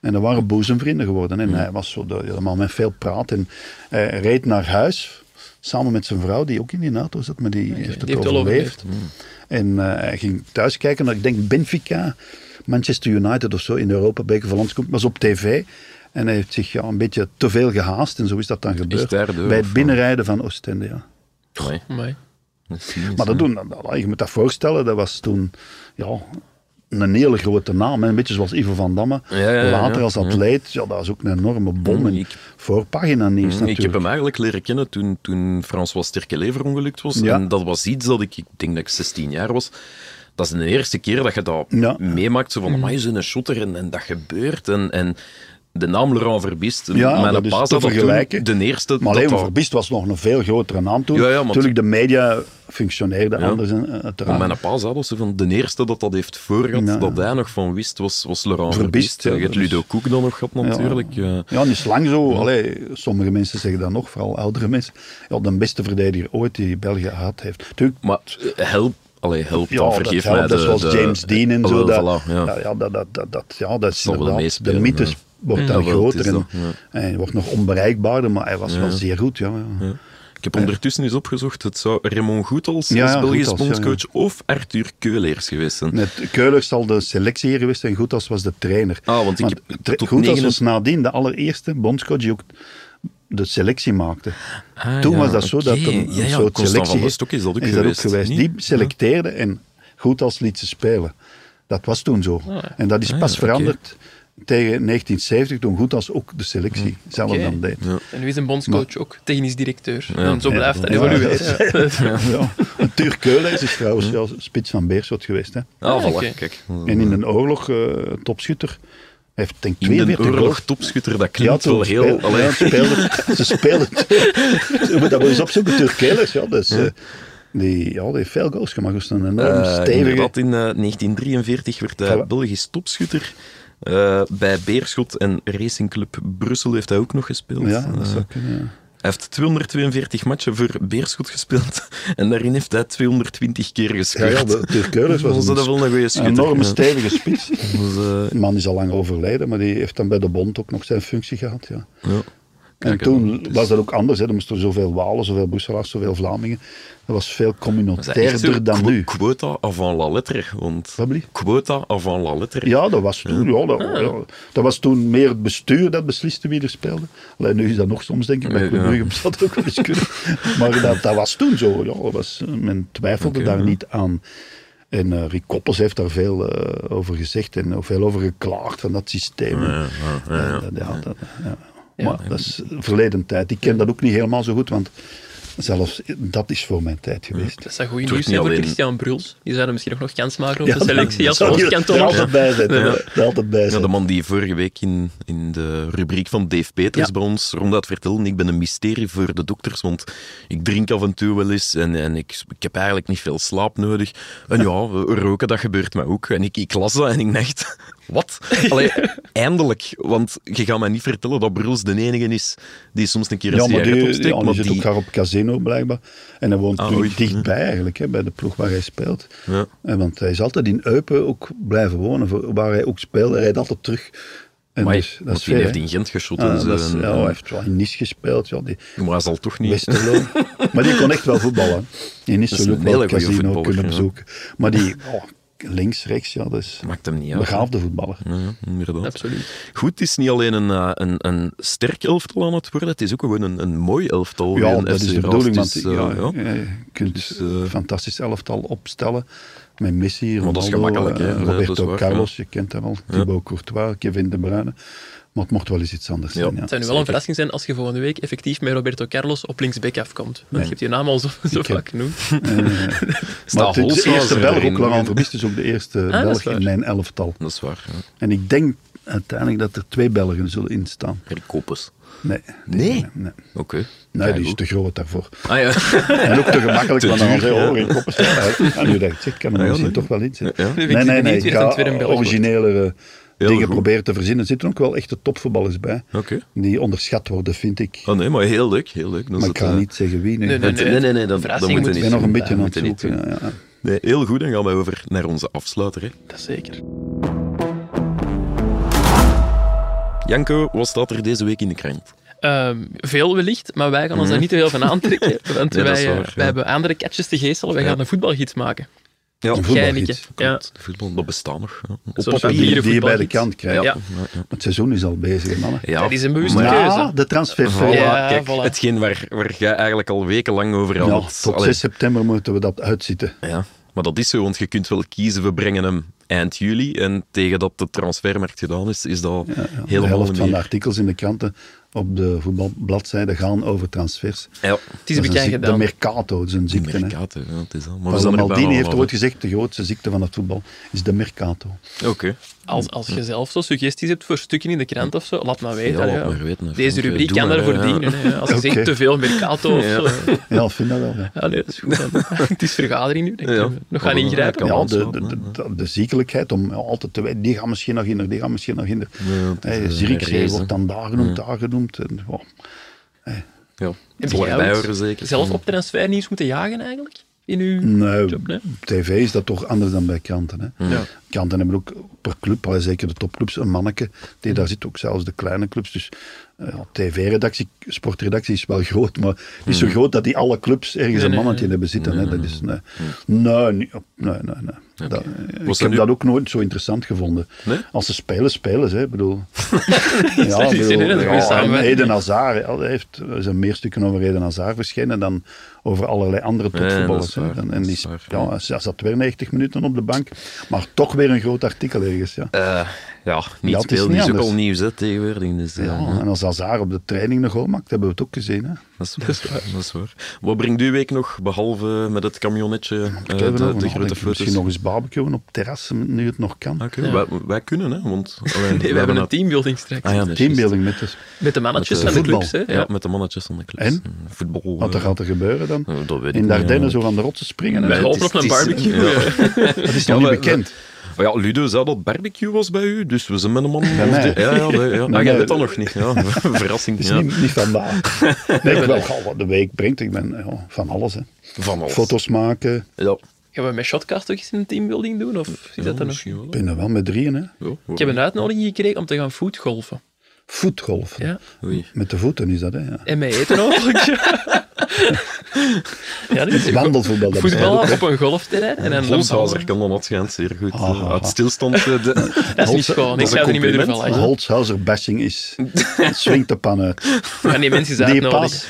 Speaker 1: En dat waren boezemvrienden geworden. En hij was zo de, helemaal met veel praat. En hij reed naar huis, samen met zijn vrouw, die ook in die NATO zat, maar die heeft het
Speaker 3: die heeft wel
Speaker 1: overleefd. En eh, hij ging thuis kijken naar, ik denk, Benfica, Manchester United of zo, in de Europa Beker van Landskoop, was op tv. En hij heeft zich ja, een beetje te veel gehaast en zo is dat dan gebeurd.
Speaker 2: daardoor,
Speaker 1: bij
Speaker 2: of
Speaker 1: het binnenrijden van Oostende, ja.
Speaker 2: Amai,
Speaker 3: Amai.
Speaker 2: dat is cynisch,
Speaker 1: Maar
Speaker 2: hè.
Speaker 1: dat doen, dat- dat- je moet dat voorstellen, dat was toen ja, een hele grote naam. hè. Een beetje zoals Ivo van Damme.
Speaker 2: Ja, ja, ja,
Speaker 1: Later
Speaker 2: ja. Mm,
Speaker 1: als atleet, ja, dat is ook een enorme bom. En
Speaker 2: Ik- mm,
Speaker 1: voorpagina nieuws natuurlijk.
Speaker 2: Ik heb hem eigenlijk leren kennen toen, toen François Sterkele verongelukt was.
Speaker 1: Ja.
Speaker 2: En dat was iets dat ik, ik denk dat ik 16 jaar was. Dat is de eerste keer dat je dat
Speaker 1: Ja.
Speaker 2: meemaakt. Zo van, maar is een shotter en, en dat gebeurt. En, en de naam Laurent Verbist,
Speaker 1: Ja,
Speaker 2: mijn
Speaker 1: dat is
Speaker 2: paas
Speaker 1: te
Speaker 2: had dat toen
Speaker 1: vergelijken.
Speaker 2: de eerste.
Speaker 1: Maar
Speaker 2: dat
Speaker 1: alleen
Speaker 2: dat-
Speaker 1: Verbist was nog een veel grotere naam toen.
Speaker 2: Ja, ja, want-
Speaker 1: Natuurlijk de media functioneerde
Speaker 2: Ja.
Speaker 1: anders eh,
Speaker 2: Maar
Speaker 1: uiteraard.
Speaker 2: mijn paas had ze van de eerste dat dat heeft voorgehad,
Speaker 1: Ja.
Speaker 2: dat hij nog van wist, was, was Laurent
Speaker 1: Verbist,
Speaker 2: Verbist.
Speaker 1: ja,
Speaker 2: Je hebt
Speaker 1: dat is-
Speaker 2: Ludo Koek dan nog gehad natuurlijk. Eh,
Speaker 1: Ja, niet lang zo. Allee, sommige mensen zeggen dat nog, vooral oudere mensen. Ja, de beste verdediger ooit die België gehad heeft. Natuurlijk,
Speaker 2: Maar eh, help, allee, help,
Speaker 1: ja,
Speaker 2: dan
Speaker 1: dat
Speaker 2: vergeef
Speaker 1: helpt,
Speaker 2: mij de...
Speaker 1: dat is zoals
Speaker 2: de-
Speaker 1: James Dean en
Speaker 2: Ah,
Speaker 1: zo.
Speaker 2: wel,
Speaker 1: Dat,
Speaker 2: voilà, ja.
Speaker 1: ja, ja, dat, dat, dat, dat- ja, dat is
Speaker 2: zal wel
Speaker 1: inderdaad- De
Speaker 2: meespelen,
Speaker 1: mythes
Speaker 2: eh, ja.
Speaker 1: wordt dan
Speaker 2: Ja, wel, het is
Speaker 1: groter en,
Speaker 2: dat,
Speaker 1: en hij wordt nog onbereikbaarder, maar hij was wel zeer goed. Ja, ja.
Speaker 2: Ik heb ondertussen eens opgezocht, het zou Raymond Goethals
Speaker 1: Ja,
Speaker 2: als
Speaker 1: ja,
Speaker 2: Belgisch
Speaker 1: Goethals, ja, ja.
Speaker 2: bondscoach of Arthur Keuleers geweest zijn.
Speaker 1: Net, Keuler zal de selectie hier geweest en Goethals was de trainer.
Speaker 2: Ah, want ik heb
Speaker 1: tra-
Speaker 2: tot
Speaker 1: Goethals
Speaker 2: negen-
Speaker 1: was nadien de allereerste bondscoach die ook de selectie maakte. Toen
Speaker 2: Ah, ja,
Speaker 1: was dat zo
Speaker 2: oké.
Speaker 1: dat een, een
Speaker 2: Ja, ja,
Speaker 1: soort
Speaker 2: Constant
Speaker 1: selectie...
Speaker 2: van Westok is dat ook geweest, niet?
Speaker 1: Die selecteerde en Goethals liet ze spelen. Dat was toen zo. En dat is pas
Speaker 2: Ah, oké.
Speaker 1: veranderd tegen 1970, toen Goethals ook de selectie
Speaker 2: Hmm.
Speaker 1: zelf
Speaker 3: Oké.
Speaker 1: dan deed.
Speaker 3: En nu is een bondscoach ook technisch directeur. En zo blijft dat
Speaker 1: Ja,
Speaker 3: evolueren.
Speaker 1: dat
Speaker 2: (laughs)
Speaker 1: Ja. En Tuur Keulers is dus trouwens wel spits van Beerschot geweest. Hè.
Speaker 2: Ah, voilà,
Speaker 3: oké.
Speaker 2: kijk.
Speaker 1: En in een oorlog eh, topschutter. Hij heeft denk ik
Speaker 2: In de
Speaker 1: 42
Speaker 2: oorlog
Speaker 1: goals.
Speaker 2: topschutter, dat klinkt
Speaker 1: toen
Speaker 2: wel heel...
Speaker 1: speel-
Speaker 2: allee,
Speaker 1: ja, speelde, ze
Speaker 2: (laughs)
Speaker 1: spelen. Je moet dat wel eens opzoeken. Turkelers, ja. Dus, eh, die, ja, die heeft veel goals gemaakt. Dat is een enorm
Speaker 2: eh,
Speaker 1: stevige...
Speaker 2: inderdaad, in eh, 1943 werd hij
Speaker 1: Voilà.
Speaker 2: Belgisch topschutter. Eh, bij Beerschot en Racing Club Brussel heeft hij ook nog gespeeld.
Speaker 1: Ja, dat
Speaker 2: Eh,
Speaker 1: zou kunnen, ja.
Speaker 2: Hij heeft 242 matchen voor Beerschot gespeeld (laughs) en daarin heeft hij 220 keer
Speaker 1: Ja,
Speaker 2: gespeeld.
Speaker 1: ja, de Turk Keulers
Speaker 2: (laughs)
Speaker 1: was
Speaker 2: dat wel een goede
Speaker 1: een
Speaker 2: schutter.
Speaker 1: enorme
Speaker 2: ja.
Speaker 1: stevige
Speaker 2: (laughs)
Speaker 1: spits.
Speaker 2: Dus,
Speaker 1: De
Speaker 2: eh,
Speaker 1: man is al lang overleden, maar die heeft dan bij de bond ook nog zijn functie gehad. Ja.
Speaker 2: ja.
Speaker 1: En
Speaker 2: Kijk,
Speaker 1: toen
Speaker 2: dus-
Speaker 1: was dat ook anders. Hè. Er moesten zoveel Walen, zoveel Brusselaars, zoveel Vlamingen. Dat was veel communautairder dan nu.
Speaker 2: Quota avant la lettre. Want
Speaker 1: Wat blieft?
Speaker 2: quota avant la lettre.
Speaker 1: Ja, dat was toen. Ja,
Speaker 2: Ah,
Speaker 1: dat, ja, dat was toen meer het bestuur dat besliste wie er speelde. Alleen nu is dat nog soms, denk ik, bij
Speaker 2: Nee,
Speaker 1: Club
Speaker 2: ja.
Speaker 1: Brugge bestaat dat ook wel eens
Speaker 2: (laughs)
Speaker 1: kunnen. Maar dat, dat was toen zo. Ja, dat was, eh, men twijfelde daar niet aan. En eh, Rick Koppels heeft daar veel eh, over gezegd en ook veel over geklaagd van dat systeem. Eh, dat- ja, dat- ja. Maar dat is verleden tijd. Ik ken dat ook niet helemaal zo goed, want Zelfs dat is voor mijn tijd geweest.
Speaker 3: Dat zou goed
Speaker 2: Het
Speaker 3: nieuws
Speaker 2: wordt
Speaker 3: zijn
Speaker 2: niet
Speaker 3: voor
Speaker 2: alleen-
Speaker 3: Christian Bruls. Die zouden misschien nog nog kans maken op
Speaker 1: Ja,
Speaker 3: de selectie als
Speaker 1: zou je er
Speaker 3: hoofdkantoor.
Speaker 1: altijd bij zijn. Er altijd bij
Speaker 2: Ja,
Speaker 1: zijn.
Speaker 2: de man die vorige week in, in de rubriek van Dave Peters
Speaker 3: Ja.
Speaker 2: bij ons ronduit vertelde, ik ben een mysterie voor de dokters, want ik drink af en toe wel eens en, en ik, ik heb eigenlijk niet veel slaap nodig. En ja, roken, dat gebeurt mij ook. En ik, ik las dat en ik dacht, (laughs) wat? Allee, eindelijk, want je gaat mij niet vertellen dat Bruls de enige is die soms een keer een
Speaker 1: Ja, maar
Speaker 2: sigaret
Speaker 1: die,
Speaker 2: opsteekt,
Speaker 1: ja, die
Speaker 2: maar
Speaker 1: zit
Speaker 2: die-
Speaker 1: ook graag op casino blijkbaar. En hij woont
Speaker 2: Ah,
Speaker 1: natuurlijk
Speaker 2: oei.
Speaker 1: dichtbij eigenlijk, hè, bij de ploeg waar hij speelt.
Speaker 2: Ja.
Speaker 1: En want hij is altijd in Eupen ook blijven wonen, voor- waar hij ook speelt. Hij rijdt altijd terug. En
Speaker 2: Amai,
Speaker 1: dus, dat
Speaker 2: want
Speaker 1: is
Speaker 2: die
Speaker 1: ver,
Speaker 2: heeft
Speaker 1: hè.
Speaker 2: in Gent geschoten.
Speaker 1: Ah,
Speaker 2: en zo,
Speaker 1: dat is-
Speaker 2: en-
Speaker 1: ja, hij heeft wel in Nice gespeeld, ja, die
Speaker 2: maar hij zal toch eh, niet... (laughs)
Speaker 1: Westerlo. maar die kon echt wel voetballen. In Nice
Speaker 2: Dat is
Speaker 1: zou
Speaker 2: een
Speaker 1: ook wel
Speaker 2: hele goeie
Speaker 1: casino
Speaker 2: voetballer,
Speaker 1: kunnen
Speaker 2: ja.
Speaker 1: bezoeken. Maar die, oh, links, rechts, ja, dat is
Speaker 2: Maakt hem niet
Speaker 1: een
Speaker 2: uit.
Speaker 1: begaafde voetballer.
Speaker 2: Ja, Mm, inderdaad.
Speaker 3: Absoluut.
Speaker 2: Goed, het is niet alleen een, eh, een, een sterk elftal aan het worden, het is ook gewoon een, een mooi elftal.
Speaker 1: Ja,
Speaker 2: Een
Speaker 1: dat is
Speaker 2: FC
Speaker 1: de
Speaker 2: Raast
Speaker 1: bedoeling. Want,
Speaker 2: is,
Speaker 1: ja,
Speaker 2: eh, ja.
Speaker 1: ja, je kunt
Speaker 2: Dus, eh,
Speaker 1: een fantastisch elftal opstellen. Met Messi,
Speaker 2: dat
Speaker 1: Ronaldo,
Speaker 2: is gemakkelijk, hè.
Speaker 1: eh,
Speaker 2: Ja, dat is
Speaker 1: Roberto
Speaker 2: waar,
Speaker 1: Carlos, je kent hem al. Thibaut Courtois, Kevin De Bruyne. Maar het mocht wel eens iets anders
Speaker 2: Ja.
Speaker 1: zijn. Ja.
Speaker 3: Het zou nu wel een verrassing zijn als je volgende week effectief met Roberto Carlos op linksback afkomt. Want je hebt je naam al zo, zo
Speaker 1: Ik
Speaker 2: eh,
Speaker 1: heb-
Speaker 3: vaak genoemd.
Speaker 1: Maar
Speaker 2: Staat
Speaker 1: het is de
Speaker 2: Holshuizen
Speaker 1: eerste Belg
Speaker 2: erin.
Speaker 1: ook, Laurent Verbiest is ook de eerste
Speaker 3: Ah, dat is
Speaker 1: Belg
Speaker 3: waar.
Speaker 1: in mijn elftal.
Speaker 2: Dat is waar. Ja.
Speaker 1: En ik denk uiteindelijk dat er twee Belgen zullen instaan.
Speaker 2: Rick Koppes.
Speaker 1: Nee.
Speaker 2: Nee?
Speaker 1: Nee, nee.
Speaker 2: Oké.
Speaker 1: Nee,
Speaker 2: Ja,
Speaker 1: die is
Speaker 2: goed.
Speaker 1: te groot daarvoor.
Speaker 2: (laughs) Ah ja.
Speaker 1: En ook te gemakkelijk,
Speaker 2: Te
Speaker 1: want dan
Speaker 2: duur,
Speaker 1: zeggen
Speaker 2: ja.
Speaker 1: oh, ik kop is uit. En nu denkt, ik kan er
Speaker 2: Ja,
Speaker 1: misschien
Speaker 2: nee.
Speaker 1: toch wel in zitten.
Speaker 2: Ja. Nu
Speaker 3: ben ik benieuwd wie
Speaker 1: ik
Speaker 3: dat dan
Speaker 1: ga
Speaker 3: tweede in België wordt.
Speaker 1: originelere
Speaker 2: Heel
Speaker 1: dingen
Speaker 2: goed.
Speaker 1: proberen te verzinnen. Er zitten ook wel echte topvoetballers bij,
Speaker 2: Oké.
Speaker 1: die onderschat worden, vind ik.
Speaker 2: Ah, nee, maar heel leuk. Heel leuk. Dan
Speaker 1: Maar
Speaker 2: is
Speaker 1: ik
Speaker 2: het,
Speaker 1: ga
Speaker 2: eh,
Speaker 1: niet zeggen wie nu.
Speaker 3: Nee, nee,
Speaker 2: het- nee, nee, nee, dat, dat
Speaker 3: Verrassing
Speaker 2: moet je
Speaker 3: moet-
Speaker 1: Ik ben nog
Speaker 2: niet doen.
Speaker 1: een beetje
Speaker 2: Dat
Speaker 1: aan het
Speaker 2: moet je niet
Speaker 1: zoeken. ja, ja.
Speaker 2: doen. Nee, heel goed, dan gaan wij over naar onze afsluiter. Hè.
Speaker 3: (laughs) Dat zeker.
Speaker 2: Janko, wat staat er deze week in de krant?
Speaker 3: Ehm, veel wellicht, maar wij gaan ons daar niet te veel van
Speaker 2: (laughs)
Speaker 3: aantrekken. Want
Speaker 2: Mhm. Nee, dat is
Speaker 3: wij, eh,
Speaker 2: waar, ja.
Speaker 3: wij hebben andere catches te geestelen. Wij
Speaker 2: Ja.
Speaker 3: gaan een voetbalgids maken.
Speaker 2: Ja,
Speaker 1: Een
Speaker 3: Jij,
Speaker 1: voetbalgids.
Speaker 3: Nikke. Ja.
Speaker 2: De voetbal, dat bestaat nog. ja. Op
Speaker 3: Zoals
Speaker 1: Die-
Speaker 2: papier.
Speaker 3: papieren
Speaker 1: Die je bij de
Speaker 3: voetbalgids.
Speaker 1: kant krijgt.
Speaker 3: Ja.
Speaker 1: Het seizoen is al bezig, mannen.
Speaker 2: Ja,
Speaker 3: Dat is een bewuste
Speaker 2: maar-
Speaker 3: keuze.
Speaker 1: Na de transfervrij.
Speaker 2: Voilà,
Speaker 3: Ja,
Speaker 2: kijk,
Speaker 3: voilà.
Speaker 2: hetgeen waar, waar jij eigenlijk al wekenlang over
Speaker 1: Ja,
Speaker 2: had.
Speaker 1: tot 6 september moeten we dat uitzitten.
Speaker 2: Ja, maar dat is zo, want je kunt wel kiezen, we brengen hem eind juli. En tegen dat de transfermarkt gedaan is, is dat
Speaker 1: de
Speaker 2: helemaal
Speaker 1: helft
Speaker 2: niet
Speaker 1: van de
Speaker 2: meer.
Speaker 1: artikels in de kranten op de voetbalbladzijde gaan over transfers. Dus
Speaker 2: Ja,
Speaker 3: Het is
Speaker 1: Dat
Speaker 3: bekend
Speaker 1: een ziek- De
Speaker 3: gedaan.
Speaker 1: Mercato, dat is dus een
Speaker 2: die
Speaker 1: ziekte. hè.
Speaker 2: Mercato, ja, het is dat. Maar we
Speaker 1: Paolo
Speaker 2: zijn er
Speaker 1: Maldini
Speaker 2: bijna
Speaker 1: heeft
Speaker 2: allemaal,
Speaker 1: ooit gezegd, de grootste ziekte van het voetbal is de Mercato.
Speaker 2: hè. Oké.
Speaker 3: Als, als je zelf zo suggesties hebt voor stukken in de krant of zo, laat maar weten.
Speaker 2: Ja, laat
Speaker 3: Allee,
Speaker 2: maar weten, hè,
Speaker 3: Deze
Speaker 2: Frank.
Speaker 3: rubriek
Speaker 2: Doe
Speaker 3: kan
Speaker 2: maar,
Speaker 3: daarvoor
Speaker 2: hè, ja.
Speaker 3: dienen. hè.
Speaker 2: (laughs)
Speaker 3: Als je
Speaker 1: Oké.
Speaker 3: zegt te veel Mercato of zo.
Speaker 1: Ja, ik vind dat wel. Ja.
Speaker 3: Ja, nee, dat is goed. dan. (laughs) Het is vergadering nu. denk ik.
Speaker 2: Ja.
Speaker 3: Nog gaan
Speaker 2: Ja,
Speaker 3: ingrijpen.
Speaker 2: kan.
Speaker 1: Ja, de,
Speaker 2: aanslaan,
Speaker 1: de,
Speaker 2: hè.
Speaker 1: de, de- de ziekelijkheid om ja, altijd te weten, die gaan misschien nog hinder, die gaan misschien nog hinder.
Speaker 2: het is
Speaker 1: Hey,
Speaker 2: een
Speaker 1: Zirkzee
Speaker 2: race, hè.
Speaker 1: wordt dan daar genoemd, daar genoemd. En, wow.
Speaker 2: Ja,
Speaker 3: Heb
Speaker 2: het zal
Speaker 3: jij
Speaker 2: erbij
Speaker 3: ooit
Speaker 2: horen zeker.
Speaker 3: Zelf op transfernieuws moeten jagen eigenlijk? In (laughs) uw
Speaker 1: Nee,
Speaker 3: job, nee?
Speaker 1: eh, tv is dat toch anders dan bij kranten. Hè?
Speaker 3: Ja.
Speaker 1: Kranten hebben ook per club, allee, zeker de topclubs, een manneke. Die, daar zit ook zelfs de kleine clubs. Dus eh, ja, tv-redactie, sportredactie is wel (laughs) groot, maar niet zo
Speaker 2: Hmm.
Speaker 1: groot dat die alle clubs ergens een
Speaker 3: nee,
Speaker 1: mannetje hebben zitten. hè? Dat is, nee, nee, niet op- nee, nee. nee. Dat-
Speaker 2: Hmm.
Speaker 1: ik
Speaker 2: Was
Speaker 1: heb
Speaker 2: dat nu-
Speaker 1: dat ook nooit zo interessant gevonden.
Speaker 2: Nee?
Speaker 1: Als ze spelen, spelen ze. hè, Ik
Speaker 2: (laughs)
Speaker 1: bedoel, ja,
Speaker 3: dat is
Speaker 1: bedoel,
Speaker 3: inderdaad een
Speaker 1: ja,
Speaker 3: goede
Speaker 1: en
Speaker 3: samenwerking.
Speaker 1: Eden Hazard, hè, al- hij heeft, er zijn meer stukken over Eden Hazard verschenen dan over allerlei andere
Speaker 2: nee,
Speaker 1: topvoetballers.
Speaker 2: dat is
Speaker 1: hè.
Speaker 2: waar,
Speaker 1: en, en
Speaker 2: dat
Speaker 1: die
Speaker 2: is waar,
Speaker 1: ja, hij zat weer 90 minuten op de bank, maar toch weer een groot artikel ergens. Ja.
Speaker 2: Eh, ja, niet
Speaker 1: Ja, het is
Speaker 2: speel,
Speaker 1: niet
Speaker 2: die is ook
Speaker 1: anders.
Speaker 2: al nieuws hè, tegenwoordig. Dus, eh,
Speaker 1: ja, en als Hazard op de training nog goal maakt, hebben we het ook gezien. Hè.
Speaker 2: Dat is, dat, is
Speaker 1: (laughs)
Speaker 2: waar, dat is waar. Wat brengt u week nog, behalve met het camionnetje, eh,
Speaker 1: Ik
Speaker 2: de,
Speaker 1: heb
Speaker 2: de
Speaker 1: erover
Speaker 2: grote
Speaker 1: nagedacht.
Speaker 2: foto's?
Speaker 1: Misschien nog eens barbecuen op terrassen, nu het nog kan.
Speaker 2: Oké, wij, wij kunnen, hè? Want, alleen,
Speaker 3: Nee, we hebben een teambuilding straks.
Speaker 2: Ah, ja, dat is juist.
Speaker 1: Teambuilding met dus.
Speaker 3: Met de mannetjes
Speaker 2: Met, eh,
Speaker 3: van de
Speaker 1: voetbal.
Speaker 3: clubs. Hè?
Speaker 2: Ja, met de mannetjes van de club.
Speaker 1: En?
Speaker 2: Voetbal.
Speaker 1: Wat er
Speaker 2: eh,
Speaker 1: gaat er gebeuren dan?
Speaker 2: eh, dat weet ik
Speaker 1: In
Speaker 2: niet,
Speaker 1: Dardenne
Speaker 2: ja.
Speaker 1: zo aan de rotsen springen.
Speaker 3: Wij
Speaker 1: en
Speaker 2: het
Speaker 1: zo.
Speaker 2: is-
Speaker 3: hopen op een
Speaker 2: het is-
Speaker 3: barbecue.
Speaker 2: ja.
Speaker 3: ja.
Speaker 1: Dat is nog
Speaker 2: Ja,
Speaker 1: niet
Speaker 2: we-
Speaker 1: bekend.
Speaker 2: Maar ja, Ludo zei dat barbecue was bij u, dus we zijn met een man... of
Speaker 1: mij.
Speaker 2: de- ja, ja, nee, ja.
Speaker 1: Nee,
Speaker 2: ah, jij
Speaker 1: nee.
Speaker 2: weet dat nog niet. Ja, (laughs) verrassing.
Speaker 1: Het is
Speaker 2: ja.
Speaker 1: niet, niet
Speaker 2: (laughs)
Speaker 1: vandaag. Nee, ik wel gauw wat de week brengt. Ik ben ja, van alles. Hè.
Speaker 2: Van alles.
Speaker 1: Foto's maken.
Speaker 2: Ja.
Speaker 3: (laughs) Gaan we met shotcast toch eens een teambuilding doen? Of is
Speaker 2: Ja,
Speaker 3: dat dan nog?
Speaker 2: misschien wel.
Speaker 1: Ik ben er wel met drieën. Hè.
Speaker 2: Ja,
Speaker 3: Ik heb een uitnodiging gekregen om te gaan foodgolfen.
Speaker 1: Voetgolfen.
Speaker 3: Ja.
Speaker 2: Oei.
Speaker 1: Met de voeten is dat. Hè, ja.
Speaker 3: En mij
Speaker 2: (laughs)
Speaker 3: eten ook. ja, dat is
Speaker 1: Wandelvoetbal. dat bestaat
Speaker 3: voetbal
Speaker 1: ook, hè.
Speaker 3: op een golfterrein. En dan
Speaker 2: Holshouser kan dan schijnt zeer goed.
Speaker 1: Ah, ah,
Speaker 2: eh, Uit
Speaker 1: ah.
Speaker 2: stilstand... eh, de-
Speaker 3: Dat is niet
Speaker 1: Holshou-
Speaker 3: schoon.
Speaker 1: dat
Speaker 3: Ik
Speaker 1: is
Speaker 3: zou er
Speaker 2: een
Speaker 3: niet meer durven
Speaker 2: compliment.
Speaker 3: lachen.
Speaker 1: Holshouser bashing
Speaker 3: (laughs)
Speaker 1: is. Het Swingt de pan uit.
Speaker 3: Gaan die mensen eens
Speaker 1: Die
Speaker 3: uitnodigen.
Speaker 1: pas.
Speaker 2: Ja,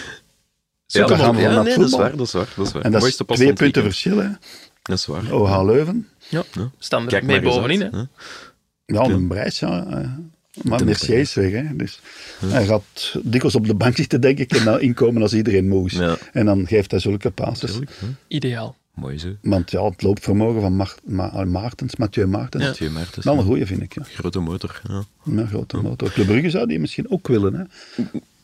Speaker 1: Zoek hem
Speaker 2: dat,
Speaker 1: allemaal
Speaker 2: ja,
Speaker 1: naar
Speaker 2: nee, dat is
Speaker 1: voetbal.
Speaker 2: waar, dat is waar. Dat is waar.
Speaker 1: En dat is
Speaker 2: Mooiste pas
Speaker 1: twee
Speaker 2: van het
Speaker 1: punten
Speaker 2: weekend.
Speaker 1: verschil. Hè.
Speaker 2: Dat is waar.
Speaker 1: OH Leuven.
Speaker 3: Ja, standaard
Speaker 2: Kijk
Speaker 3: mee
Speaker 2: maar eens
Speaker 3: bovenin.
Speaker 2: uit,
Speaker 3: hè.
Speaker 2: hè.
Speaker 1: Ja, een prijs. Ja. eh. Maar Mercier is weg, hè. Dus hij gaat dikwijls op de bank zitten, denk ik, en dan inkomen als iedereen moe is.
Speaker 2: Ja.
Speaker 1: En dan geeft hij zulke passes.
Speaker 3: Ideaal.
Speaker 2: Mooi zo.
Speaker 1: Want ja, het loopvermogen van Mar- Ma- eh, Maartens, Mathieu Maartens,
Speaker 2: Mathieu Maartens,
Speaker 1: wel een
Speaker 2: ja.
Speaker 1: goeie, vind ik. Ja.
Speaker 2: Grote motor. Ja.
Speaker 1: Een grote motor. Club Brugge zou die misschien ook willen, hè.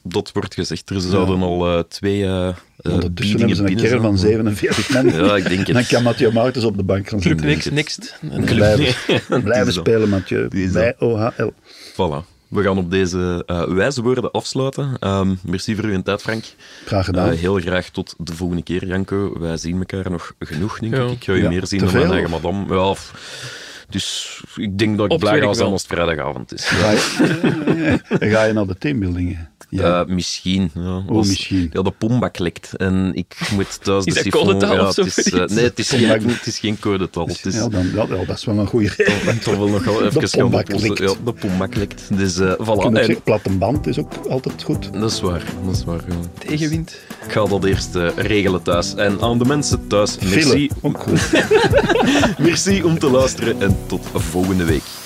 Speaker 2: Dat wordt gezegd. Er zouden al eh, twee eh, eh,
Speaker 1: Ondertussen
Speaker 2: biedingen
Speaker 1: hebben ze een
Speaker 2: binnen
Speaker 1: kern
Speaker 2: zijn.
Speaker 1: van
Speaker 2: (laughs)
Speaker 1: 47 man.
Speaker 2: Ja, ik denk het.
Speaker 1: Dan kan Mathieu Maartens op de bank gaan
Speaker 3: Club
Speaker 1: zitten.
Speaker 3: Next, next.
Speaker 1: (laughs) Blijven, blijven
Speaker 2: zo.
Speaker 1: spelen, Mathieu.
Speaker 2: Die is
Speaker 1: Bij OHL.
Speaker 2: Voilà. We gaan op deze eh, wijze woorden afsluiten. Ehm, merci voor uw tijd, Frank.
Speaker 1: Graag gedaan.
Speaker 2: Eh, heel graag tot de volgende keer, Janko. Wij zien elkaar nog genoeg, denk ik.
Speaker 3: Ja.
Speaker 2: Ik ga je
Speaker 1: Ja,
Speaker 2: meer zien
Speaker 1: te
Speaker 2: dan mijn
Speaker 1: veel,
Speaker 2: eigen madame. Ja, f- dus ik denk dat ik
Speaker 3: Op
Speaker 2: blij
Speaker 3: werk
Speaker 2: ga zijn
Speaker 3: wel.
Speaker 2: als het vrijdagavond is.
Speaker 1: Ga je, (laughs) ga je naar de teambuildingen? Ja. Oh,
Speaker 2: Eh, misschien. Ja,
Speaker 1: misschien.
Speaker 2: Ja, de pombak lekt en ik moet thuis
Speaker 3: (laughs) Is
Speaker 2: de
Speaker 3: dat codetaal
Speaker 2: ja,
Speaker 3: of
Speaker 2: het is, eh,
Speaker 3: zoiets?
Speaker 2: Nee, het is, geen,
Speaker 1: Pombak.
Speaker 2: het is geen codetaal. Het is,
Speaker 1: ja, dan, ja, ja, dat is wel een goede
Speaker 2: (laughs)
Speaker 1: reden.
Speaker 2: ik zal wel nog wel even gaan
Speaker 1: pombak
Speaker 2: oplossen.
Speaker 1: lekt.
Speaker 2: Ja, de pombak lekt. Dus eh,
Speaker 1: Je
Speaker 2: voilà.
Speaker 1: kunt ook
Speaker 2: En-
Speaker 1: zeggen, platte band is ook altijd goed.
Speaker 2: dat is waar. Dat is waar ja.
Speaker 3: Tegenwind.
Speaker 2: Ik ga dat eerst eh, regelen thuis. En aan de mensen thuis,
Speaker 1: File,
Speaker 2: merci,
Speaker 1: ook goed.
Speaker 2: merci om te luisteren en tot volgende week.